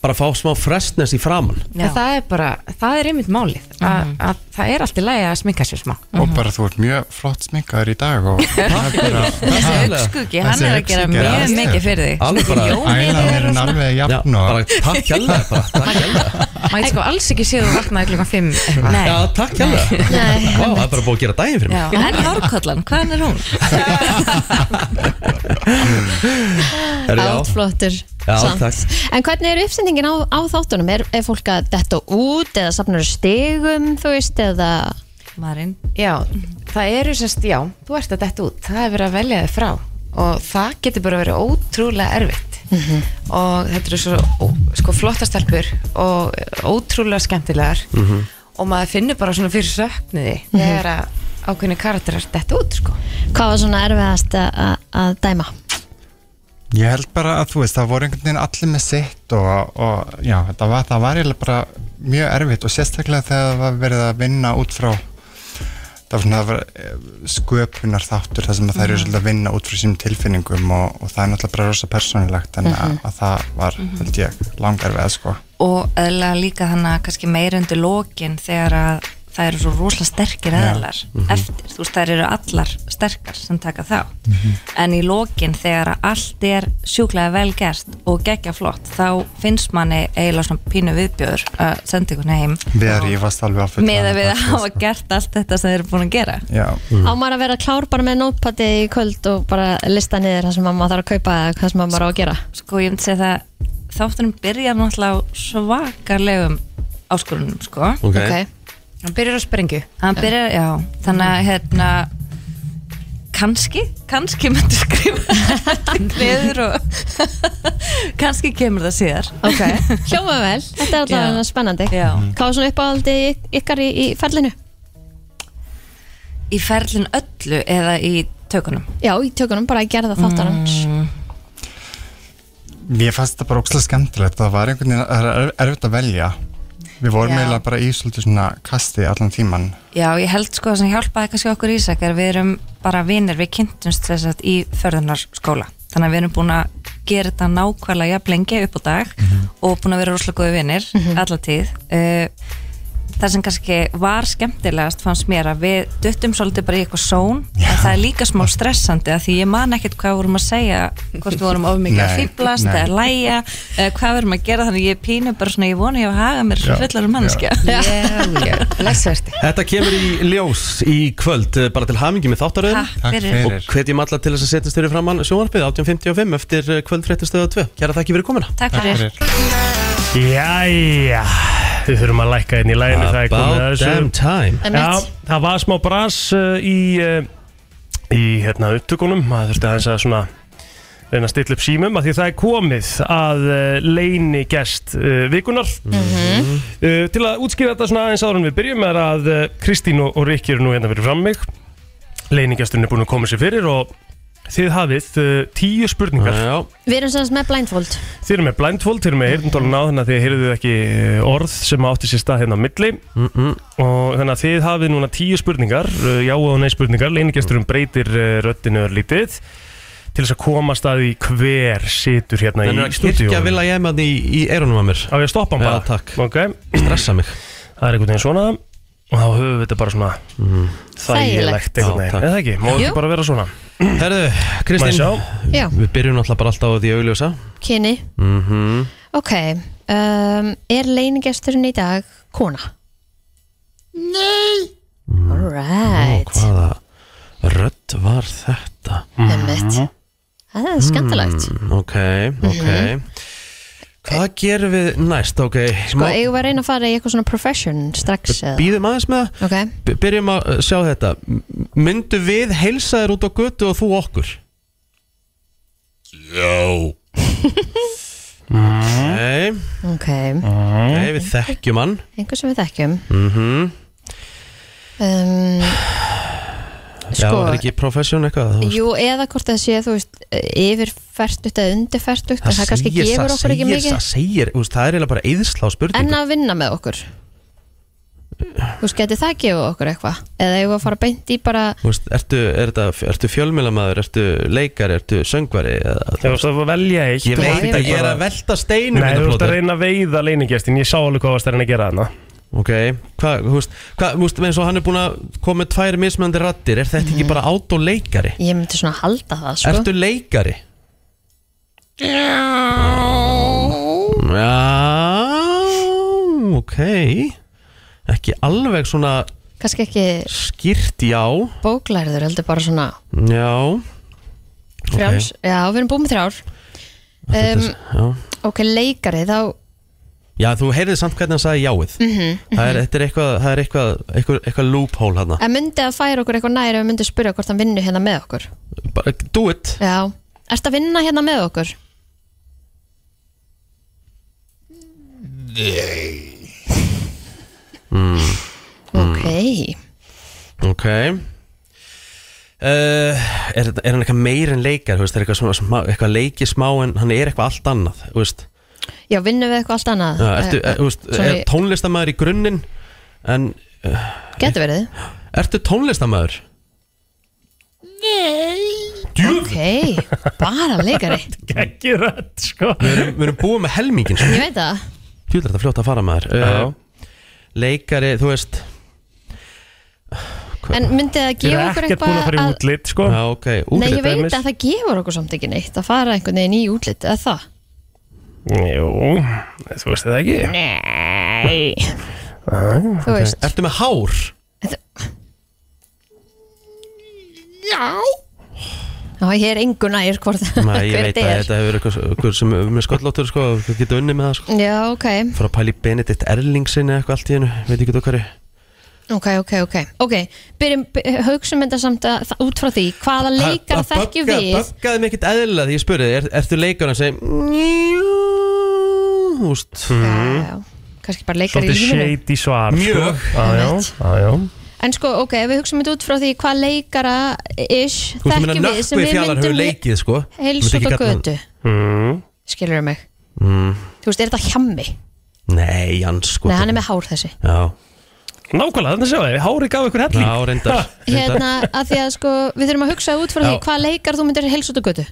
S2: bara fá smá frestness í framann
S10: en það er bara, það er einmitt málið að, að það er allt í lagi að sminka sér smá
S15: og bara þú ert mjög flott sminkaður í dag og það er bara...
S10: Þessi augnskuggji, hann er að gera mjög mikið fyrir þig. Alveg bara-
S15: Ælan er en alveg jafn og... Bara
S2: takk hjálpa bara.
S10: maður sko alls ekki séð þú vaknaði klukkan 5
S2: Já, takk hérna Vá, það er bara búið að gera daginn fyrir mig
S10: Já, en hárkollan, hvaðan er hún?
S2: Herri, já.
S3: Flottur.
S2: Já,
S3: samt.
S2: takk.
S3: En hvernig eru uppsendingin á, á þáttunum? Er, er fólk að detta út eða safnar stigum, þú veist, eða...
S10: Marin Já, það eru sérst, já, þú ert að detta út það er verið að velja þig frá og það getur bara verið ótrúlega erfitt og þetta eru svo ó, sko flottastelpur og ótrúlega skemmtilegar og maður finnur bara svona fyrir söknuði
S3: Mhm.
S10: þegar að ákveðinu karakterar detta út sko
S3: Hvað var svona erfiðast að- að að dæma?
S15: Ég held bara að þú veist, það voru einhvern veginn allir með sitt og, og já, það var, það var eiginlega bara mjög erfitt og sérstaklega þegar það var verið að vinna út frá það var svona það var eh, sköpunar þáttur þar sem að þær eru
S7: Mhm.
S15: svolítið að vinna út frá sínum tilfinningum og, og það er náttúrulega bara rosa persónulegt en að,
S10: Mhm.
S15: að það var,
S10: Mhm.
S15: held ég, langar veð sko.
S10: og eðla líka þannig að kannski meira undir lokin þegar að það eru svo rosalega sterkir
S15: Já.
S10: eðlar
S15: Mhm.
S10: eftir, þú veist, þær eru allar sterkar sem taka þá en í lokin þegar að allt er sjúklega vel gert og geggja flott þá finnst manni eiginlega svona pínu viðbjör að senda ykkur heim
S15: Við að rífast alveg að fulla
S10: með að við hafa gert allt þetta sem þeir eru búin að gera
S15: Já,
S3: Á maður að vera klár bara með nótpati í kvöld og bara lista niður það sem maður þarf að kaupa eða hvað sem maður á að gera?
S10: sko ég myndi segja það þáttunum byrjar náttúrulega á svakalegum áskorunum sko
S3: Ok. Ok.
S10: hann byrjar á sprengju hann
S3: Já.
S10: byrjar, já, þannig að hérna kannski, kannski myndi skrifa neður og kannski kemur það síðar
S3: Ok, hljóma vel, þetta er alltaf spennandi
S10: Já.
S3: Hvað var svona uppáhaldi y- ykkar í, í ferlinu?
S10: í ferlin öllu eða í tökunum
S3: Já, í tökunum, bara að gera það þáttanum
S10: Mm.
S15: Mér fannst þetta bara ókslega skemmtilegt það var einhvern veginn það er erfitt að velja við vorum
S10: Já.
S15: eiginlega bara í svolítið svona kasti allan tíman
S10: Já, ég held sko að sem hjálpaði kannski okkur Ísak er að við erum bara vinir, við kynntumst þess að í förðunarskóla þannig að við erum búin að gera þetta nákvæmlega jafn lengi upp á dag og búin að vera rosalega góði vinir alla tíð uh,
S16: Eh, það sem kannski var skemmtilegast fannst mér að við duttum svolítið bara í eitthvað són en það er líka smá stressandi að því ég man ekkert hvað við vorum að segja hvort við vorum of mikið að
S17: Nei,
S16: fýblast
S17: nei.
S16: eða læja eða hvað við vorum að gera þannig að ég pínu bara svona ég vonu ég að haga mér svo
S2: Já,
S16: fullar um mannskja
S10: já, já, blessaverti
S2: Þetta kemur í ljós í kvöld eh, bara til hamingi með þáttaröðum
S16: Takk fyrir.
S2: og hvetjum alla til þess að setjast fyrir framann sjónvarpið 18.55 eftir kvöldfréttastöða 2 Kæra þakki fyrir komuna
S16: Takk fyrir.
S4: Jæja Við þurfum að lækka inn í læginu það er komið að
S2: About
S4: þessu.
S2: damn time.
S4: Já,
S2: Einmitt.
S4: það var smá bras uh, í, uh, í hérna, upptökunum maður þurfti aðeins að svona reyna að stilla upp símum að því það er komið að uh, leini gest uh, vikunar
S16: Mhm.
S4: uh, til að útskýra þetta svona aðeins áður en við byrjum er að uh, Kristín og, og Rikki eru nú hérna fyrir fram mig leinigesturinn er búin að koma sér fyrir og þið hafið uh, tíu spurningar já.
S3: Við erum semst með blindfold
S4: Þið eru með blindfold, þið eru með heyrndólun á þannig að þið heyrðuð ekki eh, orð sem átti sér stað hérna á milli og þannig að þið hafið núna tíu spurningar eh, já og nei spurningar, leinigesturum breytir röddinu örlítið til þess að komast að því hver situr hérna
S2: Þannig
S4: í
S2: að
S4: stúdíu
S2: kirkja vil að ég maður í, í eyrunum að mér
S4: Á ég að stoppa hann bara? Já, takk okay.
S2: Stressa mig
S4: Það er einhvern veginn svona og þá höfum við þetta bara svona mm.
S2: Þægilegt.
S4: þægilegt einhvern
S2: Já, takk.
S4: veginn, eða ekki, má
S3: Jú.
S4: þetta bara vera svona
S2: Herðu, Kristín,
S4: Má ég
S3: Já,
S2: Við byrjum náttúrulega bara alltaf á því augljósa
S3: kyni
S4: Mhm.
S2: mm
S3: Ok, um, er leinigesturinn í dag kona?
S17: Nei
S3: Alright,
S2: Hvaða rödd var þetta?
S3: Einmitt. það er skemmtilegt
S2: Mm, ok, ok
S3: Mhm.
S2: Hvað gerum við næst? Ok,
S3: Sko, eigum við að reyna að fara í eitthvað svona profession strax eða?
S2: Býðum aðeins með það
S3: Ok,
S2: B- Byrjum að uh, sjá þetta M- Myndu við heilsa þér út á götu og þú okkur? Já Nei
S3: ok
S2: Nei, við þekkjum hann
S3: Einhver sem við þekkjum
S2: mm
S3: um,
S2: Já,
S3: Sko-
S2: er ekki profession eitthvað þú veist?
S3: Jú, eða hvort það sé, þú veist, yfirfertugt eða undirfertugt en það kannski
S2: segir-
S3: gefur
S2: það
S3: okkur ekki
S2: segir-
S3: mikið
S2: Það segir, þú veist, það er eiginlega bara eðsla á spurningu
S3: en að vinna með okkur Þú veist, geti það gefið okkur eitthvað eða eigum við að fara beint í bara
S2: Þú veist, ertu, er þetta, ertu fjölmjölamæður, ertu leikari, ertu söngvari eða,
S4: Þú veist að velja eitt
S2: Ég veit að ég er að velta steinum
S4: Nei,
S2: hérna,
S4: þú ert að
S2: plóter.
S4: reyna að veiða leiningestin Ég sá alveg hvað varst að reyna að gera hana
S2: Ok, hvað, þú veist, hvað, þú veist, eins og hann er búin að koma með tvær mismöndi rattir, er þetta
S3: Mm.
S2: ekki bara autoleikari?
S3: ég myndi svona halda það, sko
S2: Ertu leikari?
S17: Já
S2: Já, ok, ekki alveg svona
S3: kannski ekki
S2: skýrt já,
S3: bóklærður, heldur bara svona
S2: já,
S3: frjáls Já, við erum búin með þrjár um,
S2: já.
S3: Ok, leikari, þá
S2: Já, þú heyrðið samt hvernig hann sagði jáið.
S3: Mhm,
S2: Það er, þetta er eitthvað, það er eitthvað, eitthvað, eitthvað loophole hann.
S3: En myndi að færa okkur eitthvað nær ef við myndi að spyrja hvort hann vinnu hérna með okkur
S2: Bara, do it.
S3: Já, ertu að vinna hérna með okkur?
S17: Nei
S2: Mm.
S3: Ok
S2: Ok Uh, er, er hann eitthvað meir en leikar þú veist, er eitthvað, svona, smá, eitthvað leiki smá en hann er eitthvað allt annað þú veist,
S3: Já, vinnu við eitthvað allt annað
S2: uh, ertu,
S3: Eh,
S2: er, þú veist,
S3: Svona
S2: er
S3: í-
S2: tónlistamæður í grunninn en uh,
S3: Gæti verið
S2: ertu tónlistamæður?
S3: Ok, bara leikari
S4: Ekki rödd sko
S2: Við erum, við erum búið með helmingin
S3: Ég veit það
S2: Þú er þetta fljótt að fara maður Eh,
S4: Já.
S2: Leikari, þú veist
S3: En myndi það gefa okkur eitthvað að
S4: útlit sko
S2: Já, ok,
S3: Nei,
S2: útlit
S3: ég veit að það gefur okkur samt ekki neitt að fara einhvern veginn í útlit, eða það?
S4: Jú, þú veist það ekki
S3: Nei
S4: Þú
S3: Þú veist.
S2: Ertu með hár?
S17: Já
S3: Já, ég er engu nær hvort
S2: Nei, ég
S3: hver
S2: veit að þetta hefur eitthvað, eitthvað sem er með sköllóttur sko, við getum unnið með það sko
S3: Já, ok,
S2: Fara að pæli Benedikt Erlingsin eða eitthvað allt í hennu, veit ekki þú hverju
S3: ok, ok, ok Ok, byrjum, by- hugsaum þetta samt að, það- út frá því Hvaða leikara þekkjum við
S2: Böggaði mig ekkert eðlilega því ég spurði er, Ertu leikur að segja Húst Hmm.
S3: Kannski bara leikari í lífinu
S4: shady svar
S2: Mjög.
S4: sko. Já, já, já, já.
S3: En sko, ok, ef við hugsaum þetta út frá því hvað leikara ish
S2: Þú veist að minna
S3: þekkjum við sem
S2: nökkvið
S3: við
S2: fjallar
S3: myndum
S2: hefur leikið sko
S3: heilsa út á götu.
S2: mm.
S3: Skilurðu mig?
S2: Mm.
S3: Þú veist, er þetta hjammi?
S2: Nei, Jans sko
S3: Nei, hann er með hár þessi
S2: Já,
S4: Nákvæmlega, þannig að sjá þið, hári gaf ykkur helling
S2: já reyndar, reyndar.
S3: Hérna, að því að sko, við þurfum að hugsa út frá því
S2: Já.
S3: hvað leikar þú myndir heilsa út á götu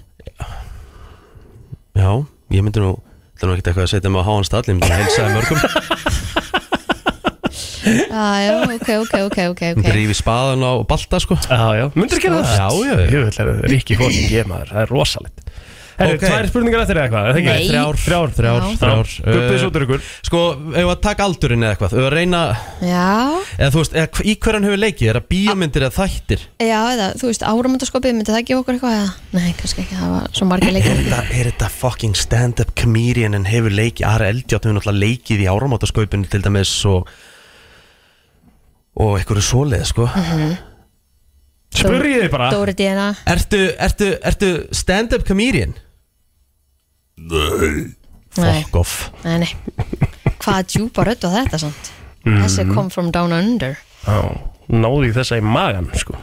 S2: Já, ég myndi nú Það er nú ekkert eitthvað að setja mig á háan stall Ég myndi að heilsa þeim mörgum
S3: ah, já, ok, ok, ok, ok,
S2: Hún
S3: ok
S2: drífi spaðan á balta sko
S4: Já, já, myndir gera það?
S2: Já, já,
S4: Jú, það er ríki fólk ég maður, það er rosalegt Herru,
S2: Ok.
S4: tvær spurningar eftir eða hvað? er það ekki?
S2: Nei. Þrjár,
S4: Þrjár,
S2: þrjár, þrjár
S4: Guppið svo
S2: ykkur Sko, ef að taka aldurinn eða eitthvað Ef að reyna,
S3: Já,
S2: eða þú veist, eða, hv- í hverjan hefur leikið Er það bíómyndir eða þættir?
S3: já, eða, þú veist, áramöndaskopið myndi það gefa okkur eitthvað eða? Nei, kannski ekki, það var svo margir leikir
S2: er þetta fucking stand-up comedian En hefur leikið, Ari Eldjátt hefur náttúrulega leikið í áramótaskaupinu Til dæmis og Og einhverju svoleið, sko Spyrjið þið bara.
S3: Dóri Díana
S2: Ertu, ertu, ertu stand-up comedian?
S17: Nei.
S3: Nei,
S2: Fuck off
S3: nei, nei Hvað djúpa rödd var þetta samt?
S4: Mm.
S3: Þessi kom from down under
S4: Já, náði ég þessa í magan, sko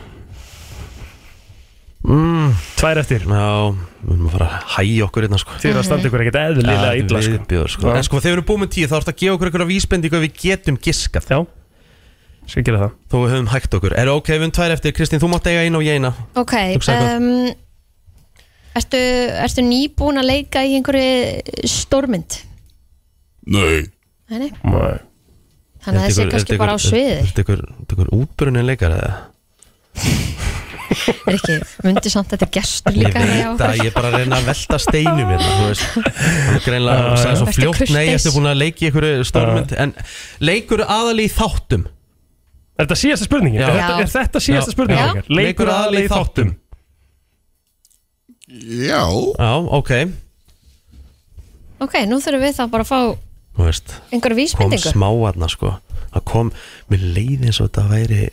S2: mm.
S4: Tvær eftir
S2: Já, við erum að fara að hægja okkur hérna, sko
S4: Þið eru að standa ykkur ekkert eðlilega
S2: Já,
S4: illa, sko.
S2: viðbjóður, sko.
S4: Já.
S2: En sko, þegar við erum búin með tíu þá ertu að gefa okkur einhverja vísbendingu ef við getum giskað
S4: Já, skal gera það
S2: Þó við höfum hægt okkur Er ok, við höfum tvær eftir Kristín, þú mátt eiga eina og ég eina
S3: Ok,
S2: Hugsaðu hvað.
S3: um, ertu, ertu nýbúin að leika í einhverju stórmynd?
S2: Nei
S3: Nei, nei,
S4: Nei
S3: þannig að þessi er kannski bara á sviði
S2: Þetta ykkur, þetta ykkur útbrunin leikar eða?
S3: Er ekki, myndi samt að þetta er gestur
S2: Ég
S3: líka
S2: veit að ég er bara að reyna að velta steinum hérna, þú veist Þú greinlega,
S4: Já,
S2: þú
S4: já.
S2: sagði svo
S4: Ertu
S2: fljótt Nei,
S4: kurteis?
S2: ertu búin að leiki ykkur stórmynd En leikur aðal í þáttum
S4: Er þetta síðasta spurningin?
S2: Já.
S4: Er þetta, er þetta síðasta
S2: Já.
S4: spurningin?
S2: Já.
S4: ykkar?
S2: Leikur aðal í þáttum
S17: Já
S2: Já, ok,
S3: Ok, nú þurfum við þá bara að fá
S2: þú veist
S3: einhverju
S2: kom
S3: vísbendingu
S2: smáarna sko það kom, mér leiði eins og þetta væri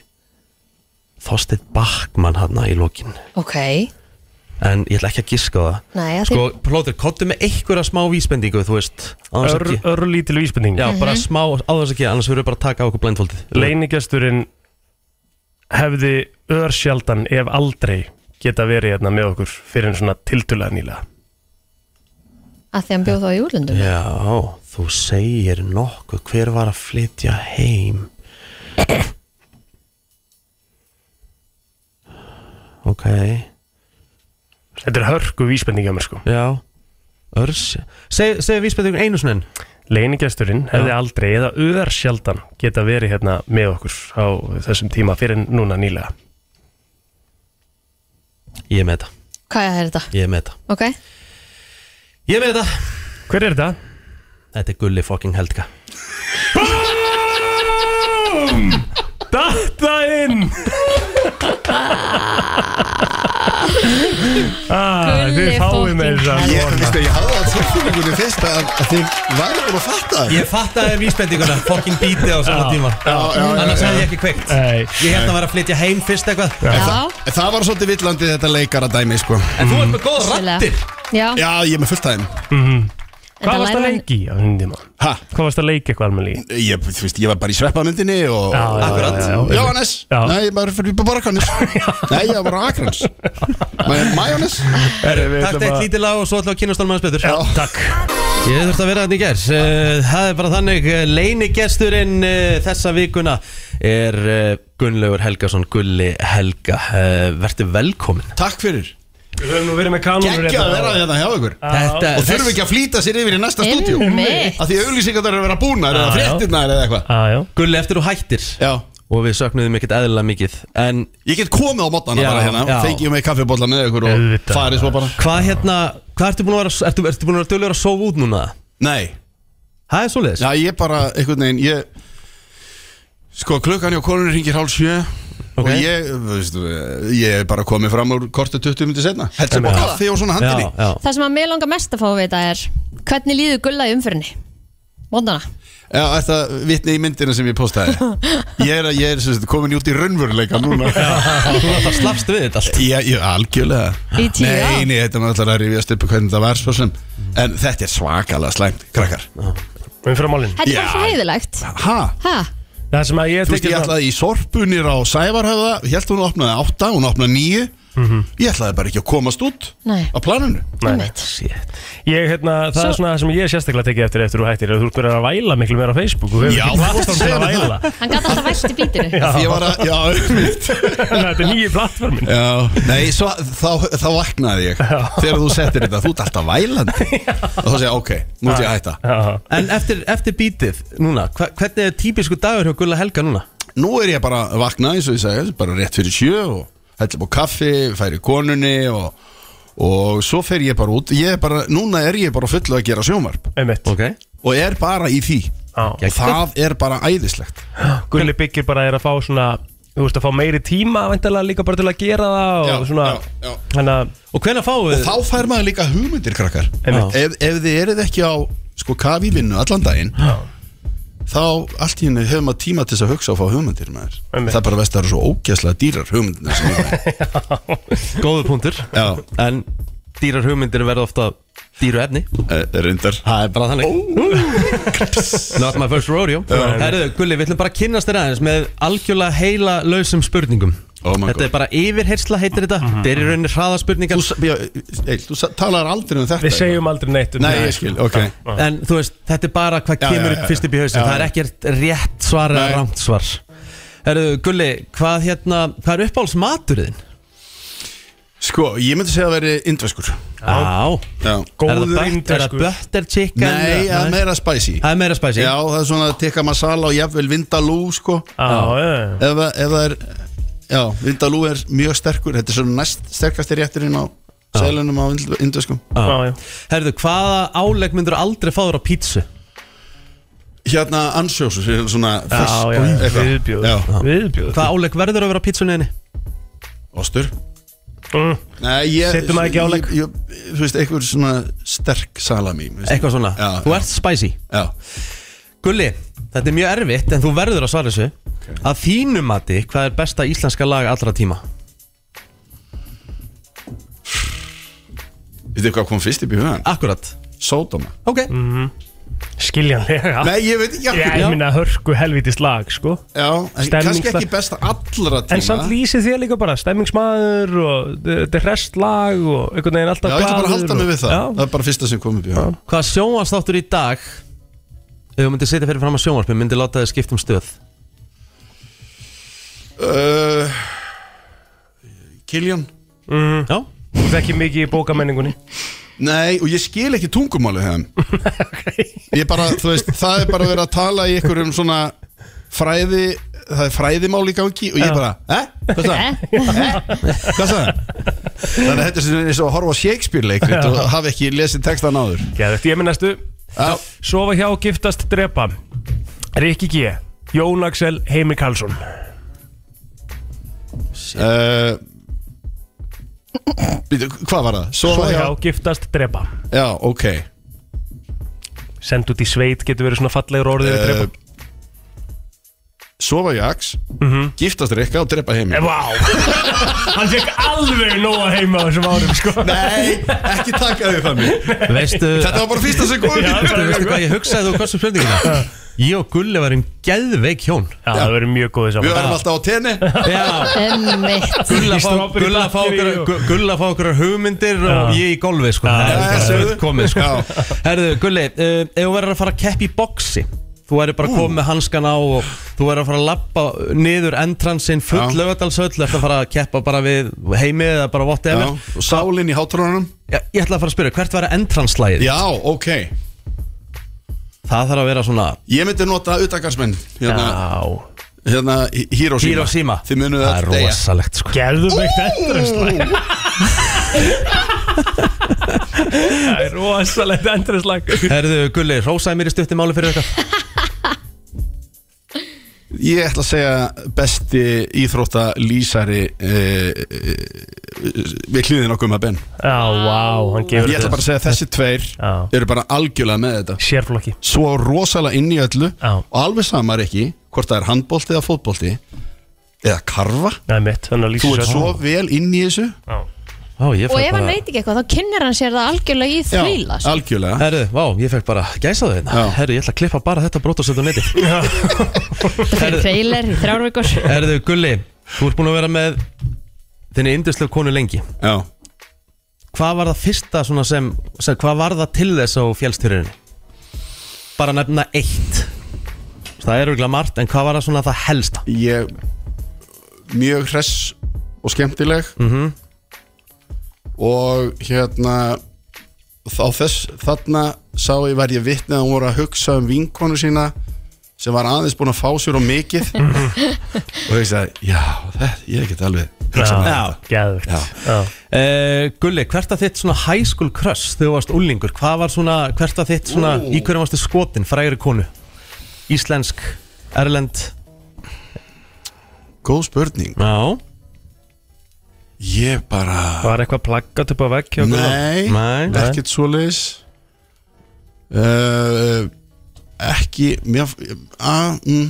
S2: Þorsteinn Bachmann hann í lokin
S3: Ok,
S2: en ég ætla ekki að giska á það
S3: Nei, að
S2: sko, plóður, kottu með einhverja smá vísbendingu þú veist,
S4: Ör- örlítil vísbending
S2: já, bara
S4: Mhm.
S2: smá, áðans ekki, annars verður við bara að taka á okkur blindfoldið
S4: Leinigesturinn hefði örsjaldan ef aldrei geta verið hérna með okkur fyrir en svona tildulega nýlega
S3: að því hann bjóð þá í úrlundum
S2: já, þú segir nokkuð hver var að flytja heim ok
S4: Þetta er hörku vísbending hjá mér sko
S2: Já, örs Segðu seg vísbendingun einu svona
S4: Leinigesturinn hefði aldrei eða örsjaldan geta verið hérna með okkur á þessum tíma fyrir en núna nýlega
S2: Ég er með þetta
S3: Hvað er þetta?
S2: Ég er með þetta
S3: Ok,
S2: Ég er með þetta
S4: Hver er þetta?
S2: Þetta er Gulli fucking Helga
S4: Datta inn ah,
S17: Gulli
S4: Þið fáið með þess að
S17: Ég
S4: vona.
S17: veist að ég hafði að tilfinningunni fyrst að að þið væri búin að fatta
S2: Ég fattaði um vísbendinguna, fucking bítið á sama
S17: Já.
S2: tíma
S17: Já, já, já,
S2: Annars
S17: já.
S2: hefði ég ekki kveikt
S4: Nei.
S2: Ég held að vera að flytja heim fyrst eitthvað
S17: En það, en það var svolítið villandi þetta leikara dæmi sko. En
S2: þú ert með góða
S3: Vissulega. raddir. Já. um-
S17: Já, ég er með fullt dæmi
S4: Mhm. Hvað varst að leiki á þessum tíma?
S17: Hæ?
S4: Hvað varst að leiki eitthvað almenni?
S17: Ég, þú veist, ég var bara í sveppamyndinni og
S4: Já, já, Akkurat. já, já, já.
S17: Jóhannes
S4: Já.
S17: Nei, ég bara fyrir upp á Barakanis Nei, ég var bara á Akrans Majónis
S2: Takk eitt lítið lag og svo ætlum við að kynast alveg hans betur Já,
S4: takk
S2: Ég þurfti að vera þarna í gær Eh, Það er bara þannig, leinigesturinn þessa vikuna er eh, Gunnlaugur Helgason, Gulli Helga Eh, Vertu velkomin
S17: Takk fyrir
S4: Við höfum nú verið með kanónur
S17: Gekkja að vera hérna hjá ykkur
S2: Þetta-
S17: Og þurfum ekki að flýta sér yfir í næsta stúdíu
S3: Einmitt.
S17: Af því auðlýsingarnar eru að vera búnar Eða
S2: Já, já.
S17: fréttirnar eða eitthvað
S4: ah,
S2: Gulli, eftir þú hættir
S17: Já
S2: Og við söknuðum ekkert eðlilega mikið En
S17: Ég get komið á mótana
S2: Já,
S17: bara hérna
S2: já.
S17: Fengið mig kaffibólla með ykkur og
S2: Auðvitað.
S17: farið svo bara
S2: Hvað hérna, hvað ertu búin að vera, ertu, ertu búin að vera dölur að sofa út núna?
S17: Nei
S2: Það er svoleiðis
S17: Já, ég bara, einhvern veginn, ég Sko, klukkan hjá konunni ringir hálf sjö Og ég, veistu, ég er bara komið fram úr kortu 20 minnti setna Heldur bara kaffi og svona handinni
S2: já.
S3: það sem að mér langar mest að fá að vita er Hvernig líður gulla í umfyrinni? Móndana
S17: Já, er það vitni í myndina sem ég postaði Ég er, ég er sem sagt, komin út í raunveruleika núna
S2: Það slafst við þetta allt
S17: Já, ég, algjörlega
S3: Í tíu
S17: Nei, nei, þetta er náttúrulega að rifjast upp hvernig það var svo sem En þetta er svakalega slæmt, krakkar
S4: Umframálin
S3: Þetta er bara hæðilegt
S17: Hæ?
S3: Hæ?
S4: Það sem að ég
S17: Þú veist, ég ætlaði í sorpunir á Sævarhöfða Hjælt hún opnaði átta, hún opnaði nýju Ég ætlaði bara ekki að komast út
S3: Nei.
S17: á planinu
S4: Mhm. Nei, Einmitt. Ég, hérna, það er svona það sem ég sérstaklega tekið eftir eftir þú hættir, að þú ert verið að væla miklu meira á Facebook og við
S17: Já,
S4: erum
S17: þú varst að
S4: platformin
S17: segja
S4: að
S17: þetta.
S4: væla
S3: Hann gæti alltaf vælt í bítinu
S17: Já. Ég var að, já, einmitt
S4: Þetta er nýju plattformin
S17: Já, nei, svo, þá, þá vaknaði ég Þegar þú settir þetta, þú ert alltaf vælandi Og þá segja, ok, nú ert ég að hætta
S2: En eftir, eftir bítið núna, hva, hvernig er típisku dagur hjá Gulla Helga núna?
S17: Nú er ég bara að vakna, eins og ég segi Bara rétt fyrir sjö og hella búið kaffi Færi konunni og Og svo fer ég bara út ég er bara, Núna er ég bara á fullu að gera sjónvarp
S4: Einmitt.
S2: okay.
S17: Og er bara í því
S4: Og
S17: það er bara æðislegt
S4: Gulli byggir bara er að fá svona Þú veist að fá meiri tíma væntalega líka bara til að gera það og svona Þannig að
S2: Og hvenær fáum
S17: Og þá fær maður líka hugmyndir krakkar
S4: Einmitt.
S17: ef, ef þið eruð ekki á sko kafi vinnu allan daginn þá allt í henni hefur maður tíma til þess að hugsa og fá hugmyndir maður Það er bara vest að það eru svo ógæslega dýrar hugmyndir sem ég
S2: Góður punktur
S17: Já.
S2: En dýrar hugmyndir verða ofta dýru efni
S17: Eh, Rindar
S2: Það er bara þannig Not my first rodeo
S17: Já.
S2: Herðu, Gulli, við ætlum bara að kynnast þér aðeins með algjörlega heila lausum spurningum
S17: oh
S2: Þetta er bara yfirhersla heitir þetta
S4: Mhm.
S2: Þetta er í rauninni hraðaspurningar
S17: Þú, já, eil, þú talar aldrei um þetta
S4: Við segjum aldrei neitt um
S17: Nei,
S4: það.
S17: ég skil, ok.
S4: Já.
S2: En þú veist, þetta er bara hvað
S17: Já,
S2: kemur
S17: já,
S2: upp
S17: já,
S2: fyrst upp í hausin
S17: já,
S2: Það er
S17: já.
S2: ekkert rétt svar eða
S17: Nei.
S2: rámt svar Herðu, Gulli, hvað hérna Hvað er uppáhalds maturinn?
S17: Sko, ég myndi segja að veri indveskur
S2: Já,
S17: já.
S2: Góður Er það bött- indverskur. er það butter chicken
S17: Nei,
S2: eða-
S17: það er meira spicy
S2: Það er meira spicy.
S17: Já, það er svona tikka masala og jafnvel vindalú sko
S4: Já, já, já.
S17: Ef, það- ef það er, já, vindalú er mjög sterkur Þetta er svona næst sterkasti rétturinn á seglunum á indveskum
S4: Já, já.
S2: Herðu, hvaða Ah. álegg myndur aldrei fáður á pítsu?
S17: Hérna ansjósu, svona
S2: Já,
S17: fersk-
S2: já, já.
S17: eitthvað.
S2: Viðbjóður.
S17: Já.
S4: Viðbjóður
S2: Hvaða álegg verður að vera á pítsunniðinni?
S17: Ostur Nei, ég
S2: Setjum það ekki á legg?
S17: ég- ég- Þú veist, eitthvað svona sterk salami þú veist.
S2: Eitthvað svona,
S17: Já,
S2: þú ert spicy
S17: já.
S2: Gulli, þetta er mjög erfitt en þú verður að svara þessu Að þínu mati, hvað er besta íslenska lag allra tíma?
S17: Veitu eitthvað kom fyrst upp í hugan?
S2: Akkurat
S17: Sódóma
S2: Ok
S4: Mhm. Skiljanlega
S17: Nei, ég veit ekki af
S4: Já,
S17: hverju.
S4: Ég minna hörku helvítist lag, sko
S17: Já, en kannski ekki besta allra tíma
S4: En samt lýsið þér líka bara, stemmingsmaður og eh, þetta er rest lag og einhvern veginn alltaf
S17: Já, ég ætla bara að halda
S4: glaður
S17: mig
S4: og-
S17: við það
S4: Já.
S17: Það er bara fyrsta sem kom upp í hugan
S2: Hvað sjónvarsþáttur í dag Ef þú myndir setja fyrir fram að sjónvarpi myndir láta þið skipta um stöð
S17: uh, Kiljan
S4: Mhm.
S2: Já
S4: Þú ert ekki mikið í bókamenningunni
S17: Nei, og ég skil ekki tungumálið þeim Ég bara, þú veist, það er bara verið að tala í einhverjum svona fræði Það er fræðimál í gangi og ég
S4: Já.
S17: bara, eh? Hvað það? Hvað sagði það? Þannig að þetta er svona eins og að horfa á Shakespeare leikrit og hafa ekki lesið textan áður
S4: Geðvægt, ég minnastu Sofa hjá, giftast, drepa Rikki G Jón Axel, Heimi Karlsson
S17: uh, býtu, Hvað var það?
S4: Sofa hjá, giftast, drepa
S17: Já, ok
S4: Send út í sveit getur verið svona fallegur orðið uh,
S17: Eh, Sofa hjá Ax Giftast Rikka og drepa heimi
S4: Mhm. Eh, Vá Hann fekk alveg nóga heima á þessum árum sko.
S17: Nei, ekki taka þau það mig
S2: Veistu
S17: Þetta var bara fyrsta sem kom upp í hugann.
S2: Veistu, veistu hvað ég hugsaði þú hvað sem spurningina Ég og Gulli varum geðveik hjón
S4: Já, það verður mjög góðið saman
S17: Við varum alltaf á tenni
S3: Emmitt
S4: Í
S2: Gulla fá,
S4: strawberry
S2: gulla fá
S4: battery
S2: okkur
S4: og-
S2: Gulla fá okkur hugmyndir og
S4: Já.
S2: ég í golfi sko. Það
S17: já,
S2: er
S17: sögðu.
S2: ekki komið sko.
S17: Já.
S2: Herðu, Gulli, uh, ef þú verður að fara að keppa í boxi Þú verður bara að koma með hanskan á og þú verður að fara að lappa niður entransinn full
S17: Já.
S2: lögadalsöll Þú ert að fara að keppa bara við heimið eða bara
S17: Já,
S2: whatever
S17: og Sálin í hátrónunum
S2: Já, Ég ætla að fara að spyrja, hvert verður entranslæðið?
S17: Já, ok
S2: Það þarf að vera svona
S17: Ég myndi nota utakarsmenn Hérna,
S4: Já
S17: hérna Hi- Hiroshima
S2: Hiroshima.
S17: Þið munum
S2: Það er rosalegt sko
S4: Gerðum eitt endurumslag Það er rosalegt endurumslag
S2: Herðu, Gulli, rósaði mér í stutti máli fyrir þetta
S17: Ég ætla að segja besti íþrótta lýsari uh, eh, Við hlýðin okkur með Ben
S4: Já, vá, hann gefur
S17: Ég ætla bara að segja að þessi tveir
S4: Já.
S17: Eru bara algjörlega með þetta
S4: Sérflokki
S17: Svo rosalega inn í öllu
S4: Já.
S17: Og alveg samar ekki Hvort það er handbolti eða fótbolti Eða karfa
S4: Það er mitt, þannig að lýsa
S17: Þú ert
S4: þessu.
S17: svo vel inn í þessu
S4: Já.
S2: Ó, ég
S3: Og
S2: fekk
S3: ef hann
S2: bara-
S3: veit ekki eitthvað þá kynner hann sér það algjörlega í þvíla sko.
S17: algjörlega
S2: Herru, vá, ég fekk bara gæsaðu hérna Herru, ég ætla að klippa bara þetta brot og setja á neti
S3: Þetta fyrir trailer í þrjár vikur
S2: Mm. Herru, Gulli, þú ert búin að vera með þinni yndislega konu lengi
S17: Já
S2: Hvað var það fyrsta svona sem, sem Hvað var það til þess á fjálstyrunni? Bara nefna eitt Það er auðvitað margt En hvað var það svona það helsta?
S17: Ég Mjög hress og skemmtileg
S2: Mhm.
S17: Og hérna Þá þess Þarna sá ég var ég vitni að hún voru að hugsa um vinkonu sína sem var aðeins búin að fá sér á mikið og ég sagði, já, þetta, ég get alveg hugsað
S2: um
S17: með þetta.
S4: geðvögt
S2: Uh, Gulli, hvert að þitt svona high school crush þegar þú varst úlingur, hvað var svona hvert að þitt svona,
S17: Ú.
S2: í hverju varstu skotin frægri konu, íslensk erlend
S17: Góð spurning
S2: Já
S17: Ég bara
S4: Var eitthvað plaggat upp á vegg hjá Gulla?
S17: Nei, ekkert svoleiðis uh, Ekki mér, a, mm,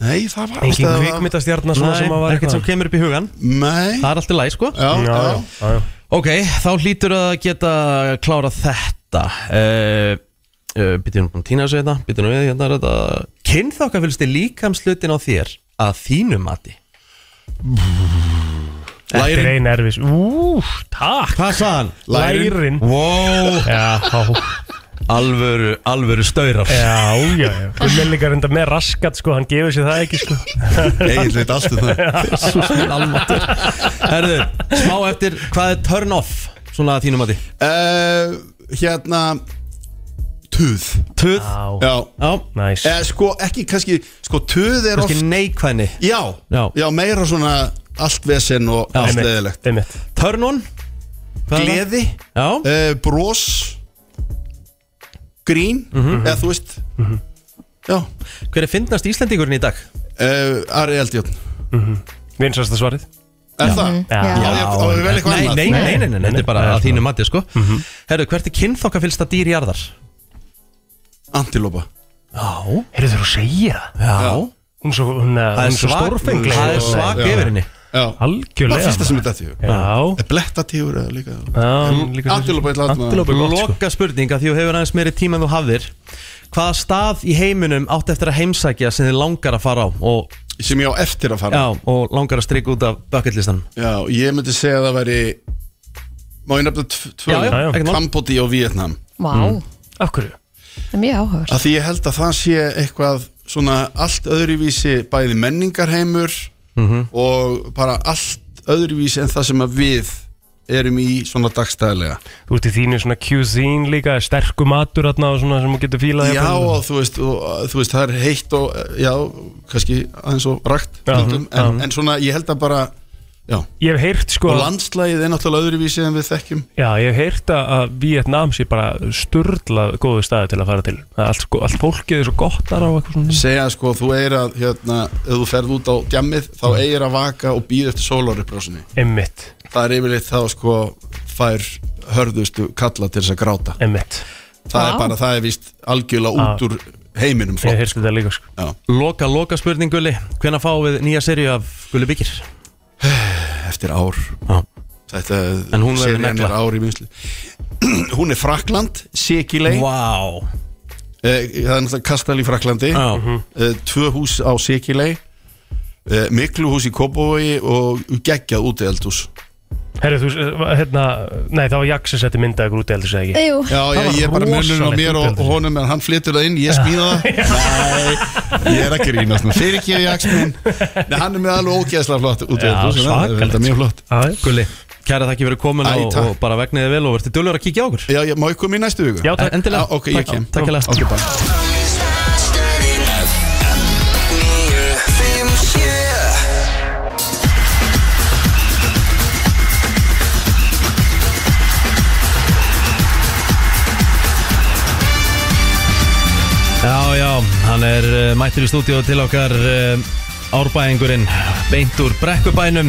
S17: Nei, það var
S4: Engin
S17: alltaf- það var-
S4: kvikmyndastjarna svona sem að var
S2: ekkert sem
S4: eitthvað?
S2: kemur upp í hugan
S17: Nei
S2: Það er alltaf læg sko
S17: Já, Já, já.
S4: já, já.
S2: Ok, þá hlýtur að geta klára þetta uh, uh, Býtum við tína að segja þetta Býtum við hérna er þetta Kynþáka fylgst þið líkamslutin á þér að þínu mati
S4: Þetta er
S2: Lærin.
S4: ein erfis Ú, takk
S2: Hvað sað hann?
S4: Lærin. Lærin.
S2: Wow. Alvöru, alvöru staurar
S4: Já, já, já Gulla er líka reynda með raskat sko Hann gefur sér það ekki sko
S17: Egill veit allt um það.
S2: Jesús minn almáttur Herðu, smá eftir, hvað er turn off svona að þínum að því?
S17: Uh, hérna Tuð
S2: Tuð?
S17: Já,
S2: já.
S4: Nice.
S17: Eh, Sko, ekki kannski Sko, tuð er
S2: Kannski neikvæðni
S17: já,
S2: já,
S17: já, meira svona allt vesen og allt
S4: einmitt,
S17: leðilegt
S4: einmitt.
S2: Turn on Hvað er það?
S17: Gleði Eh,
S2: uh,
S17: Brós Grín Eða þú veist Já
S2: Mhm. Hver er fyndnast Íslendingurinn í dag?
S17: Uh, Ari Eldjón
S4: Vinsasta Mhm. svarið
S17: Er það?
S4: Já.
S17: Já, já, þá er vel eitthvað
S2: Nei,
S17: annað.
S2: nei, nei, nei, nei, nei, þetta er bara
S4: Nei, Mhm.
S2: að þínu mati sko Herðu, hvert er kynþokka fylgsta dýr í jarðar?
S17: Antilópa
S2: Já
S4: Heyrðu þú að segja það?
S2: Já
S4: Hún er svo, hún, eh,
S2: Það er
S4: hún er svo
S2: svak-
S4: stórfengleg
S2: það er svak
S4: Já.
S2: yfir henni.
S17: Já.
S4: Algjörlega
S17: Það er fyrsta sem
S4: maður.
S17: þetta því
S4: Já
S17: Blettatífur eða líka
S4: Já, líka-
S17: Antilópa eitthvað annað.
S4: Antilópa er gott, sko.
S2: Loka spurning að því þú hefur aðeins meiri tíma en þú hafðir Hvaða stað í heiminum átt eftir að heimsækja sem þið langar að fara á og
S17: Sem ég á eftir að fara
S2: Já, og langar að strika út af bucketlistan
S17: Já, ég myndi segja að það væri Má ég nefna tv- tvö
S2: Já, já, ekkert mál.
S17: Kambodí og Vietnam
S3: Vá,
S4: Af hverju?
S3: það er mjög áhugur
S17: Af því ég held að það sé eitthvað svona allt öðruvísi bæði menningarheimur
S4: Mhm.
S17: og bara allt öðruvísi en það sem að við erum í svona dagstæðlega
S4: Þú ert í þínu svona cuisine líka Sterku matur þarna og svona sem þú getur fílað
S17: Já,
S4: jafnvel.
S17: og þú veist, og, uh, þú veist, það er heitt og uh, já, kannski aðeins og rakt
S4: Já,
S17: stundum, en,
S4: já.
S17: en svona ég held að bara já,
S4: Ég hef heyrt sko
S17: og landslægið er náttúrulega öðruvísi en við þekkjum
S4: Já, ég hef heyrt að- að Vietnam sé bara sturla góðu staði til að fara til Það er allt, sko, allt fólkið er svo gott þar á eitthvað svona
S17: segja sko, þú eigir að hérna, ef þú ferð út á djammið, þá eigir að vaka og býða eftir sólaruprásinni
S4: Mm. Einmitt
S17: það er yfirleitt þá sko fær hörðustu kalla til þess að gráta
S4: Einmitt.
S17: það
S2: Vá.
S17: er bara, það er víst algjörlega út
S2: Já.
S17: úr heiminum flott.
S4: Ég heyrst þetta líka sko
S17: Já.
S2: Loka, loka spurning Gulli Hvenær fáum við nýja serju af Gulli Byggir?
S17: eftir ár
S2: Já.
S17: þetta,
S2: En hún verður
S17: serían er
S2: negla.
S17: ár í vinslu hún er Frakland, Sikilei
S2: wow.
S17: Eh, það er náttúrulega kastal í Fraklandi
S2: Já.
S17: Eh, tvö hús á Sikilei miklu hús í Kópavogi og geggjað úti eldhús
S4: Herru, þú, eh, hérna, nei það var Jax sem setti myndaði grúti heldur segja ekki
S3: Jú.
S17: Já, ég, ég er bara munurinn á mér og honum en hann flytur það inn, ég smíða það Nei, ég er að grínast nú Fyrir ekki að ég axminn Nei, hann er með alveg ógeðslega flott út
S2: Já, svakalegt, sko.
S17: Þetta er mjög flott
S2: Gulli, kæra þakki fyrir komin
S17: Æ,
S2: og,
S17: takk.
S2: og bara vegniði vel og verður dullur að kíkja á okkur
S17: Já, ég, má ég koma í næstu viku?
S2: Já, takk. Endilega.
S17: Ok, ég
S2: Takk.
S17: kem
S2: Takk hérlega.
S17: Ok, bara
S2: Já, já, hann er uh, mættur í stúdíu til okkar uh, árbæðingurinn beint úr brekkubænum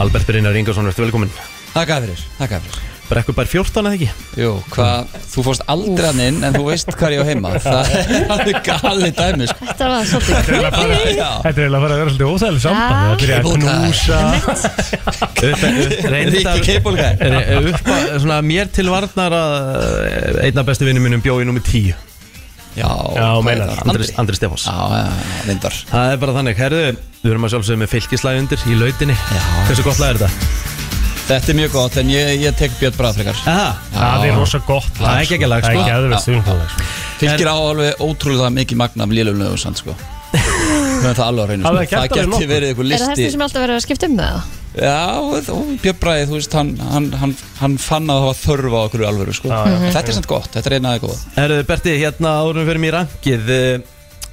S2: Albert Brynjar Ingarsson, verður velkomin
S18: Takk að fyrir, takk að fyrir
S2: Brekkubær 14 eða ekki?
S18: Jú, hvað, þú fórst aldrei hann inn en þú veist hvað ég á heima Það er alveg galið dæmi sko.
S3: Þetta var svolítið creepy.
S4: Þetta er eiginlega að fara að vera svolítið óþægileg samband
S3: Já.
S4: Það byrja að knúsa
S2: Reyndar-
S18: Ríkki Keipolga.
S2: Re- upp að- svona, Mér til varnar að eh, einn af bestu vinnum mínum bjóði nummer 10
S18: Já,
S2: já
S18: hvað
S2: meinar
S18: er það?
S2: Andri, Andri Stefáns Já,
S18: já, já, vindar
S2: Það er bara þannig, herðu, við erum að sjálfsögum með fylkislæði undir í lautinni já, Hversu gott lag er þetta?
S18: Þetta er mjög gott, en ég, ég tek Björn Bræðfrikar
S2: Aha,
S4: Það er rosa gott lag,
S18: Það er
S4: sko.
S18: ekki ekki lag,
S4: Það
S18: sko
S4: er geðveikt þungalag,
S18: sko Fylgir á alveg ótrúlega mikið magnam lélum lögum samt, sko Við höfum það alveg á hreinu,
S3: Hafið
S18: sko
S3: það gert alveg
S18: Það geti
S3: nokkuð?
S18: verið eitthvað
S3: Er það
S18: listi
S3: þessi sem alltaf verið að skipta um það?
S18: Já, og Björn Bræði, þú veist, hann, hann, hann, hann fann að það var þörf á okkur alvöru, sko
S2: Já, já.
S18: Þetta er samt gott, þetta er einaði góð
S2: Herðu, Berti, hérna árum fyrir mér rangið eh,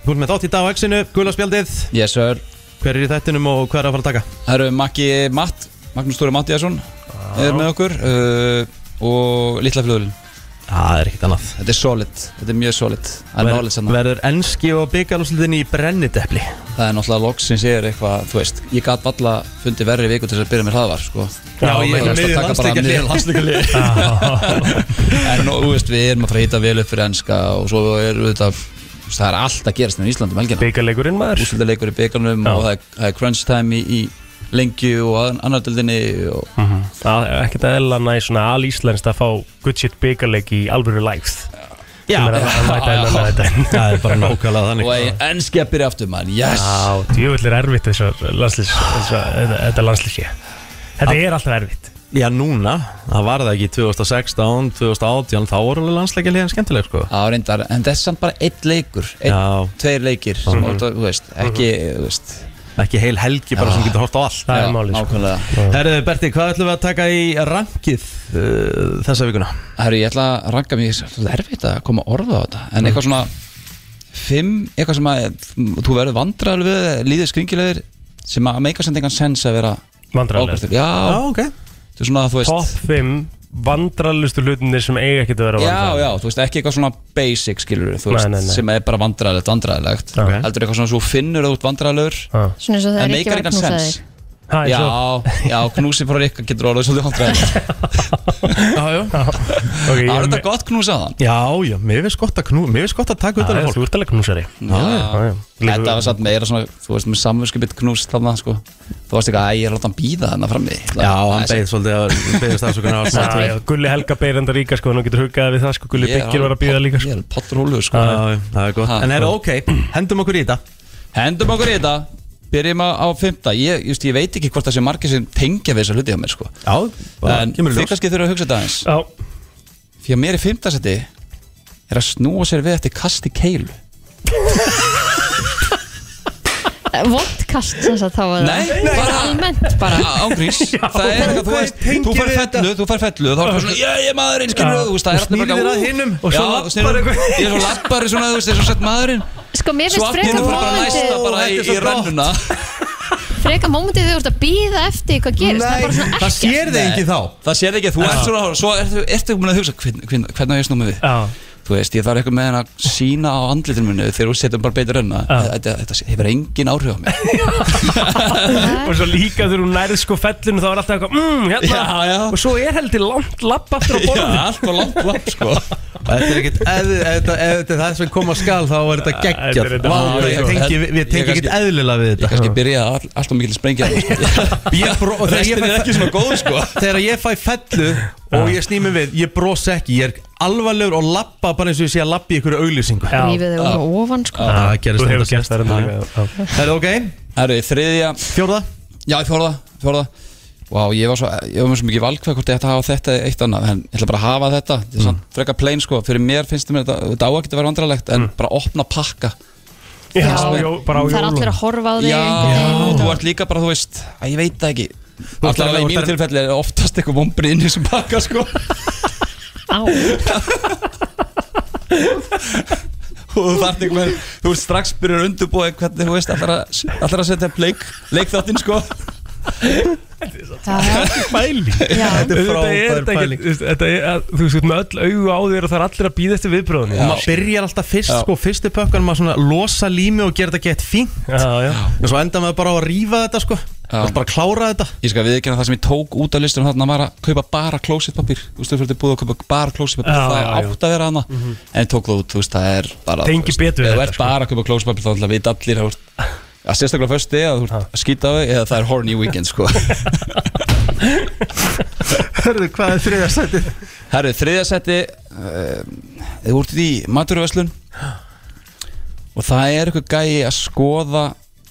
S2: Þú ert með þátt í dag á X-inu, gula spjaldið
S18: Yes, sir
S2: Hver er í þættinum og hver er að fara að taka?
S18: Það eru Maggi Matt, Magnús Eh, Stóri Mattiasson
S2: Ah.
S18: er með okkur uh, og Lilla Fljóðlin
S2: Það er ekkert annað
S18: Þetta er solid, þetta er mjög solid Það er
S2: Ver-
S18: nálega sann
S2: Verður enski og byggalúslutin í brennidepli
S18: Það er náttúrulega loks sem segir eitthvað, þú veist Ég gat valla fundið verri viku til þess að byrja með hraðvar, sko
S2: Já,
S18: Og
S2: ég-
S18: þú veist,
S2: miðju
S18: að taka bara
S2: landsleikjahléi.
S18: miðju landsleikjahléi. En og, þú veist, við erum að fara að hýta vel upp fyrir enska og svo er auðvitað þú veist, Það er allt að gerast hérna með Íslandum um helgina
S4: Byggarleikurinn maður
S18: Úsöldarleikur í byggarnum
S4: Já.
S18: og það er, það er crunch time í, í lengju og annardöldinni og
S4: Mhm. Það er ekkert eðla næ svona alíslenskt að fá good shit byggarleik í alvöru life
S18: Já.
S4: Sem er að- að mæta inn að mæta inn.
S2: Það er bara nákvæmlega þannig.
S18: Og ennski að byrja aftur mann, yes
S4: Já, djöfull er erfitt þessar landslýs Þetta landslýsi Þetta er alltaf erfitt
S2: Já, núna, það var það ekki í 2016, 2018, þá voru alveg landsleikja liðan skemmtileg, sko
S18: Já, reyndar, en það er samt bara einn leikur einn,
S2: Já.
S18: tveir leikir sem mm
S2: Mhm.
S18: þú veist, ekki, þú veist
S2: Ekki heil helgi bara sem getur hort á allt
S18: Það er Já, málið, sko. nákvæmlega.
S2: Herðu, Berti, hvað ætlum við að taka í rankið uh, þessa vikuna?
S18: Herru, ég ætla að ranka mér, það er erfitt að koma orða á þetta en
S2: Mm.
S18: eitthvað svona fimm, eitthvað sem að þú verður vandræðal við, líður skringilegur sem að meika sem engan sens að vera
S4: Vandræðalegur.
S18: ofbeltur. Já,
S4: Já, ok.
S18: Þú veist svona, þú veist
S4: Top 5 vandralustu hlutinir sem eiga ekkert að vera
S18: Já, já, þú veist, ekki eitthvað svona basic skilur þú
S4: Nei,
S18: veist,
S4: nei, nei.
S18: sem er bara vandræðilegt, vandræðilegt
S4: Ok.
S18: heldur eitthvað svona svo finnur þú út vandræðilegur
S3: Svona eins og það
S18: En
S3: er
S18: meikar
S3: ekki verið
S18: engan
S3: að knúsa
S18: sens.
S3: þig
S4: Ha, eins
S18: Já,
S4: og-
S18: já, knúsi frá Rikka getur orðið svolítið vandræðilegt Já, já
S4: Það
S18: var þetta gott knúsa þann
S2: Já, já, mér finnst gott að knú, mér finnst gott að taka utan um
S18: Já,
S2: fólk
S18: þú
S4: ert alveg knúsari
S18: Já, þetta var satt meira svona, þú veist, með samvörskupitt knús þarna, sko Þú varst eitthvað, æ, ég er að láta hann býða þarna frammi Já,
S2: hann beið svolítið að beðist afsökunar á allt samt.
S4: Já, já, Gulli Helga beir enda líka sko, nú getur huggaði við það sko, Gulli
S18: Ég er
S4: Byggir var að býða líka sko.
S18: Ég er pottur hólu sko
S2: Já, já, það er gott
S18: Ha,
S2: En er
S18: ha.
S2: ok, hendum okkur í þetta
S18: Hendum okkur í þetta Byrjum á, á fymta ég, just, ég veit ekki hvort það sé margir sem tengja við þessa hluti á mér sko.
S2: Já, bara
S18: En
S2: kemur í
S18: þið
S2: ljós.
S18: kannski þurfa að hugsa þetta aðeins
S4: Já.
S18: Því að mér í fymta seti Er að snúa sér við eftir kasti keilu
S3: Vondkast Eh, sem sagt þá var
S18: Nei,
S3: það
S18: nei.
S3: bara almennt bara
S18: Ángríns Það er eitthvað, þú veist, þú fær fellu Þú fær fellu, þá er það svona, ég er maðurinn, skilur þú veist, Það er
S2: Snýrð þér að hinum og svo labbar
S18: eitthvað
S2: eitthvað.
S18: Ég er svo lappar svona, þú veist, ég er svo sett maðurinn
S3: Sko mér
S18: Svo
S3: finnst
S18: allt
S3: freka
S18: í hennu bara að
S3: mómentið
S18: læsta bara í, í rönnuna
S3: Freka mómentið þegar þú ert að býða eftir hvað gerist Það er bara svona ekkert
S2: þá
S18: Það sér þig ekki, þú
S2: Já.
S18: ert svona Svo ertu, ertu búin að hugsa hvern- hvern- hvernig á ég snúmið við
S4: Já.
S18: Þú veist, ég þarf eitthvað með henn að sína á andlitinu minu þegar þú setjum bara beitur rönna Þetta þetta hefur engin áhrif á mig
S4: og svo líka þegar hún nærið sko fellinu þá er alltaf eitthvað mm, hérna.
S18: Já, já.
S4: og svo er heldur langt lapp aftur á borðinu
S18: Já, allt og langt lapp sko
S2: Þetta er ekkert, ef þetta ef þetta er það sem kom að skal þá er þetta
S18: Þetta er
S2: geggjað
S18: þetta-
S2: Vá,
S18: Já,
S2: ég
S18: ég-
S2: tengi- Við
S18: ég
S2: tengi ekkert
S18: kannski-
S2: eðlilega við þetta
S18: Ég kannski byrja alltaf mikil sprengja sko.
S2: Ég bró- og þegar ég
S18: Restin er
S2: fæ-
S18: ekki svona góð sko
S2: Þegar ég fæ fellu og ég snými við Ég bros ekki, ég er alvarlegur og lappa bara eins og ég sé að lappa í ykkur auglýsingu
S3: Rífið þig úr ofan sko
S2: Já, það gerist
S4: Þú hefur
S2: þetta
S4: gert það reyndar
S2: Já.
S4: líka, já.
S2: Er það ok?
S18: Herru, þriðja
S2: Fjórða?
S18: Já, fjórða, fjórða Vá, ég var svo, ég var með svo mikið valkvæð hvort ég ætti að hafa þetta eða eitt annað En ég ætla bara að hafa þetta Þetta er
S4: Mm.
S18: samt frekar plain sko Fyrir mér finnst mér þetta, þetta á ekki að vera vandralegt En bara opna pakka
S4: Já,
S18: Finnst mér-
S4: jó- bara á
S3: Það er allir að horfa á þig
S18: Já,
S3: einhvern veginn.
S18: þú ert líka bara, þú veist að Ég veit það ekki
S2: ert
S18: Alltaf
S2: alveg-
S18: í mínu
S2: þú
S18: tilfelli er oftast eitthvað vombrið inn í þessum pakka sko
S3: Á.
S18: og þú þarft einhvern veginn þú ert strax byrjar að undurbúa hvernig þú veist allar að, allar að setja upp leik, leikþáttinn sko
S4: pæling
S18: Já.
S4: Þetta er
S2: frábær
S4: frábær
S2: pæling.
S4: pæling Þetta er, að- þú veist, þú ert með öll augu á þér og það er allir að býða eftir viðbröðinu
S2: Og maður byrjar alltaf fyrst,
S4: Já.
S2: sko, fyrstu pökkar maður svona losa lími og gera þetta gett fínt
S4: Já, já
S2: En svo enda maður bara á að rífa þetta, sko
S18: Já.
S2: bara klára þetta
S18: Ég skal við ekki að það sem ég tók út af listunum þarna var að kaupa bara klósitpapír Þú veist, þú fyrir búið að kaupa bara klósitpapír
S4: Já, já,
S18: Það er
S4: já.
S18: átt að vera hana
S4: Mhm.
S18: En ég tók það út, þú veist, það er bara
S4: Tengi
S18: þú veist,
S4: betur við
S18: Ef þú
S4: þetta,
S18: ert bara að kaupa klósitpapír þá ætla við allir að að sérstaklega föstu að þú ert að skýta á þig eða það er horny weekend, sko
S2: Hörðu, hvað er þriðja sætið?
S18: eh, Herru, þriðja seti uh, Þú ert í maturvæslun og það er eitthvað gæi að skoða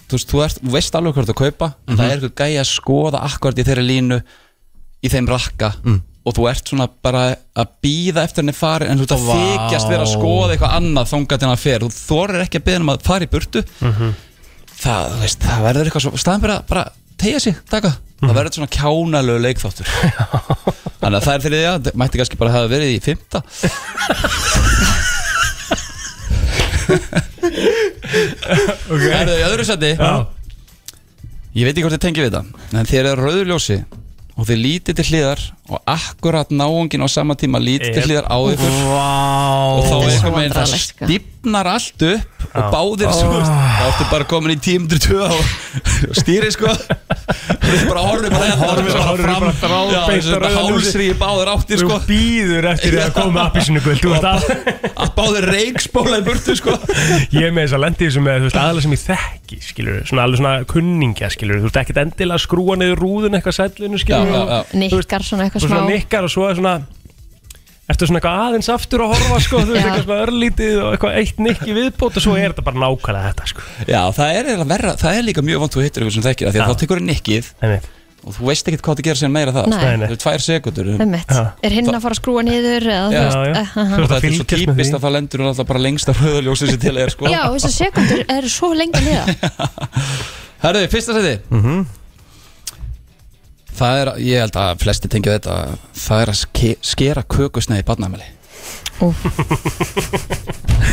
S18: þú veist, þú, ert, þú veist alveg hvað þú ert að kaupa en það
S14: Mhm.
S18: er eitthvað gæi að skoða akkurat í þeirra línu í þeim rakka
S14: Mm.
S18: og þú ert svona bara að býða eftir henni farin en þú ert að
S14: Vá.
S18: þykjast vera að skoða eitthvað annað þangað til henni að fer þú þorir ekki að byggja henni að fara í burtu
S14: Mhm.
S18: það, þú veist, það verður eitthvað svo staðan bara, bara tegja sig, taka
S14: Mhm.
S18: það verður svona kjánalög leikþáttur þannig að það er þeirri því að mætti kannski bara hafa verið í fymta okay. Það eru í öðru seti Ég veit ekki hvort þið tengi við þetta En þér er rauður ljósi Og þið lítið til hliðar Og akkurat náungin á sama tíma lítið til
S14: Yep.
S18: hliðar á ykkur
S14: Vá.
S18: Og þá er
S14: Þetta er svo
S18: eitthvað meginn það
S14: vandræðalegt, sko.
S18: stípnar allt upp
S14: Já.
S18: Og báðir svo
S14: Ah.
S18: Þá ertu bara komin í 1002 á stýri sko Þið bara horfum bara hérna Horfum
S4: Horfir
S18: bara
S4: bara
S18: fram Já,
S4: þráðbeint
S18: þessu
S4: á rauða ljósið.
S18: hálsri í báðir áttir sko
S4: Þú býður eftir því að koma upp í sinu guld Þú veist að
S18: Að báðir reikspóla í burtu sko
S4: Ég er með þess að lendi þessum með, þú veist, aðalega sem ég þekki, skilur Svona alveg svona kunningja, skilur Þú veist, ekkert endilega að skrúa niður rúðun eitthvað sætlinu, skilur
S3: Nikkar svona
S4: Og
S3: eitthvað smá
S4: svona nikkar og svo er svona Ertu svona eitthvað aðeins aftur að horfa, sko Þú veist,
S3: Já.
S4: eitthvað svona örlítið og eitthvað eitt nikki viðbót Og svo er þetta bara nákvæmlega þetta, sko
S18: Já, það er, eiginlega verra, það er líka mjög vant þú hittir ykkur sem þekkir það, því að
S4: Já.
S18: þá tekur það nikkið
S4: Einmitt.
S18: og þú veist ekkert hvað það gerir sem meira það
S3: Nei. Nei, nei.
S18: það er tvær sekundur
S3: Einmitt. Er hinn að fara að skrúa niður eða, þú
S18: Já,
S3: veist,
S18: já.
S3: eh, ha, ha.
S18: og það er svo típist að það lendur hún alltaf bara lengst af höðaljósið sem til er sko
S3: Já, þessar sekundur eru svo lengi niða
S18: Herðu, fyrsta seti Það er, ég held að flesti tengja þetta það er að ske, skera kökusneið í barnamæli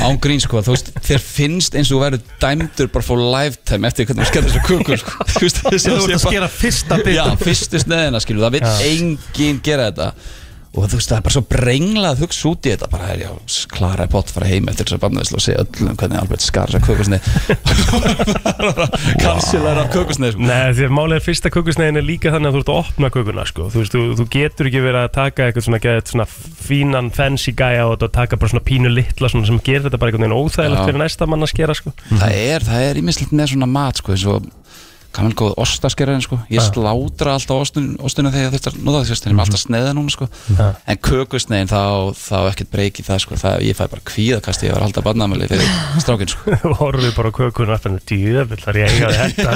S18: Án grín sko, þú veist þér finnst eins og þú verður dæmdur bara fór lifetime eftir hvernig þú skerði þessu kökur sko. Þú veist,
S2: Þú ert að
S18: sé bara-
S2: skera fyrsta bit.
S18: Já, fyrstu sneiðina skilur, það
S2: Já.
S18: vil enginn gera þetta og þú veist, það er bara svo brenglað að hugsa út í þetta, bara, já, Klara er pott fara heim eftir þessar barnaðislu og segja öllum hvernig Albert skar þessar kökusneið Kansilæra kökusneið sko.
S4: Nei, því að málega er fyrsta kökusneiðin er líka þannig að þú ert að opna kökuna sko. þú, veist, þú, þú getur ekki verið að taka eitthvað svona, eitthvað svona fínan fancy gæja og taka bara svona pínu litla svona, sem gerir þetta bara einhvern veginn óþægilegt
S18: Já.
S4: fyrir næsta mann að skera sko.
S18: það er, það er ímislegt með svona mat sko, eins og gaman góð ostaskerðin sko. ég
S4: Já.
S18: slátra alltaf ostun, ostuna þegar ég þurft að nota það, þannig alltaf sneiða núna sko.
S4: Já.
S18: en kökusneiðin þá, þá ekkert breyki það, sko. það ég fæ bara kvíðakast ég var alltaf barnamöli fyrir strákinn sko.
S4: þú horfið bara á kökuna og þannig djöfell þar ég eiga þetta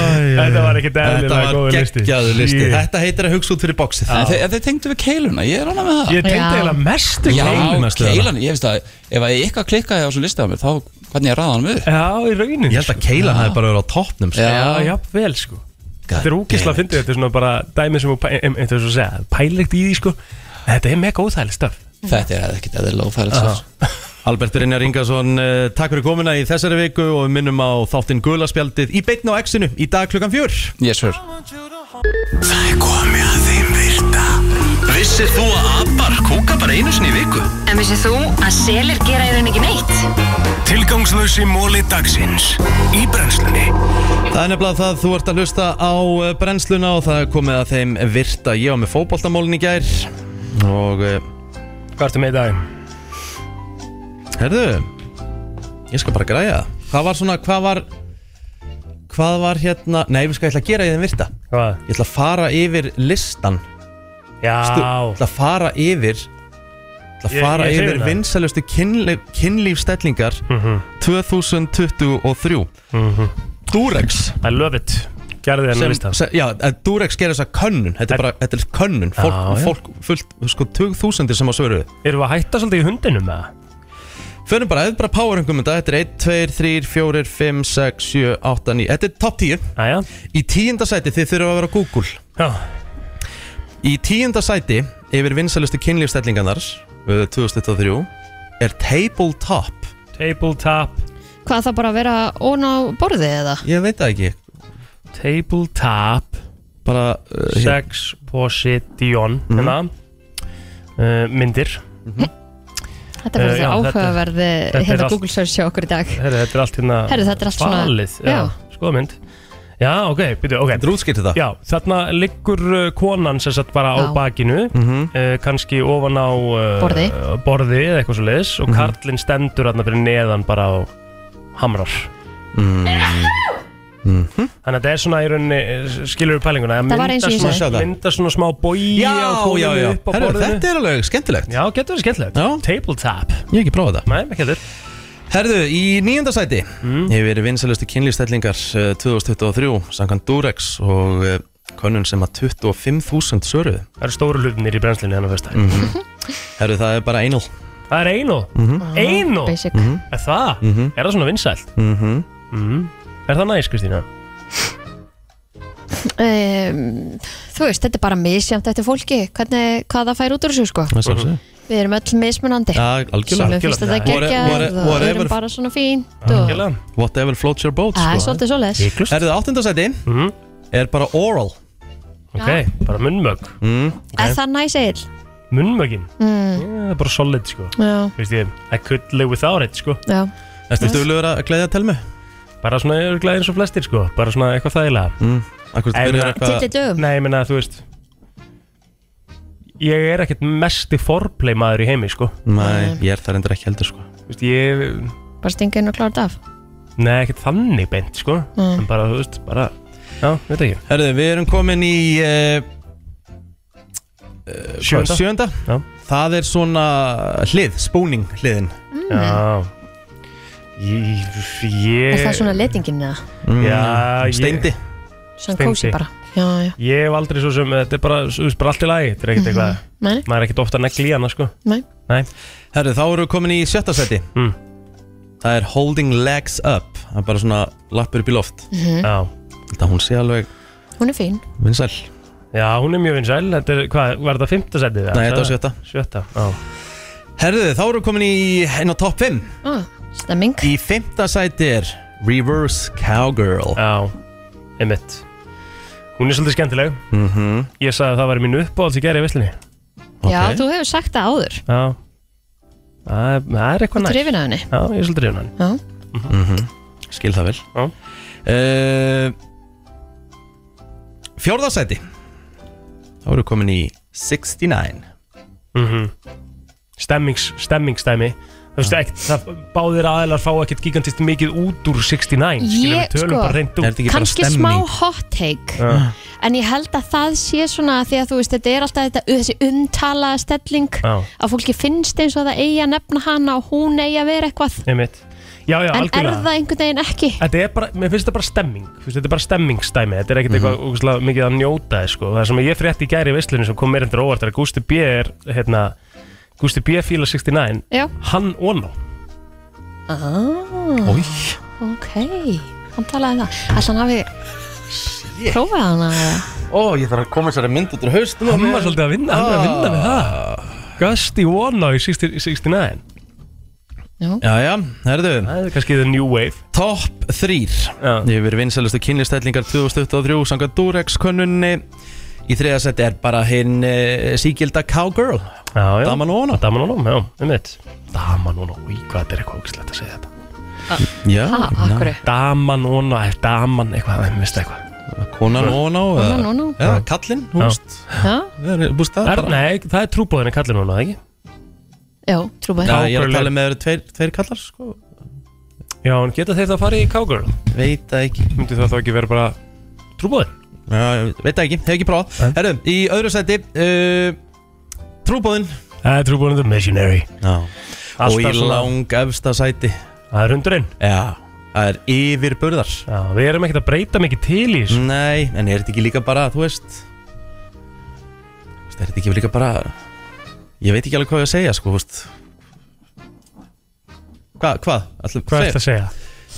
S4: Þetta var ekkert eðlilega góður listi
S2: geggjaður listi
S4: Shit.
S2: Þetta heitir að hugsa út fyrir boxið
S18: en þeir, þeir tengdu við keiluna, ég er hana með það
S2: Ég tengdi Já. eiginlega mest við
S18: Já,
S2: keiluna, stöðuna.
S18: keilan, ég veist að ef að eitthvað klikkaði á þessum lista á mér, þá hvernig ég raða hann við
S4: Já, í raunin
S2: Ég held að keilan hafi bara verið á toppnum sko.
S4: Já, jafnvel sko Þetta er ógislega að fyndi þetta er svona bara dæmi sem þú pæ- em- em- þetta er svo að segja, pælilegt í því sko En Þetta er mega óþægilegt stöf
S18: Þetta er ekkert eðlilega óþægilegt
S4: Ah.
S2: Já. Albert Brynjar Ingarsson, eh, takk fyrir komuna í þessari viku og við minnum á þáttinn gulaspjaldið í beitna á X-inu í dag klukkan fjör
S18: Yes sir
S1: Það er komið að þeim virta Vissir þú að abar kúka bara einu sinni í viku?
S19: En vissið þú að selir gera í rauninni ekki neitt?
S1: Tilgangslösi móli dagsins Í brennslunni
S2: Það er nefnilega það, þú ert að hlusta á eh, brennsluna og það er komið að þeim virta ég á með fótboltamólin í gær og eh, Hvað
S4: ertu með í dag?
S2: Herðu, ég skal bara græja það. Hvað var svona, hvað var Hvað var hérna, nei við skal ég ætla að gera í þeim virta
S4: Hvað?
S2: Ég ætla að fara yfir listan
S4: Já
S2: Stu- Ég ætla að fara yfir Ég ætla
S4: Ég-
S2: að fara
S4: ég hrifin
S2: yfir
S4: það.
S2: vinsælustu kynlíf, kynlífstellingar
S4: Mhm.
S2: 2023 Durex
S4: I love it Gerði henni
S2: Sem-
S4: lista
S2: se- Já, en Durex gerir þess að könnun Þetta er bara, þetta er könnun Fólk,
S4: Já, já.
S2: fólk fullt, sko, tugþúsundir sem á svöruðu
S4: Erum við að hætta svolítið í hundinum með það?
S2: Förum bara, þetta er bara powerhengum þetta Þetta er 1, 2, 3, 4, 5, 6, 7, 8, 9 Þetta er topp 10
S4: Aja.
S2: Í tíunda sæti þið þurfum að vera á Google
S4: Já.
S2: Í tíunda sæti yfir vinsælustu kynlífstellingarnar uh, 2023 er Tabletop
S4: Tabletop
S3: Hvað það bara að vera ón á borðið eða?
S2: Ég veit það ekki
S4: Tabletop
S2: Bara uh, hér-
S4: Sex Position
S2: Mhm.
S4: Hérna uh, Myndir
S3: Þetta verður
S4: Eh, já,
S3: uh, áhugaverði
S4: þetta- þetta er
S3: hérna
S4: allt-
S3: Google search hjá okkur í dag
S4: Herru, þetta er allt hérna
S3: Herru, þetta er allt svona-
S4: falið, já,
S3: já.
S4: Skoða mynd Já, ok, byrju, ok Þetta
S2: er útskýrt þetta
S4: Já, þarna liggur uh, konan sem satt bara á
S3: Já.
S4: bakinu mm
S2: Mhm.
S4: kannski ofan á uh,
S3: Borði.
S4: Borði eða eitthvað svo leiðis
S2: Mhm.
S4: Og karlinn stendur þarna fyrir neðan bara á Hamrar
S2: mm.
S4: Þannig að þetta er svona í rauninni Skilur við pælinguna að
S3: Það var eins og ég
S4: mynda
S3: sagði.
S4: svona, mynda svona smá bói
S2: Já,
S4: á
S2: já,
S4: kólinu
S2: já.
S4: upp á
S2: Herru,
S4: borðinu
S2: þetta er alveg skemmtilegt
S4: Já, getur verið skemmtilegt
S2: Já.
S4: Tabletop
S2: Ég hef ekki prófað það
S4: Nei, ekki heldur
S2: Herðu, í nýjönda sæti
S4: Mm.
S2: hefur verið vinsælustu eh, kynlýstællingar 2023 samkvæmt Durex og eh, könnun sem að 25.000 söruðu
S4: Það eru stóru hlutinir í brennslinni hennar fyrst
S2: mm Herðu, það er bara einal
S4: Það er einu
S2: Mhm.
S4: Einu
S3: Basic.
S2: Mhm.
S4: Er það?
S2: Mhm.
S4: Er það svona vinsælt?
S2: mm -hmm.
S4: Mhm. Er það næs, Kristína?
S3: um, þú veist, þetta er bara misjæmt eftir fólki, hvernig, hvað það fær út úr þessu sko.
S2: Það er sjálfsögðu.
S3: við erum öll mismunandi
S2: Já, algjörlega.
S3: Sumum finnst þetta
S2: Algjörlega. Whate-
S3: geggjað
S2: whate-
S3: og
S2: whatever.
S3: öðrum bara svona fínt og...
S2: Whatever floats your boat sko.
S3: Það er svolítið svoleiðis. Hiklaust.
S2: Herðu, áttunda sæti
S4: Mhm.
S2: er bara oral
S3: Ok, Já.
S4: bara munnmög
S2: mm.
S3: er það næs eil
S4: Munnmögin
S3: mm.
S4: Það er bara solid, sko
S3: Já.
S4: Veist ég I could live without it, sko
S3: Já.
S2: Ertu duglegur að gleyðja telmu?
S4: Bara svona örglega eins og flestir, sko Bara svona eitthvað þægilega uh,
S2: mm. Akkur byrjar eitthvað-
S3: Til dögum?
S4: Nei, ég meina, þú veist Ég er ekkert mesti forplay maður í heimi, sko
S2: Nei, ég er það reyndar ekki heldur sko
S4: Þú veist, ég
S3: bara stinga inn og klára þetta af
S4: Nei, ekkert þannig beint, sko
S3: Mm.
S4: En bara, þú veist, bara Já, veit ekki
S2: Herðu, við erum komin í uh, uh,
S4: Sjöunda.
S2: sjönda.
S4: Já.
S2: Það er svona hlið, spúning hliðin
S3: Mm.
S4: Já Ég, ég
S3: er það svona letingin eða
S2: Mm,
S4: Já, ég-
S2: steindi.
S3: svona kósi
S4: Steindi.
S3: bara já, já,
S4: Ég hef aldrei svo sem, þetta er bara, þú veist, bara allt í lagi Þetta er
S3: Mhm.
S4: ekkert eitthvað
S3: Nei.
S4: Maður er ekkert ofta negli í hana, sko
S3: Nei.
S4: Nei
S2: Herru, þá eru við komin í sjötta seti
S4: mm.
S2: Það er holding legs up Það er bara svona lappur upp í loft
S3: Mhm.
S4: Já
S2: Þetta hún sé alveg
S3: hún er fín
S2: vinsæl
S4: Já, hún er mjög vinsæl, þetta er, hvað, var þetta fymta setið?
S2: Nei, þetta var sjötta.
S4: Sjötta, já
S2: Herru, þá eru við komin í einn á topp 5
S3: ah, stemming
S2: Í fymta seti er reverse cowgirl
S4: Já, einmitt Hún er svolítið skemmtileg
S2: Mhm.
S4: Ég sagði að það var mín uppáhalds í gerði í veslinni
S3: já, þú hefur sagt það áður
S4: Já Það er- það er eitthvað
S3: Þú ert
S4: næst
S3: hrifin af henni?
S4: Já, ég er svolítið hrifin af henni
S3: já,
S2: mm Skil það vel uh, Fjórða seti Þá eru við komin í 69
S4: mm Stemmings, stemmingsdæmi Þú
S2: Ah.
S4: veist ekki, það báðir aðeinar fá ekkert gigantist mikið út úr 69 skilur við
S3: ég
S4: tölum
S3: sko
S4: bara reynd út Ah.
S3: kannski smá hot take
S4: Já.
S3: en ég held að það sé svona því að þú veist þetta er alltaf þetta, þessi umtalaða stelling
S4: Já.
S3: að fólki finnst eins og það eigi að nefna hana og hún eigi að vera eitthvað
S4: Einmitt. Já, já,
S3: en er
S4: algjörlega
S3: það einhvern veginn ekki
S4: Þetta er bara, mér finnst þetta bara stemming Þú veist, Þetta er bara stemmingsdæmi, þetta er ekkert eitthvað ógeðslega mikið að njóta þess, sko. Það sem ég frétti í gæri í veislunni sem kom mér endur óvart er að Gústi B er hérna, Gústi B fíla 69
S3: Já.
S4: Hann og ná
S3: ah,
S4: Oj.
S3: ok hann talaði um það alltaf hann hafi prófað hana eða?
S2: Ó, ég þarf að koma þessari mynd út úr Ah, haustum
S4: Hann var svolítið að vinna, hann er að vinna með það Gasti Wanna í 60 69
S2: Já, já, herðu
S4: Það er kannski the new wave
S2: Top 3 Ég hefur verið vinsælustu kynlistællingar 2023 Sangat Durex könnunni Í þriða seti er bara hinn uh, síkilda cowgirl
S4: Já, já
S2: Daman og hana
S4: Daman og hana, já, um veit Daman og hana, í hvað þetta er eitthvað ógislegt að segja þetta
S2: Já,
S3: Ha, af hverju?
S4: Daman og hana, daman, eitthvað, það veist eitthvað
S2: Konan og hana
S3: Konan og hana.
S2: Já, kallinn, þú
S4: Já.
S2: veist
S3: já,
S2: Það er- búst það
S4: Er-
S2: bara-
S4: Nei, það er trúbóðinni kallin hana, ekki?
S3: já, trúbað
S2: Já, ég er að tala með þeir tveir, tveir kallar sko.
S4: Já, en geta þeir það að fara í cowgirl?
S2: Veit það ekki
S4: Myndi það þá ekki vera bara trúbóðin?
S2: Já, ég veit það ekki, hef ekki prófað Herðu, í öðru seti uh, Trúbóðin
S4: Það er trúbóðin the missionary
S2: Já
S4: Alltaf
S2: Og í
S4: svona-
S2: lang efsta sæti
S4: Það er hundurinn
S2: Já, það er yfir burðar
S4: Já, við erum ekkert að breyta mikið til í þessu
S2: Nei, en er þetta ekki líka bara, þú veist þú veist, Er þetta ekki líka bara Ég veit ekki alveg hvað ég að segja, sko, þú veist Hvað, hvað? Ætlum,
S4: Hvað ertu að segja?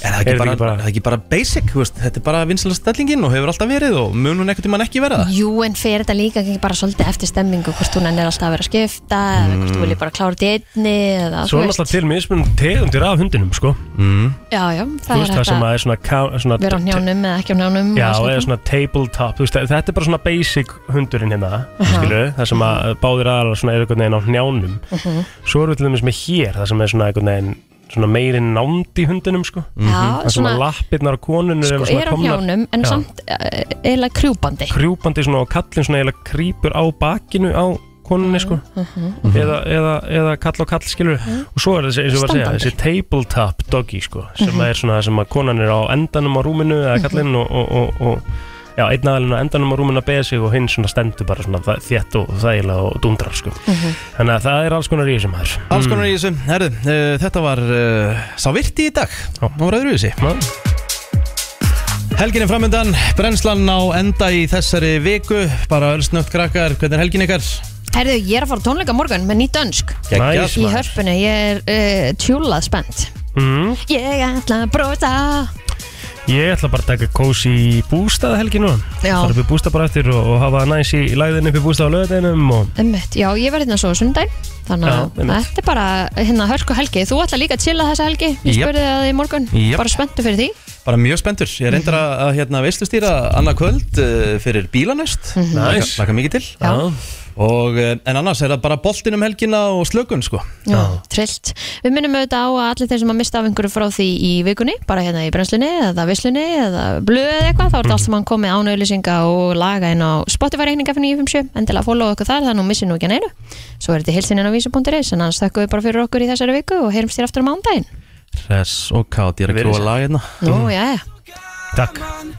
S2: Er það ekki, bara, er það ekki bara basic, þú veist Þetta er bara vinslega stellingin og hefur alltaf verið og mun hún ekkert um hann ekki vera það
S3: Jú, en fyrir þetta líka ekki bara svolítið eftir stemmingu hvort hún enn er alltaf að vera að skipta eða hvort þú viljið bara klára þetta í einni eða,
S4: Mm. Svo
S3: þú
S4: er
S3: veist.
S4: alltaf til mismunum tegundir af hundinum, sko mm.
S3: Já, já,
S4: Þú
S3: það er
S4: veist það
S3: hægt
S4: sem
S3: að
S4: að er svona, ka- svona
S3: vera á njánum eða ekki á njánum og
S4: Já,
S3: alls
S4: eða
S3: þetta.
S4: svona tabletop þú veist, Þetta er bara svona basic hundurinn hérna skilu, Það sem að báðir aðra svona er einhvern veginn á njánum
S3: Mhm.
S4: Svo erum við til dæmis með hér Það sem er svona einhvern veginn svona meiri nánd í hundinum sko.
S2: Mhm.
S3: Já,
S4: Það sem að
S3: svona-
S4: lappirnar og konunur
S3: sko,
S4: eru
S3: er á
S4: komnar-
S3: hjánum en
S4: Já,
S3: samt eh, eiginlega krjúpandi
S4: Krjúpandi svona og kallinn svona eiginlega krýpur á bakinu á konunni sko
S3: Mhm.
S4: eða, eða, eða kall og kall skilur og svo er þessi, eins og ég var að segja,
S3: Standandi.
S4: þessi tabletop doggy sko, sem
S3: Mhm.
S4: er svona það sem að konan er á endanum á rúminu eða
S2: Mhm.
S4: kallinn og, og, og, og já, einn aðalinn á endanum á rúminu að beða sig og hinn svona stendur bara svona þa- þétt og þægilega og dundrar sko
S20: Mhm.
S4: þannig að það er alls konar í þessum maður Mm.
S2: Alls konar í þessu, herðu, uh, þetta var uh, sá virti í dag, hún var öðru í þessi Helgin er framöndan, brennslan á enda í þessari viku, bara ölsnögt krakkar, hvernig er helgin ykkar?
S3: Herðu, ég er að fara á tónleika á morgun með nýtt önsk
S2: Geggjað. Næs,
S3: Í
S2: maður.
S3: hörpunni, ég er uh, tjúlað spennt
S4: mm.
S3: Ég ætla að brosa
S4: Ég ætla bara að taka kósi í bústað helgi nú
S3: Já.
S4: fara upp í bústað bara eftir og, og hafa næs í læðin upp í bústað á löðinum og
S3: Einmitt, já, ég verði hérna svo á sundaginn Þannig
S4: Já,
S3: að
S4: einmitt.
S3: þetta er bara hérna hörku helgi Þú ætla líka að chilla þessa helgi Ég
S2: Jep.
S3: spurði það í morgun,
S2: Jep.
S3: bara spenntu fyrir því
S2: Bara mjög spenntur, ég reyndar að, að hérna, veistustýra annað kvöld uh, fyrir bílanest
S3: Mhm. Nice.
S2: Laka mikið til
S3: Já.
S2: og, uh, En annars er það bara boltinn um helgina og slökun sko
S3: Já, trillt. Við minnum auðvitað á að allir þeir sem að mista af einhverju frá því í vikunni, bara hérna í brennslunni eða vislunni eða blöð eða eitthvað, þá er þetta allt sem hann komið ánauðlýsinga og laga inn á Spotify reikninga fyrir 957, endilega follow okkur þar, þannig að missi nú ekki að neinu. Svo er þetta hilsininn á vísu.is, en annars þakkum við bara fyrir okkur í þessari viku og heyrumst þér aftur á mándaginn.
S2: Hress og kátt, ég er að
S4: Verið
S2: grúa
S4: sæl.
S2: lag hérna
S3: Nú, já, já.
S4: Takk